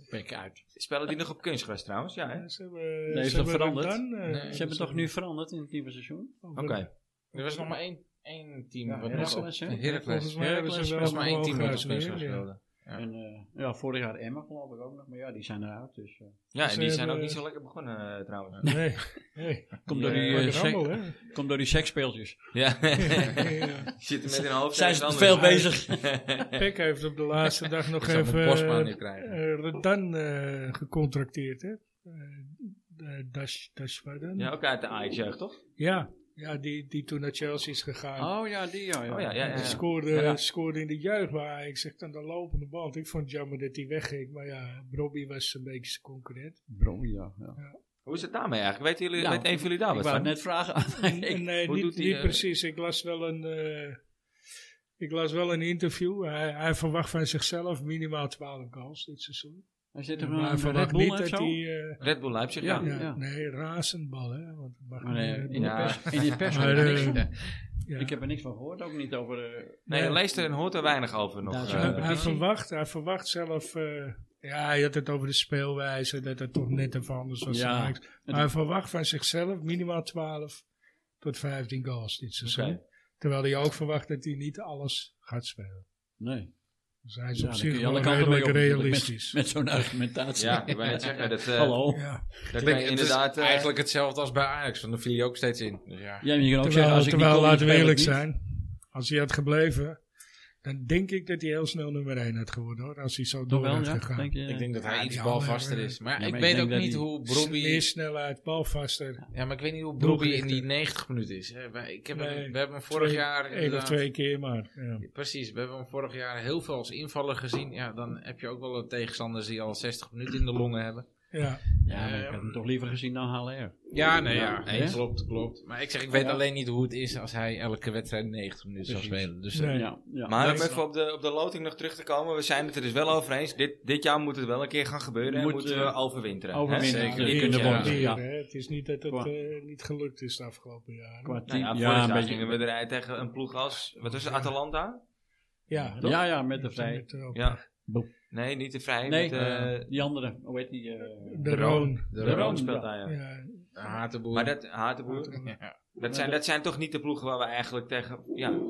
[SPEAKER 3] Pek uit.
[SPEAKER 1] Spelen die nog op kunstgras trouwens? Ja, hè?
[SPEAKER 4] Ze hebben,
[SPEAKER 3] Nee, is
[SPEAKER 4] ze
[SPEAKER 3] dat
[SPEAKER 4] hebben
[SPEAKER 3] veranderd?
[SPEAKER 4] Ramdan, eh,
[SPEAKER 2] Nee,
[SPEAKER 4] Oh,
[SPEAKER 3] Ze hebben toch nu veranderd in het nieuwe seizoen?
[SPEAKER 1] Oké.
[SPEAKER 4] over-
[SPEAKER 2] Er was nog maar één één team
[SPEAKER 3] Ja,
[SPEAKER 2] wat nog
[SPEAKER 3] Heracles,
[SPEAKER 2] op-
[SPEAKER 3] hè?
[SPEAKER 2] Heracles.
[SPEAKER 4] Volgens mij hebben ze
[SPEAKER 3] Heracles
[SPEAKER 4] wel
[SPEAKER 2] Volgens mij één team
[SPEAKER 4] gewoon
[SPEAKER 2] dat nog best
[SPEAKER 4] gehuisveerd, ja.
[SPEAKER 2] speelde. Ja.
[SPEAKER 3] En eh, ja, vorig jaar Emmen geloof ik ook nog, maar ja, die zijn eruit. Dus, eh.
[SPEAKER 1] Ja, en
[SPEAKER 4] Ze
[SPEAKER 1] die zijn ook
[SPEAKER 4] hebben-
[SPEAKER 1] niet zo lekker begonnen eh, trouwens.
[SPEAKER 4] Nee, nee.
[SPEAKER 3] Komt
[SPEAKER 1] Ja,
[SPEAKER 3] door die,
[SPEAKER 1] ja,
[SPEAKER 3] eh,
[SPEAKER 4] Lekker
[SPEAKER 3] sek-
[SPEAKER 4] rammel, hè?
[SPEAKER 3] komt door die seksspeeltjes.
[SPEAKER 1] Ja.
[SPEAKER 4] Ja.
[SPEAKER 1] Zitten met hun hoofd
[SPEAKER 3] Zijn ze
[SPEAKER 1] ergens
[SPEAKER 3] veel
[SPEAKER 1] anders.
[SPEAKER 3] bezig.
[SPEAKER 4] Peck heeft op de laatste dag nog
[SPEAKER 2] Ik zou
[SPEAKER 4] even
[SPEAKER 2] mijn postman nu
[SPEAKER 4] eh
[SPEAKER 2] krijgen.
[SPEAKER 4] eh, Redan eh, gecontracteerd, hè? Uh, Dash, Dash Redan.
[SPEAKER 1] Ja, ook uit de Ajax-jeugd, toch?
[SPEAKER 4] Ja, ja die, die toen naar Chelsea is gegaan.
[SPEAKER 3] Oh ja, die ja. ja.
[SPEAKER 1] Oh ja, ja, ja.
[SPEAKER 4] Die scoorde,
[SPEAKER 3] Ja.
[SPEAKER 4] scoorde in de jeugd, maar ik zeg dan de lopende band. Ik vond het jammer dat hij wegging, maar ja, Robbie was een beetje zijn concurrent.
[SPEAKER 3] Bro, ja. ja.
[SPEAKER 1] Hoe is het daarmee eigenlijk? Weten jullie,
[SPEAKER 3] Nou,
[SPEAKER 1] weet een van jullie daar
[SPEAKER 3] ik
[SPEAKER 1] wat
[SPEAKER 3] wou
[SPEAKER 1] van?
[SPEAKER 3] het net vragen aan
[SPEAKER 4] En, nee,
[SPEAKER 1] hoe
[SPEAKER 4] niet,
[SPEAKER 1] doet hij,
[SPEAKER 4] niet
[SPEAKER 1] eh,
[SPEAKER 4] precies. Ik las wel een, eh, ik las wel een interview. Hij, hij verwacht van zichzelf minimaal 12 goals dit seizoen.
[SPEAKER 3] Hij zit er
[SPEAKER 4] Maar hij
[SPEAKER 3] een Red
[SPEAKER 4] verwacht
[SPEAKER 3] Bull
[SPEAKER 4] niet
[SPEAKER 3] of
[SPEAKER 4] dat
[SPEAKER 3] zo?
[SPEAKER 4] hij... eh,
[SPEAKER 1] Red Bull Leipzig,
[SPEAKER 3] Ja.
[SPEAKER 1] ja.
[SPEAKER 4] ja, Nee, razendbal, hè. Want het mag
[SPEAKER 3] Maar, eh,
[SPEAKER 4] niet,
[SPEAKER 3] in,
[SPEAKER 1] Ja.
[SPEAKER 3] de pers, in die pers
[SPEAKER 4] Maar,
[SPEAKER 3] heb ik
[SPEAKER 4] eh,
[SPEAKER 3] niks-
[SPEAKER 4] ja.
[SPEAKER 3] Ik heb er niks van gehoord, ook niet over... eh,
[SPEAKER 1] Nee,
[SPEAKER 4] Ja.
[SPEAKER 1] je leest er en hoort er weinig over nog.
[SPEAKER 3] Daar is
[SPEAKER 1] eh,
[SPEAKER 4] Hij-
[SPEAKER 3] een-
[SPEAKER 4] hij, verwacht, hij verwacht zelf. eh, ja, hij had het over de speelwijze, dat het toch net even anders was.
[SPEAKER 3] Ja.
[SPEAKER 4] gemaakt. Maar hij verwacht van zichzelf minimaal 12 tot 15 goals dit seizoen.
[SPEAKER 1] Oké.
[SPEAKER 4] Terwijl hij ook verwacht dat hij niet alles gaat spelen.
[SPEAKER 3] nee.
[SPEAKER 4] Dus hij is
[SPEAKER 3] Ja,
[SPEAKER 4] op
[SPEAKER 3] dan
[SPEAKER 4] zich
[SPEAKER 3] kun je
[SPEAKER 4] wel
[SPEAKER 3] alle kanten mee
[SPEAKER 4] redelijk
[SPEAKER 3] op, natuurlijk,
[SPEAKER 4] realistisch.
[SPEAKER 3] Met, met zo'n argumentatie.
[SPEAKER 1] ja, ik wou net zeggen. Dat, eh
[SPEAKER 3] Hallo.
[SPEAKER 4] ja.
[SPEAKER 1] dat
[SPEAKER 2] Kijk,
[SPEAKER 1] kan je
[SPEAKER 2] het is
[SPEAKER 1] inderdaad... eh,
[SPEAKER 2] eigenlijk hetzelfde als bij Ajax, want daar viel je ook steeds in. Dus ja.
[SPEAKER 3] Ja, maar je kan ook
[SPEAKER 4] Terwijl,
[SPEAKER 3] zeggen, als ik
[SPEAKER 4] terwijl
[SPEAKER 3] niet kom, dan
[SPEAKER 4] laten we
[SPEAKER 3] speel ik
[SPEAKER 4] eerlijk
[SPEAKER 3] niet.
[SPEAKER 4] zijn, als hij had gebleven, dan denk ik dat hij heel snel nummer 1 had geworden hoor. Als hij zo
[SPEAKER 3] Toch
[SPEAKER 4] door
[SPEAKER 3] wel,
[SPEAKER 4] had
[SPEAKER 3] ja?
[SPEAKER 4] gegaan.
[SPEAKER 3] Denk je,
[SPEAKER 2] Ik denk dat hij
[SPEAKER 4] Ja,
[SPEAKER 2] iets
[SPEAKER 4] die andere-
[SPEAKER 2] balvaster is. Maar, ja,
[SPEAKER 3] Ja,
[SPEAKER 2] eh,
[SPEAKER 3] maar
[SPEAKER 2] ik
[SPEAKER 3] ik
[SPEAKER 2] weet
[SPEAKER 3] denk
[SPEAKER 2] ook
[SPEAKER 3] dat
[SPEAKER 2] niet
[SPEAKER 3] die-
[SPEAKER 2] hoe Brobbie...
[SPEAKER 4] Meer snelheid, balvaster.
[SPEAKER 2] Ja, maar ik weet niet hoe Brobbie in die
[SPEAKER 4] Doelgerichter.
[SPEAKER 2] 90 minuten is. hè. Wij- Ik heb hem-
[SPEAKER 4] Nee,
[SPEAKER 2] we hebben hem vorig
[SPEAKER 4] twee-
[SPEAKER 2] jaar...
[SPEAKER 4] Eén of
[SPEAKER 2] inderdaad-
[SPEAKER 4] twee keer maar. Ja.
[SPEAKER 2] Precies, we hebben hem vorig jaar heel veel als invaller gezien. Ja, dan heb je ook wel een tegenstanders die al 60 minuten in de longen hebben.
[SPEAKER 4] Ja.
[SPEAKER 3] Ja, maar ik had hem toch liever gezien dan Haller.
[SPEAKER 2] Ja, nee,
[SPEAKER 3] Ja,
[SPEAKER 2] ja.
[SPEAKER 3] hè?
[SPEAKER 2] eens, klopt, klopt. Maar ik zeg, ik weet
[SPEAKER 3] Ja.
[SPEAKER 2] alleen niet hoe het is als hij elke wedstrijd 90 minuten zou
[SPEAKER 3] Precies.
[SPEAKER 2] spelen. Dus
[SPEAKER 4] Nee.
[SPEAKER 3] Ja, ja.
[SPEAKER 1] eh, maar om
[SPEAKER 4] snap.
[SPEAKER 1] even op de, op de loting nog terug te komen. We zijn het er dus wel over eens. Dit, dit jaar moet het wel een keer gaan gebeuren.
[SPEAKER 3] Moet,
[SPEAKER 1] en moeten we
[SPEAKER 3] eh,
[SPEAKER 1] overwinteren. hè?
[SPEAKER 3] overwinteren.
[SPEAKER 1] Zeker.
[SPEAKER 3] Ja,
[SPEAKER 4] Weer
[SPEAKER 3] die kunnen
[SPEAKER 4] keer
[SPEAKER 2] worden,
[SPEAKER 4] weer,
[SPEAKER 3] ja.
[SPEAKER 4] hè. Het is niet dat het
[SPEAKER 3] Qua-
[SPEAKER 4] eh, niet gelukt is de afgelopen jaren.
[SPEAKER 3] Qua
[SPEAKER 1] Nou
[SPEAKER 3] team-
[SPEAKER 1] ja,
[SPEAKER 3] ja,
[SPEAKER 1] vorig
[SPEAKER 3] een
[SPEAKER 1] jaar
[SPEAKER 3] beetje.
[SPEAKER 1] gingen we eruit tegen een ploeg als... Wat was het? Atalanta?
[SPEAKER 4] ja,
[SPEAKER 3] Ja, ja, met de vrij.
[SPEAKER 4] Met, eh, ook
[SPEAKER 1] Ja.
[SPEAKER 3] Boe.
[SPEAKER 1] Nee, niet de Vrij.
[SPEAKER 3] Nee,
[SPEAKER 1] met, eh,
[SPEAKER 3] eh, die andere. Hoe heet die? eh,
[SPEAKER 4] De Roon.
[SPEAKER 2] de
[SPEAKER 1] de
[SPEAKER 3] Roon.
[SPEAKER 2] Roon.
[SPEAKER 1] Roon speelt daar, ja.
[SPEAKER 4] Ja,
[SPEAKER 2] De Hatenboer.
[SPEAKER 1] Maar dat, Hatenboer,
[SPEAKER 2] Ja.
[SPEAKER 1] dat zijn, dat zijn toch niet de ploegen waar we eigenlijk tegen... Ja,
[SPEAKER 3] Eh,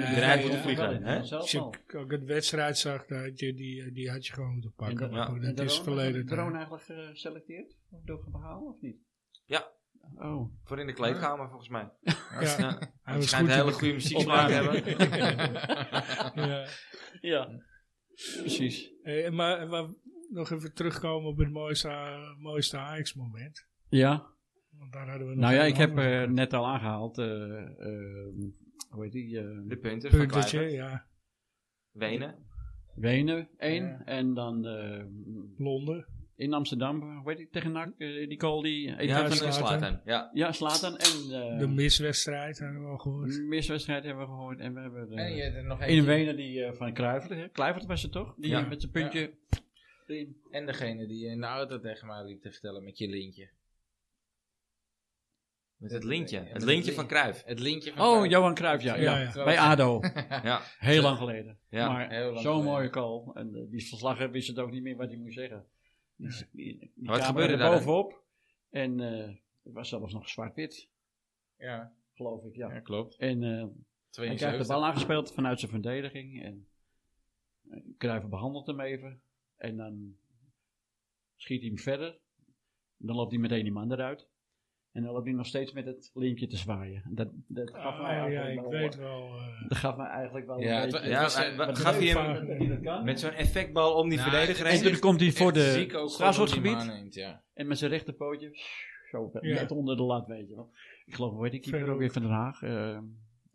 [SPEAKER 4] Nee,
[SPEAKER 1] eruit
[SPEAKER 4] ja,
[SPEAKER 1] moeten
[SPEAKER 4] ja.
[SPEAKER 1] vliegen. hè?
[SPEAKER 4] Als je k- ook het wedstrijd zag, daar had je die, eh, die had je gewoon moeten pakken.
[SPEAKER 3] En de-
[SPEAKER 4] Maar goed, dat is verleden.
[SPEAKER 3] De
[SPEAKER 4] tijd.
[SPEAKER 3] drone eigenlijk geselecteerd? Of doorgehaald of niet?
[SPEAKER 1] Ja.
[SPEAKER 3] Oh.
[SPEAKER 1] voor in de kleedkamer volgens mij.
[SPEAKER 4] Ja,
[SPEAKER 1] Ja.
[SPEAKER 4] hij
[SPEAKER 1] Die
[SPEAKER 4] was
[SPEAKER 1] schijnt
[SPEAKER 4] goed.
[SPEAKER 1] een hele
[SPEAKER 4] in
[SPEAKER 1] goede muzieksmaak te hebben.
[SPEAKER 4] de- Ja.
[SPEAKER 3] ja. Precies.
[SPEAKER 4] Eh, Maar eh, maar nog even terugkomen op het mooiste, eh, mooiste Ajax-moment.
[SPEAKER 3] Ja.
[SPEAKER 4] Want daar hadden we nog
[SPEAKER 3] Nou ja,
[SPEAKER 4] een
[SPEAKER 3] ik heb
[SPEAKER 4] ander
[SPEAKER 3] eh, net al aangehaald. eh, ehm, hoe heet die? eh,
[SPEAKER 1] De punten van
[SPEAKER 4] puntetje.
[SPEAKER 1] Kluivert.
[SPEAKER 4] Ja,
[SPEAKER 1] Wenen.
[SPEAKER 3] Wenen, één.
[SPEAKER 4] Ja.
[SPEAKER 3] En dan eh,
[SPEAKER 4] Londen.
[SPEAKER 3] in Amsterdam, hoe heet die? Tegen NAC, eh, die call die...
[SPEAKER 1] Ja, van
[SPEAKER 4] van Slatan.
[SPEAKER 1] Slatan. Ja.
[SPEAKER 3] Ja, Slatan en... eh,
[SPEAKER 4] De miswedstrijd hebben we al gehoord.
[SPEAKER 3] Miswedstrijd hebben we gehoord. En we hebben eh,
[SPEAKER 2] En je hebt er nog
[SPEAKER 3] in
[SPEAKER 2] eentje.
[SPEAKER 3] Wenen die eh, van Kluivert. hè? Kluivert was het toch? Die
[SPEAKER 1] Ja.
[SPEAKER 3] met zijn puntje. erin.
[SPEAKER 2] En degene die in de auto tegen mij liep te vertellen met je lintje.
[SPEAKER 1] Met het lintje.
[SPEAKER 2] Met
[SPEAKER 1] Het lintje
[SPEAKER 2] lin-
[SPEAKER 1] van Cruijff.
[SPEAKER 2] Het lintje van...
[SPEAKER 3] Oh,
[SPEAKER 2] Feyenoord.
[SPEAKER 3] Johan Cruijff, ja. ja.
[SPEAKER 4] Ja, ja.
[SPEAKER 3] Bij ADO.
[SPEAKER 1] Ja.
[SPEAKER 3] Heel lang geleden.
[SPEAKER 1] Ja,
[SPEAKER 2] heel
[SPEAKER 3] maar
[SPEAKER 2] lang
[SPEAKER 3] zo'n
[SPEAKER 2] geleden.
[SPEAKER 3] mooie call. En eh, die verslaggever wist het ook niet meer wat hij moest zeggen. Dus die- die
[SPEAKER 1] Wat
[SPEAKER 3] camera
[SPEAKER 1] gebeurde
[SPEAKER 3] er
[SPEAKER 1] daar dan?
[SPEAKER 3] bovenop. En eh, het was zelfs nog zwart-wit,
[SPEAKER 2] Ja,
[SPEAKER 3] geloof ik, ja.
[SPEAKER 2] ja, klopt.
[SPEAKER 3] En eh, hij krijgt de
[SPEAKER 2] 72.
[SPEAKER 3] bal aangespeeld vanuit zijn verdediging. En eh, Cruijff behandelt hem even. En dan schiet hij hem verder. Dan loopt hij meteen die man eruit. En dan loopt hij nog steeds met het lintje te zwaaien. Dat, dat gaf mij
[SPEAKER 4] Ah, ja,
[SPEAKER 3] eigenlijk
[SPEAKER 4] ik
[SPEAKER 3] wel-
[SPEAKER 4] weet wel. eh,
[SPEAKER 3] dat gaf mij eigenlijk wel
[SPEAKER 2] Ja,
[SPEAKER 3] een
[SPEAKER 2] het-
[SPEAKER 3] beetje...
[SPEAKER 1] Ja,
[SPEAKER 2] was,
[SPEAKER 1] maar
[SPEAKER 2] eh,
[SPEAKER 1] wa-
[SPEAKER 3] wat
[SPEAKER 1] gaf hij
[SPEAKER 3] leuk
[SPEAKER 1] hem
[SPEAKER 3] van dat hij dat
[SPEAKER 4] Eh,
[SPEAKER 3] kan.
[SPEAKER 1] met zo'n effectbal om die
[SPEAKER 2] Nou,
[SPEAKER 1] verdediger
[SPEAKER 3] En
[SPEAKER 1] heen?
[SPEAKER 3] toen komt hij voor
[SPEAKER 2] Echt
[SPEAKER 3] de
[SPEAKER 2] ziek ook gewoon hoe die hem
[SPEAKER 3] strafschopgebied
[SPEAKER 2] aanneemt, ja.
[SPEAKER 3] en met zijn rechterpootje zo
[SPEAKER 4] Ja.
[SPEAKER 3] net onder de lat, weet je wel. Ik geloof, weet ik, keeper
[SPEAKER 4] Verhoek.
[SPEAKER 3] ook weer van Den Haag. eh,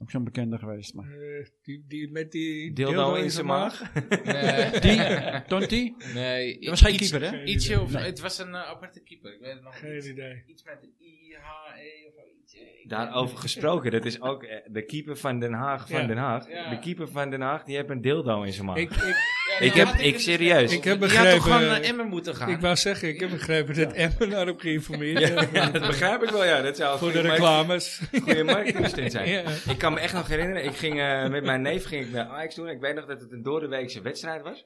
[SPEAKER 3] ook zo'n bekende geweest. Maar.
[SPEAKER 4] eh, die, die met die
[SPEAKER 1] Dildo in zijn maag.
[SPEAKER 2] Nee,
[SPEAKER 3] Die, Tonti,
[SPEAKER 2] nee.
[SPEAKER 3] dat was geen
[SPEAKER 2] iets-
[SPEAKER 3] keeper hè?
[SPEAKER 4] Geen
[SPEAKER 2] Ietsje
[SPEAKER 4] idee.
[SPEAKER 2] of,
[SPEAKER 3] Nee.
[SPEAKER 2] Het was een eh, aparte keeper. Ik weet het nog
[SPEAKER 4] Geen
[SPEAKER 2] niet.
[SPEAKER 4] idee.
[SPEAKER 2] Iets met de IHE of zo, iets. eh, ik
[SPEAKER 1] Daarover gesproken, dat is ook eh, de keeper van Den Haag van
[SPEAKER 4] Ja.
[SPEAKER 1] Den Haag.
[SPEAKER 2] Ja.
[SPEAKER 1] De keeper van Den Haag, die heeft een dildo in zijn maag.
[SPEAKER 4] Ik, ik,
[SPEAKER 2] weet- Ja,
[SPEAKER 1] Ik heb-
[SPEAKER 2] daar eh, had
[SPEAKER 1] ik
[SPEAKER 2] het
[SPEAKER 1] serieus.
[SPEAKER 2] over.
[SPEAKER 4] Ik heb
[SPEAKER 2] Die had toch
[SPEAKER 4] begrepen-
[SPEAKER 2] gewoon naar Emmen moeten gaan?
[SPEAKER 4] ik wou zeggen, ik heb begrepen dat Emmen daarop geïnformeerd heeft.
[SPEAKER 1] Ja, dat begrijp ik wel, ja. Dat zou een
[SPEAKER 4] Voor de
[SPEAKER 1] goede markt-
[SPEAKER 4] reclames.
[SPEAKER 1] goede marketingstunt zijn.
[SPEAKER 4] Ja.
[SPEAKER 1] Ik kan me echt nog herinneren, ik ging, eh, met mijn neef ging ik naar Ajax doen. Ik weet nog dat het een doordeweekse wedstrijd was.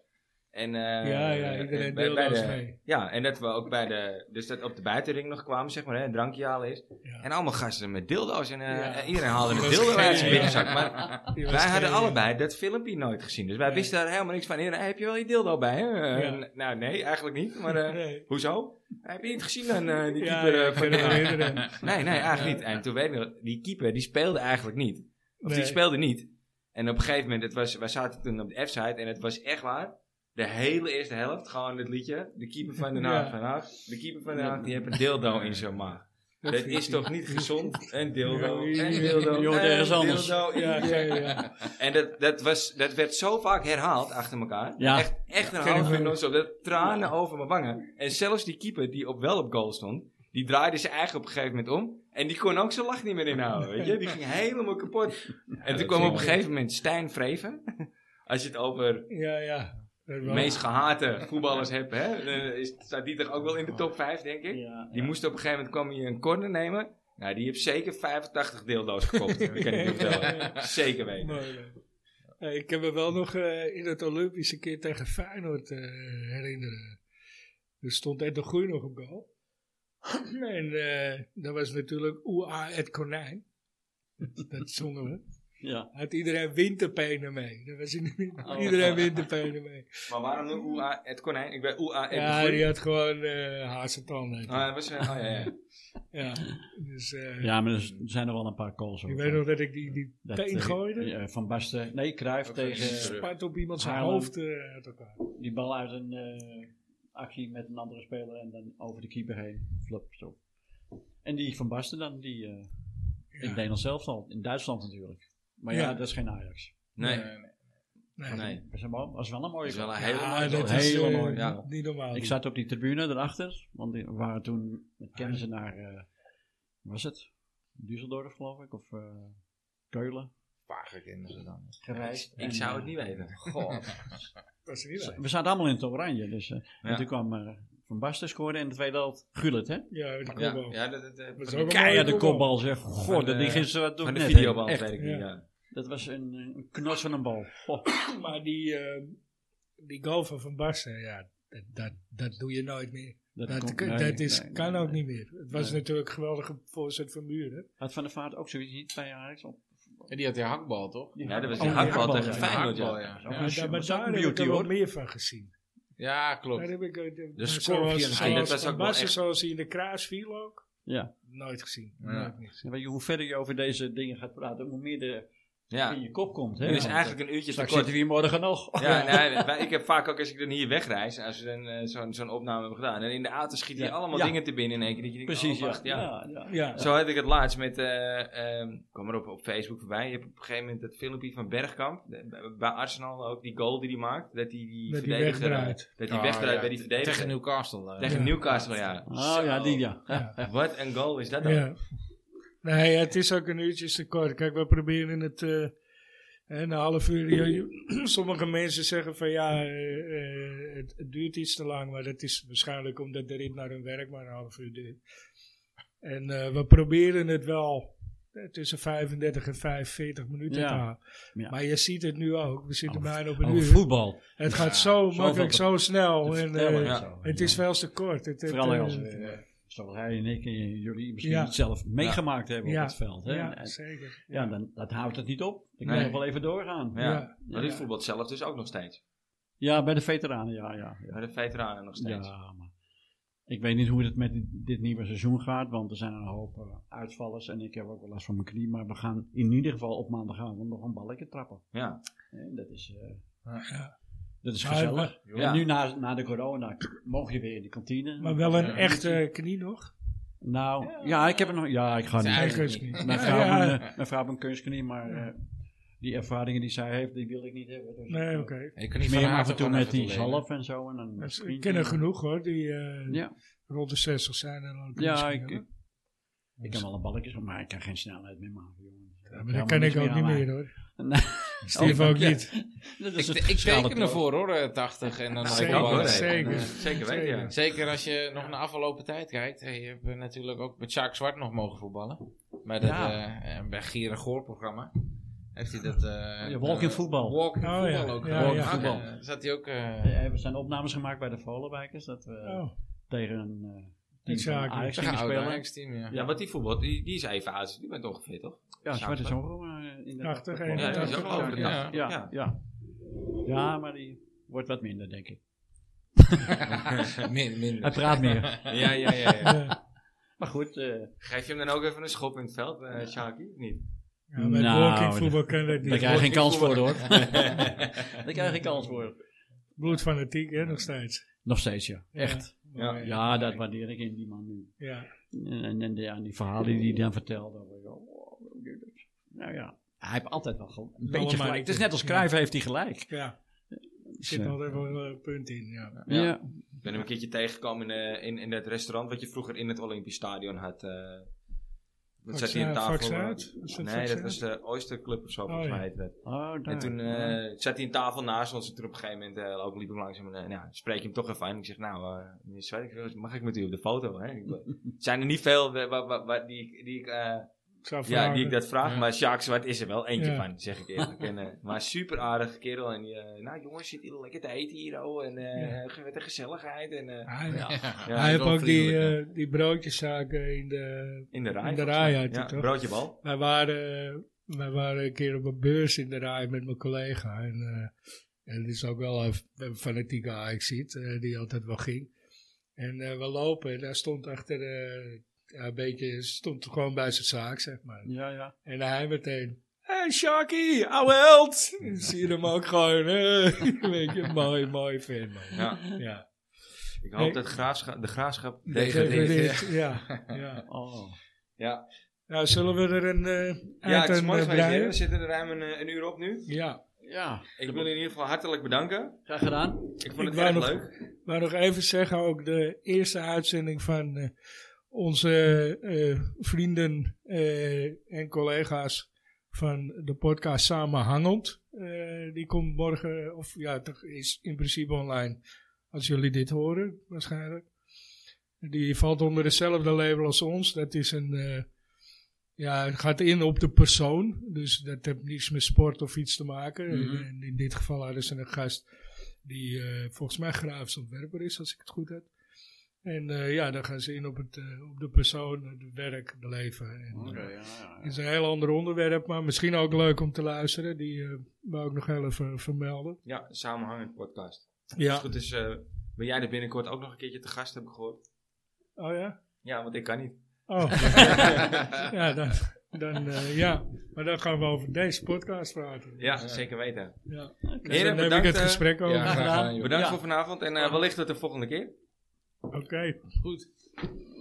[SPEAKER 1] En, eh,
[SPEAKER 4] ja, ja,
[SPEAKER 1] eh,
[SPEAKER 4] iedereen
[SPEAKER 1] bij- bij
[SPEAKER 4] deelde ons
[SPEAKER 1] de-
[SPEAKER 4] mee.
[SPEAKER 1] Ja, en dat we ook bij de, dus dat op de buitenring nog kwamen, zeg maar, hè, een drankje halen is.
[SPEAKER 4] Ja.
[SPEAKER 1] En allemaal gasten met dildo's en eh,
[SPEAKER 4] Ja.
[SPEAKER 1] en iedereen haalde
[SPEAKER 4] Dat
[SPEAKER 1] een
[SPEAKER 4] is
[SPEAKER 1] dildo uit zijn
[SPEAKER 4] geniaal.
[SPEAKER 1] binnenzak. Maar
[SPEAKER 4] Die was
[SPEAKER 1] wij hadden
[SPEAKER 4] geen-
[SPEAKER 1] allebei dat filmpje nooit gezien, dus wij
[SPEAKER 4] Nee.
[SPEAKER 1] wisten daar helemaal niks van. Heren, heb je wel je dildo bij? Hè? Eh,
[SPEAKER 4] Ja.
[SPEAKER 1] n- Nou, nee, eigenlijk niet, maar eh,
[SPEAKER 4] Nee.
[SPEAKER 1] hoezo? Heb je niet gezien dan, eh, die
[SPEAKER 4] Ja,
[SPEAKER 1] keeper
[SPEAKER 4] ja,
[SPEAKER 1] eh,
[SPEAKER 4] ik
[SPEAKER 1] van...
[SPEAKER 4] kan me
[SPEAKER 1] eh,
[SPEAKER 4] herinneren.
[SPEAKER 1] Nee, nee, eigenlijk
[SPEAKER 4] Ja.
[SPEAKER 1] niet. En toen weet ik nog, die keeper, die speelde eigenlijk niet. Of
[SPEAKER 4] Nee.
[SPEAKER 1] die speelde niet. En op een gegeven moment, het was, wij zaten toen op de F-site en het was echt waar. De hele eerste helft, gewoon het liedje. De keeper van Den Haag,
[SPEAKER 4] Ja.
[SPEAKER 1] van Haag. De keeper van Den Haag, die heeft een dildo in zijn maag. Dat
[SPEAKER 4] vind
[SPEAKER 1] is
[SPEAKER 4] ik-
[SPEAKER 1] toch niet gezond? Een dildo,
[SPEAKER 4] Ja,
[SPEAKER 1] een dildo,
[SPEAKER 3] je hoort
[SPEAKER 1] een
[SPEAKER 3] ergens anders.
[SPEAKER 1] dildo in
[SPEAKER 4] Ja,
[SPEAKER 1] je-
[SPEAKER 4] ja, ja.
[SPEAKER 1] En dat, dat, was, dat werd zo vaak herhaald achter elkaar.
[SPEAKER 3] Ja.
[SPEAKER 1] Echt, echt een
[SPEAKER 4] Ken ik
[SPEAKER 1] half uur
[SPEAKER 4] wel.
[SPEAKER 1] non-stop. Dat Tranen over mijn wangen. En zelfs die keeper die op wel op goal stond, die draaide zijn eigen op een gegeven moment om. En die kon ook zijn lach niet meer inhouden. Weet je? Die ging helemaal kapot. En toen
[SPEAKER 2] dat
[SPEAKER 1] kwam
[SPEAKER 2] is
[SPEAKER 1] op een gegeven moment Stijn Vreven. Als je het over
[SPEAKER 4] Ja, ja. Dat
[SPEAKER 1] de
[SPEAKER 4] wel.
[SPEAKER 1] meest gehate voetballers hebt, hè, dan is, staat die toch ook wel in de top 5, denk ik.
[SPEAKER 3] Ja,
[SPEAKER 1] Die moest op een gegeven moment kwam hij een corner nemen. Nou, die heeft zeker 85 deeldoos gekocht. Dat kan ik je vertellen. Zeker weten.
[SPEAKER 4] Mooi, ja. Eh, ik heb me wel nog eh, in het Olympische keer tegen Feyenoord eh, herinneren. Er stond Ed de Groei nog op goal. en eh, dat was natuurlijk Oea het konijn. Dat, dat zongen we.
[SPEAKER 3] ja.
[SPEAKER 4] Had iedereen winterpenen mee. Dat was in-
[SPEAKER 1] Oh.
[SPEAKER 4] iedereen winterpenen mee.
[SPEAKER 1] Maar waarom noem Oea het konijn? Ik ben Oea en
[SPEAKER 4] Ja,
[SPEAKER 1] de
[SPEAKER 4] die
[SPEAKER 1] groei.
[SPEAKER 4] had gewoon eh hazetan. heet
[SPEAKER 1] Oh,
[SPEAKER 3] Ah.
[SPEAKER 4] hij.
[SPEAKER 1] hij was, eh, oh, ja, ja.
[SPEAKER 4] Ja, dus eh,
[SPEAKER 3] ja, maar er z- zijn er wel een paar calls
[SPEAKER 4] ik
[SPEAKER 3] ook,
[SPEAKER 4] weet
[SPEAKER 3] hè.
[SPEAKER 4] nog dat ik die, die
[SPEAKER 3] Dat,
[SPEAKER 4] teen
[SPEAKER 3] eh,
[SPEAKER 4] gooide.
[SPEAKER 3] ja, van Basten. Nee, Cruijff
[SPEAKER 2] Ook
[SPEAKER 3] tegen
[SPEAKER 2] terug.
[SPEAKER 4] Spat op iemand zijn
[SPEAKER 3] Haarlem.
[SPEAKER 4] hoofd eh, uit elkaar.
[SPEAKER 3] die bal uit een eh, actie met een andere speler en dan over de keeper heen. Flop, zo. En die van Basten dan, die eh, in
[SPEAKER 4] Ja.
[SPEAKER 3] Nederland zelf al, in Duitsland natuurlijk. Maar ja,
[SPEAKER 4] Ja.
[SPEAKER 3] dat is geen Ajax.
[SPEAKER 1] Nee,
[SPEAKER 2] Eh,
[SPEAKER 4] Nee.
[SPEAKER 1] nee.
[SPEAKER 3] Dat is, een mo- dat is wel een mooie
[SPEAKER 1] Dat is wel
[SPEAKER 3] goal.
[SPEAKER 1] een
[SPEAKER 4] Ja,
[SPEAKER 1] hele mooie
[SPEAKER 4] dat
[SPEAKER 1] goal.
[SPEAKER 4] is
[SPEAKER 3] Hele
[SPEAKER 4] eh,
[SPEAKER 3] mooie
[SPEAKER 1] goal.
[SPEAKER 4] niet- niet normaal.
[SPEAKER 3] Ik zat op die tribune erachter, want we waren toen met kennissen naar, eh, was het? Düsseldorf geloof ik, of eh, Keulen
[SPEAKER 2] vage kinderen dan.
[SPEAKER 3] gereisd.
[SPEAKER 1] Ik
[SPEAKER 3] En,
[SPEAKER 1] zou het
[SPEAKER 3] eh,
[SPEAKER 1] niet weten.
[SPEAKER 4] Dat is niet waar.
[SPEAKER 3] We zaten allemaal in het oranje, dus eh,
[SPEAKER 1] Ja.
[SPEAKER 3] en toen kwam eh, Van Basten scoorde en de tweede helft Gullit, hè?
[SPEAKER 4] Ja, met die
[SPEAKER 1] Ja,
[SPEAKER 4] kopbal.
[SPEAKER 1] ja, dat, dat, eh,
[SPEAKER 4] is
[SPEAKER 1] van
[SPEAKER 4] ook
[SPEAKER 1] de-
[SPEAKER 4] een mooie
[SPEAKER 3] Keiharde
[SPEAKER 4] kopbal.
[SPEAKER 3] kopbal zeg. God,
[SPEAKER 1] Van
[SPEAKER 3] dat
[SPEAKER 1] de-
[SPEAKER 3] die gisteren wat door
[SPEAKER 1] Van de
[SPEAKER 3] net, hè.
[SPEAKER 1] videoband
[SPEAKER 3] Echt,
[SPEAKER 1] weet ik
[SPEAKER 4] ja.
[SPEAKER 1] niet. Ja.
[SPEAKER 3] Dat was een, een knots van een bal. Goh.
[SPEAKER 4] Maar die, eh, die goal van Van Basten, ja, dat, dat, dat doe je nooit meer. Dat,
[SPEAKER 3] komt-
[SPEAKER 4] kan-
[SPEAKER 3] nee,
[SPEAKER 4] dat is,
[SPEAKER 3] nee,
[SPEAKER 4] kan
[SPEAKER 3] nee,
[SPEAKER 4] ook
[SPEAKER 3] nee.
[SPEAKER 4] niet meer. Het was
[SPEAKER 3] Nee.
[SPEAKER 4] natuurlijk een geweldige voorzet van Muren.
[SPEAKER 3] Had Van der Vaart ook zoiets niet bij Ajax op?
[SPEAKER 2] En die had die hakbal, toch?
[SPEAKER 1] ja, dat was
[SPEAKER 4] Oh,
[SPEAKER 1] die
[SPEAKER 4] die
[SPEAKER 1] hakbal
[SPEAKER 3] hakbal,
[SPEAKER 1] tegen
[SPEAKER 3] ja.
[SPEAKER 1] Feyenoord.
[SPEAKER 2] Hakbal,
[SPEAKER 1] Ja.
[SPEAKER 2] ja. Ja.
[SPEAKER 3] Ja.
[SPEAKER 4] maar daar,
[SPEAKER 3] dat
[SPEAKER 4] maar
[SPEAKER 3] is ook
[SPEAKER 4] daar
[SPEAKER 3] een
[SPEAKER 4] heb ik er
[SPEAKER 3] beauty,
[SPEAKER 4] wel
[SPEAKER 3] hoor.
[SPEAKER 4] meer van gezien.
[SPEAKER 2] Ja,
[SPEAKER 4] Daar
[SPEAKER 2] klopt.
[SPEAKER 4] heb ik, eh, de,
[SPEAKER 2] scorpion.
[SPEAKER 4] zoals,
[SPEAKER 2] Ja,
[SPEAKER 4] zoals
[SPEAKER 1] dat was
[SPEAKER 4] Van
[SPEAKER 1] ook wel
[SPEAKER 4] Basten,
[SPEAKER 1] echt-
[SPEAKER 4] zoals hij in de kraas viel ook,
[SPEAKER 3] Ja.
[SPEAKER 4] nooit gezien.
[SPEAKER 2] Ja.
[SPEAKER 4] Nooit meer gezien.
[SPEAKER 3] Weet je, hoe verder je over deze dingen gaat praten, hoe meer de
[SPEAKER 1] ja.
[SPEAKER 3] in je kop komt. Hè?
[SPEAKER 1] Er is
[SPEAKER 3] Want,
[SPEAKER 1] eigenlijk een uurtje
[SPEAKER 3] Straks
[SPEAKER 1] tekort.
[SPEAKER 3] zitten we hier morgen nog.
[SPEAKER 1] Ja, nee, wij- ik heb vaak ook als ik dan hier wegreis, als we dan eh, zo'n zo'n opname hebben gedaan, en in de auto schieten je
[SPEAKER 3] Ja.
[SPEAKER 1] allemaal
[SPEAKER 3] Ja.
[SPEAKER 1] dingen te binnen in één keer. Dat je denkt,
[SPEAKER 3] Precies,
[SPEAKER 1] oh,
[SPEAKER 3] ja.
[SPEAKER 1] wacht, ja.
[SPEAKER 3] ja.
[SPEAKER 4] Ja,
[SPEAKER 1] Zo had ik het laatst met, eh ehm kwam er op, op Facebook voorbij. Je hebt op een gegeven moment dat filmpje van Bergkamp, de- bij- bij Arsenal ook, die goal die hij maakt. Dat hij die
[SPEAKER 4] Dat hij
[SPEAKER 1] verdediger,
[SPEAKER 4] wegdraait.
[SPEAKER 1] Dat hij
[SPEAKER 2] Ah,
[SPEAKER 1] wegdraait
[SPEAKER 2] ja,
[SPEAKER 1] bij die verdediger.
[SPEAKER 2] Tegen
[SPEAKER 1] Tegen,
[SPEAKER 2] Newcastle. eh.
[SPEAKER 4] Ja.
[SPEAKER 1] Newcastle, ja.
[SPEAKER 3] Oh ja, die ja.
[SPEAKER 1] Wat een goal is dat dan?
[SPEAKER 4] Ja. Nee, ja, het is ook een uurtje te kort. Kijk, we proberen het eh, een half uur. Je- je- sommige mensen zeggen van ja, eh, eh, het, het duurt iets te lang, maar dat is waarschijnlijk omdat de rit naar hun werk maar een half uur duurt. En eh, we proberen het wel eh, tussen 35 en 45 minuten
[SPEAKER 3] Ja.
[SPEAKER 4] te houden.
[SPEAKER 3] Ja.
[SPEAKER 4] Maar je ziet het nu ook. We zitten
[SPEAKER 3] Over-
[SPEAKER 4] bijna op een
[SPEAKER 3] Over
[SPEAKER 4] uur.
[SPEAKER 3] voetbal.
[SPEAKER 4] Het gaat
[SPEAKER 2] Ja,
[SPEAKER 4] zo
[SPEAKER 3] zoveel
[SPEAKER 4] makkelijk,
[SPEAKER 3] te-
[SPEAKER 4] zo snel.
[SPEAKER 3] Dat
[SPEAKER 4] Oh, En,
[SPEAKER 3] vertellen
[SPEAKER 4] eh,
[SPEAKER 3] en
[SPEAKER 1] ja.
[SPEAKER 3] zo.
[SPEAKER 4] het is wel eens te kort. Het, het,
[SPEAKER 3] Vooral
[SPEAKER 4] eh,
[SPEAKER 3] als we, eh, zoals hij en ik en jullie misschien
[SPEAKER 4] Ja.
[SPEAKER 3] het zelf meegemaakt hebben op
[SPEAKER 4] Ja.
[SPEAKER 3] het veld. Hè?
[SPEAKER 4] ja,
[SPEAKER 3] En-
[SPEAKER 4] zeker.
[SPEAKER 3] ja, dan, dat houdt het niet op. Dan kan
[SPEAKER 1] Nee.
[SPEAKER 3] je nog wel even doorgaan.
[SPEAKER 1] Ja.
[SPEAKER 4] Ja.
[SPEAKER 1] Maar dit voetbalt zelf dus ook nog steeds.
[SPEAKER 3] Ja, bij de veteranen, ja, ja. ja.
[SPEAKER 1] Bij de veteranen nog steeds.
[SPEAKER 3] Ja, maar ik weet niet hoe het met dit, dit nieuwe seizoen gaat, want er zijn een hoop eh, uitvallers en ik heb ook wel last van mijn knie. Maar we gaan in ieder geval op maandagavond nog een balletje trappen.
[SPEAKER 1] Ja.
[SPEAKER 3] En dat is, eh,
[SPEAKER 4] Ja.
[SPEAKER 3] dat is
[SPEAKER 4] Maar-
[SPEAKER 3] gezellig.
[SPEAKER 1] Ja.
[SPEAKER 3] En nu na, na de corona mogen je weer in de kantine.
[SPEAKER 4] Maar wel een
[SPEAKER 2] Ja.
[SPEAKER 4] echte knie nog.
[SPEAKER 3] Nou, ja, ik heb er nog... Ja, ik ga
[SPEAKER 2] Zijn
[SPEAKER 3] niet.
[SPEAKER 2] eigen-
[SPEAKER 4] Eigen knie.
[SPEAKER 3] Mijn vrouw,
[SPEAKER 4] Ja,
[SPEAKER 3] heeft een, eh, mijn vrouw heeft een kunstknie, maar eh, die ervaringen die zij heeft, die wil ik niet hebben. Dus
[SPEAKER 4] Nee,
[SPEAKER 3] ik,
[SPEAKER 4] oké.
[SPEAKER 3] eh,
[SPEAKER 2] Ik kan niet van
[SPEAKER 3] Meer
[SPEAKER 2] haar
[SPEAKER 3] af en toe
[SPEAKER 2] gewoon
[SPEAKER 3] met
[SPEAKER 2] even
[SPEAKER 3] die
[SPEAKER 2] lenen.
[SPEAKER 3] zalf en zo. En een
[SPEAKER 4] Dat- Ik
[SPEAKER 3] vriendje.
[SPEAKER 4] ken er genoeg hoor, die eh,
[SPEAKER 3] Ja,
[SPEAKER 4] rond de 60 zijn en al een
[SPEAKER 3] ja
[SPEAKER 4] knie
[SPEAKER 3] ik, ik,
[SPEAKER 4] hebben.
[SPEAKER 3] ik kan wel een balletje, maar ik kan geen snelheid meer maken. Jongen.
[SPEAKER 4] Ja, maar dat kan ik ook niet meer hoor.
[SPEAKER 3] Nee.
[SPEAKER 4] Steve
[SPEAKER 3] Oh,
[SPEAKER 4] ook
[SPEAKER 3] ja.
[SPEAKER 4] niet.
[SPEAKER 3] Dat
[SPEAKER 2] Ik,
[SPEAKER 3] is
[SPEAKER 2] ik teken ervoor hoor, eh, 80. En dan
[SPEAKER 4] Zeker,
[SPEAKER 1] Ik ook, hoor.
[SPEAKER 4] zeker.
[SPEAKER 1] Eh, Zeker weten, ja.
[SPEAKER 2] Zeker als je nog naar afgelopen tijd kijkt. Hey, je hebt eh, natuurlijk ook met Sjaak Zwart nog mogen voetballen. Bij, dat,
[SPEAKER 3] Ja.
[SPEAKER 2] eh, eh, bij Gieren Goor programma. Heeft hij dat... eh
[SPEAKER 3] Oh, Ja, walking
[SPEAKER 2] eh,
[SPEAKER 3] voetbal.
[SPEAKER 2] Walking
[SPEAKER 4] Oh, ja.
[SPEAKER 2] voetbal ook.
[SPEAKER 4] Ja,
[SPEAKER 2] gedaan.
[SPEAKER 3] ja.
[SPEAKER 2] Ah, oké.
[SPEAKER 3] Voetbal.
[SPEAKER 2] Zat hij ook... eh,
[SPEAKER 3] Eh, Er zijn opnames gemaakt bij de Volenwijkers dat eh, we
[SPEAKER 4] Oh,
[SPEAKER 3] tegen een eh, team
[SPEAKER 4] Iets
[SPEAKER 3] van
[SPEAKER 4] zaken.
[SPEAKER 3] Ajax
[SPEAKER 2] tegen
[SPEAKER 3] gingen
[SPEAKER 2] een oud
[SPEAKER 3] spelen.
[SPEAKER 2] Ajax-team, ja.
[SPEAKER 1] Ja, want die voetbal, die, die is even oud. Die bent ongeveer, toch?
[SPEAKER 3] Ja, Zwarte
[SPEAKER 1] Zaken.
[SPEAKER 3] Zongo eh, in de
[SPEAKER 4] 80,
[SPEAKER 3] Ja,
[SPEAKER 4] 81.
[SPEAKER 1] Ja, die is ook al over de
[SPEAKER 2] Ja.
[SPEAKER 1] dag.
[SPEAKER 3] Ja,
[SPEAKER 1] Ja.
[SPEAKER 3] ja. ja. Ja, maar die wordt wat minder, denk ik.
[SPEAKER 2] Min, minder.
[SPEAKER 3] Hij praat meer.
[SPEAKER 1] Ja, ja, ja. ja.
[SPEAKER 4] ja.
[SPEAKER 3] Maar goed, eh,
[SPEAKER 1] Geef je hem dan ook even een schop in het veld, eh Shaki? Of niet?
[SPEAKER 4] Ja, met
[SPEAKER 3] Nou,
[SPEAKER 4] walking voetbal kan dat
[SPEAKER 3] daar
[SPEAKER 4] niet.
[SPEAKER 3] krijg je geen kans voor hoor.
[SPEAKER 2] Ja.
[SPEAKER 3] daar krijg je geen kans voor.
[SPEAKER 4] Bloedfanatiek, hè, nog steeds.
[SPEAKER 3] Nog steeds, ja. Echt.
[SPEAKER 1] Ja.
[SPEAKER 3] Ja, dat waardeer ik in die man nu.
[SPEAKER 4] Ja.
[SPEAKER 3] En, en, en die, aan die verhalen die hij dan vertelde. dan word je, oh, Nou ja, hij heeft altijd wel gel- een beetje
[SPEAKER 4] maar
[SPEAKER 3] gelijk. Het is net als Cruijff heeft hij gelijk.
[SPEAKER 4] Ja, er
[SPEAKER 3] Dus,
[SPEAKER 4] zit
[SPEAKER 3] eh,
[SPEAKER 4] altijd wel een punt in. Ja.
[SPEAKER 3] ja.
[SPEAKER 1] Ja. Ik ben hem een keertje tegengekomen in, eh, in, in dat restaurant wat je vroeger in het Olympisch Stadion had. eh wat zat hij aan
[SPEAKER 4] Vaccin-
[SPEAKER 1] tafel?
[SPEAKER 4] vaccinaat? eh, Is dat
[SPEAKER 1] nee, dat
[SPEAKER 4] vaccinaat?
[SPEAKER 1] was de Oyster Club of zo,
[SPEAKER 4] Oh,
[SPEAKER 1] volgens mij
[SPEAKER 4] ja. Ah,
[SPEAKER 1] heette dat.
[SPEAKER 3] Oh, daar.
[SPEAKER 1] En toen eh, zat hij een tafel naast ons. En toen op een gegeven moment eh, loop- liep hem langzaam. En eh, nou, spreek je hem toch even aan. Ik zeg, nou, eh, meneer Zwerk, mag ik met u op de foto? Hè? Ik ben- zijn er niet veel eh, wa- wa- wa- die, ik- die, ik, eh,
[SPEAKER 4] Ik zou
[SPEAKER 1] ja, die
[SPEAKER 4] vragen.
[SPEAKER 1] ik dat vraag.
[SPEAKER 2] Ja.
[SPEAKER 1] Maar Sjaak Zwart is er wel eentje
[SPEAKER 4] Ja.
[SPEAKER 1] van, zeg ik eerlijk. en, eh, maar super aardige kerel. En die, eh, nou jongens, zit hier lekker te eten hier. Oh, en eh ge- wat een gezelligheid. En, eh,
[SPEAKER 4] Ah, ja.
[SPEAKER 2] Ja.
[SPEAKER 1] ja,
[SPEAKER 4] hij heeft
[SPEAKER 1] wel
[SPEAKER 4] ook die,
[SPEAKER 1] vriendelijk,
[SPEAKER 4] eh, die broodjeszaken in de...
[SPEAKER 1] in de rij.
[SPEAKER 4] in de
[SPEAKER 1] volgens
[SPEAKER 4] rij
[SPEAKER 1] mij.
[SPEAKER 4] had hij
[SPEAKER 1] ja,
[SPEAKER 4] toch?
[SPEAKER 1] broodjebal.
[SPEAKER 4] Wij waren, eh, wij waren een keer op een beurs in de rij met mijn collega. En, eh, en het is ook wel een, f- een fanatieke ajax eh, die altijd wel ging. En eh, we lopen en hij stond achter... eh, ja, een beetje, stond gewoon bij zijn zaak, zeg maar.
[SPEAKER 3] ja, ja.
[SPEAKER 4] En hij meteen... Hé, hey, Sharky, ouwe held! En Zie je hem ook gewoon, eh, weet je, mooi, mooi fan, man.
[SPEAKER 1] Ja,
[SPEAKER 4] Ja.
[SPEAKER 1] ik hoop
[SPEAKER 4] Nee.
[SPEAKER 1] dat graafscha- de graafschap
[SPEAKER 2] Degradeert.
[SPEAKER 1] degradeert.
[SPEAKER 4] Degradeert, Ja, ja.
[SPEAKER 3] Oh.
[SPEAKER 1] Ja,
[SPEAKER 4] Nou, zullen we er een eh
[SPEAKER 1] Ja,
[SPEAKER 4] eind
[SPEAKER 1] het is
[SPEAKER 4] aan,
[SPEAKER 1] mooi
[SPEAKER 4] eh,
[SPEAKER 1] geweest. hè.
[SPEAKER 4] breien?
[SPEAKER 1] We zitten er ruim een, eh, een uur op nu.
[SPEAKER 4] Ja,
[SPEAKER 3] Ja,
[SPEAKER 1] Ik wil in ieder geval hartelijk bedanken.
[SPEAKER 3] graag gedaan.
[SPEAKER 1] Ik vond
[SPEAKER 4] Ik
[SPEAKER 1] het
[SPEAKER 4] wou
[SPEAKER 1] erg
[SPEAKER 4] nog-
[SPEAKER 1] leuk.
[SPEAKER 4] maar nog even zeggen, ook de eerste uitzending van eh, onze eh, vrienden eh, en collega's van de podcast Samenhangend. eh, die komt morgen, of ja, toch is in principe online als jullie dit horen waarschijnlijk. Die valt onder hetzelfde label als ons. Dat is een, eh, ja, het gaat in op de persoon. Dus dat heeft niets met sport of iets te maken.
[SPEAKER 2] Mhm.
[SPEAKER 4] En in dit geval hadden ze een gast die eh, volgens mij grafisch ontwerper is, als ik het goed heb. En eh, ja, dan gaan ze in op, het, eh, op de persoon, het werk, het leven. En,
[SPEAKER 3] Oké,
[SPEAKER 4] eh,
[SPEAKER 3] ja, ja,
[SPEAKER 4] het
[SPEAKER 3] ja.
[SPEAKER 4] is een heel ander onderwerp, maar misschien ook leuk om te luisteren. Die eh wou ik nog heel even vermelden.
[SPEAKER 1] Ja, samenhangend podcast. Als
[SPEAKER 4] Ja.
[SPEAKER 1] het goed is, eh, ben jij er binnenkort ook nog een keertje te gast, heb ik gehoord.
[SPEAKER 4] Oh ja?
[SPEAKER 1] Ja, want ik kan niet.
[SPEAKER 4] Oh, ja, dan, dan, eh, ja, maar dan gaan we over deze podcast praten.
[SPEAKER 1] Ja, zeker weten.
[SPEAKER 4] Ja. Dus
[SPEAKER 1] Heren,
[SPEAKER 4] dan neem ik
[SPEAKER 1] bedankt,
[SPEAKER 4] het
[SPEAKER 1] eh,
[SPEAKER 4] gesprek over.
[SPEAKER 2] Ja, graag
[SPEAKER 3] gedaan.
[SPEAKER 2] gedaan, joh.
[SPEAKER 1] Bedankt
[SPEAKER 3] Ja.
[SPEAKER 1] voor vanavond en eh, wellicht tot de volgende keer.
[SPEAKER 4] Oké.
[SPEAKER 2] Goed.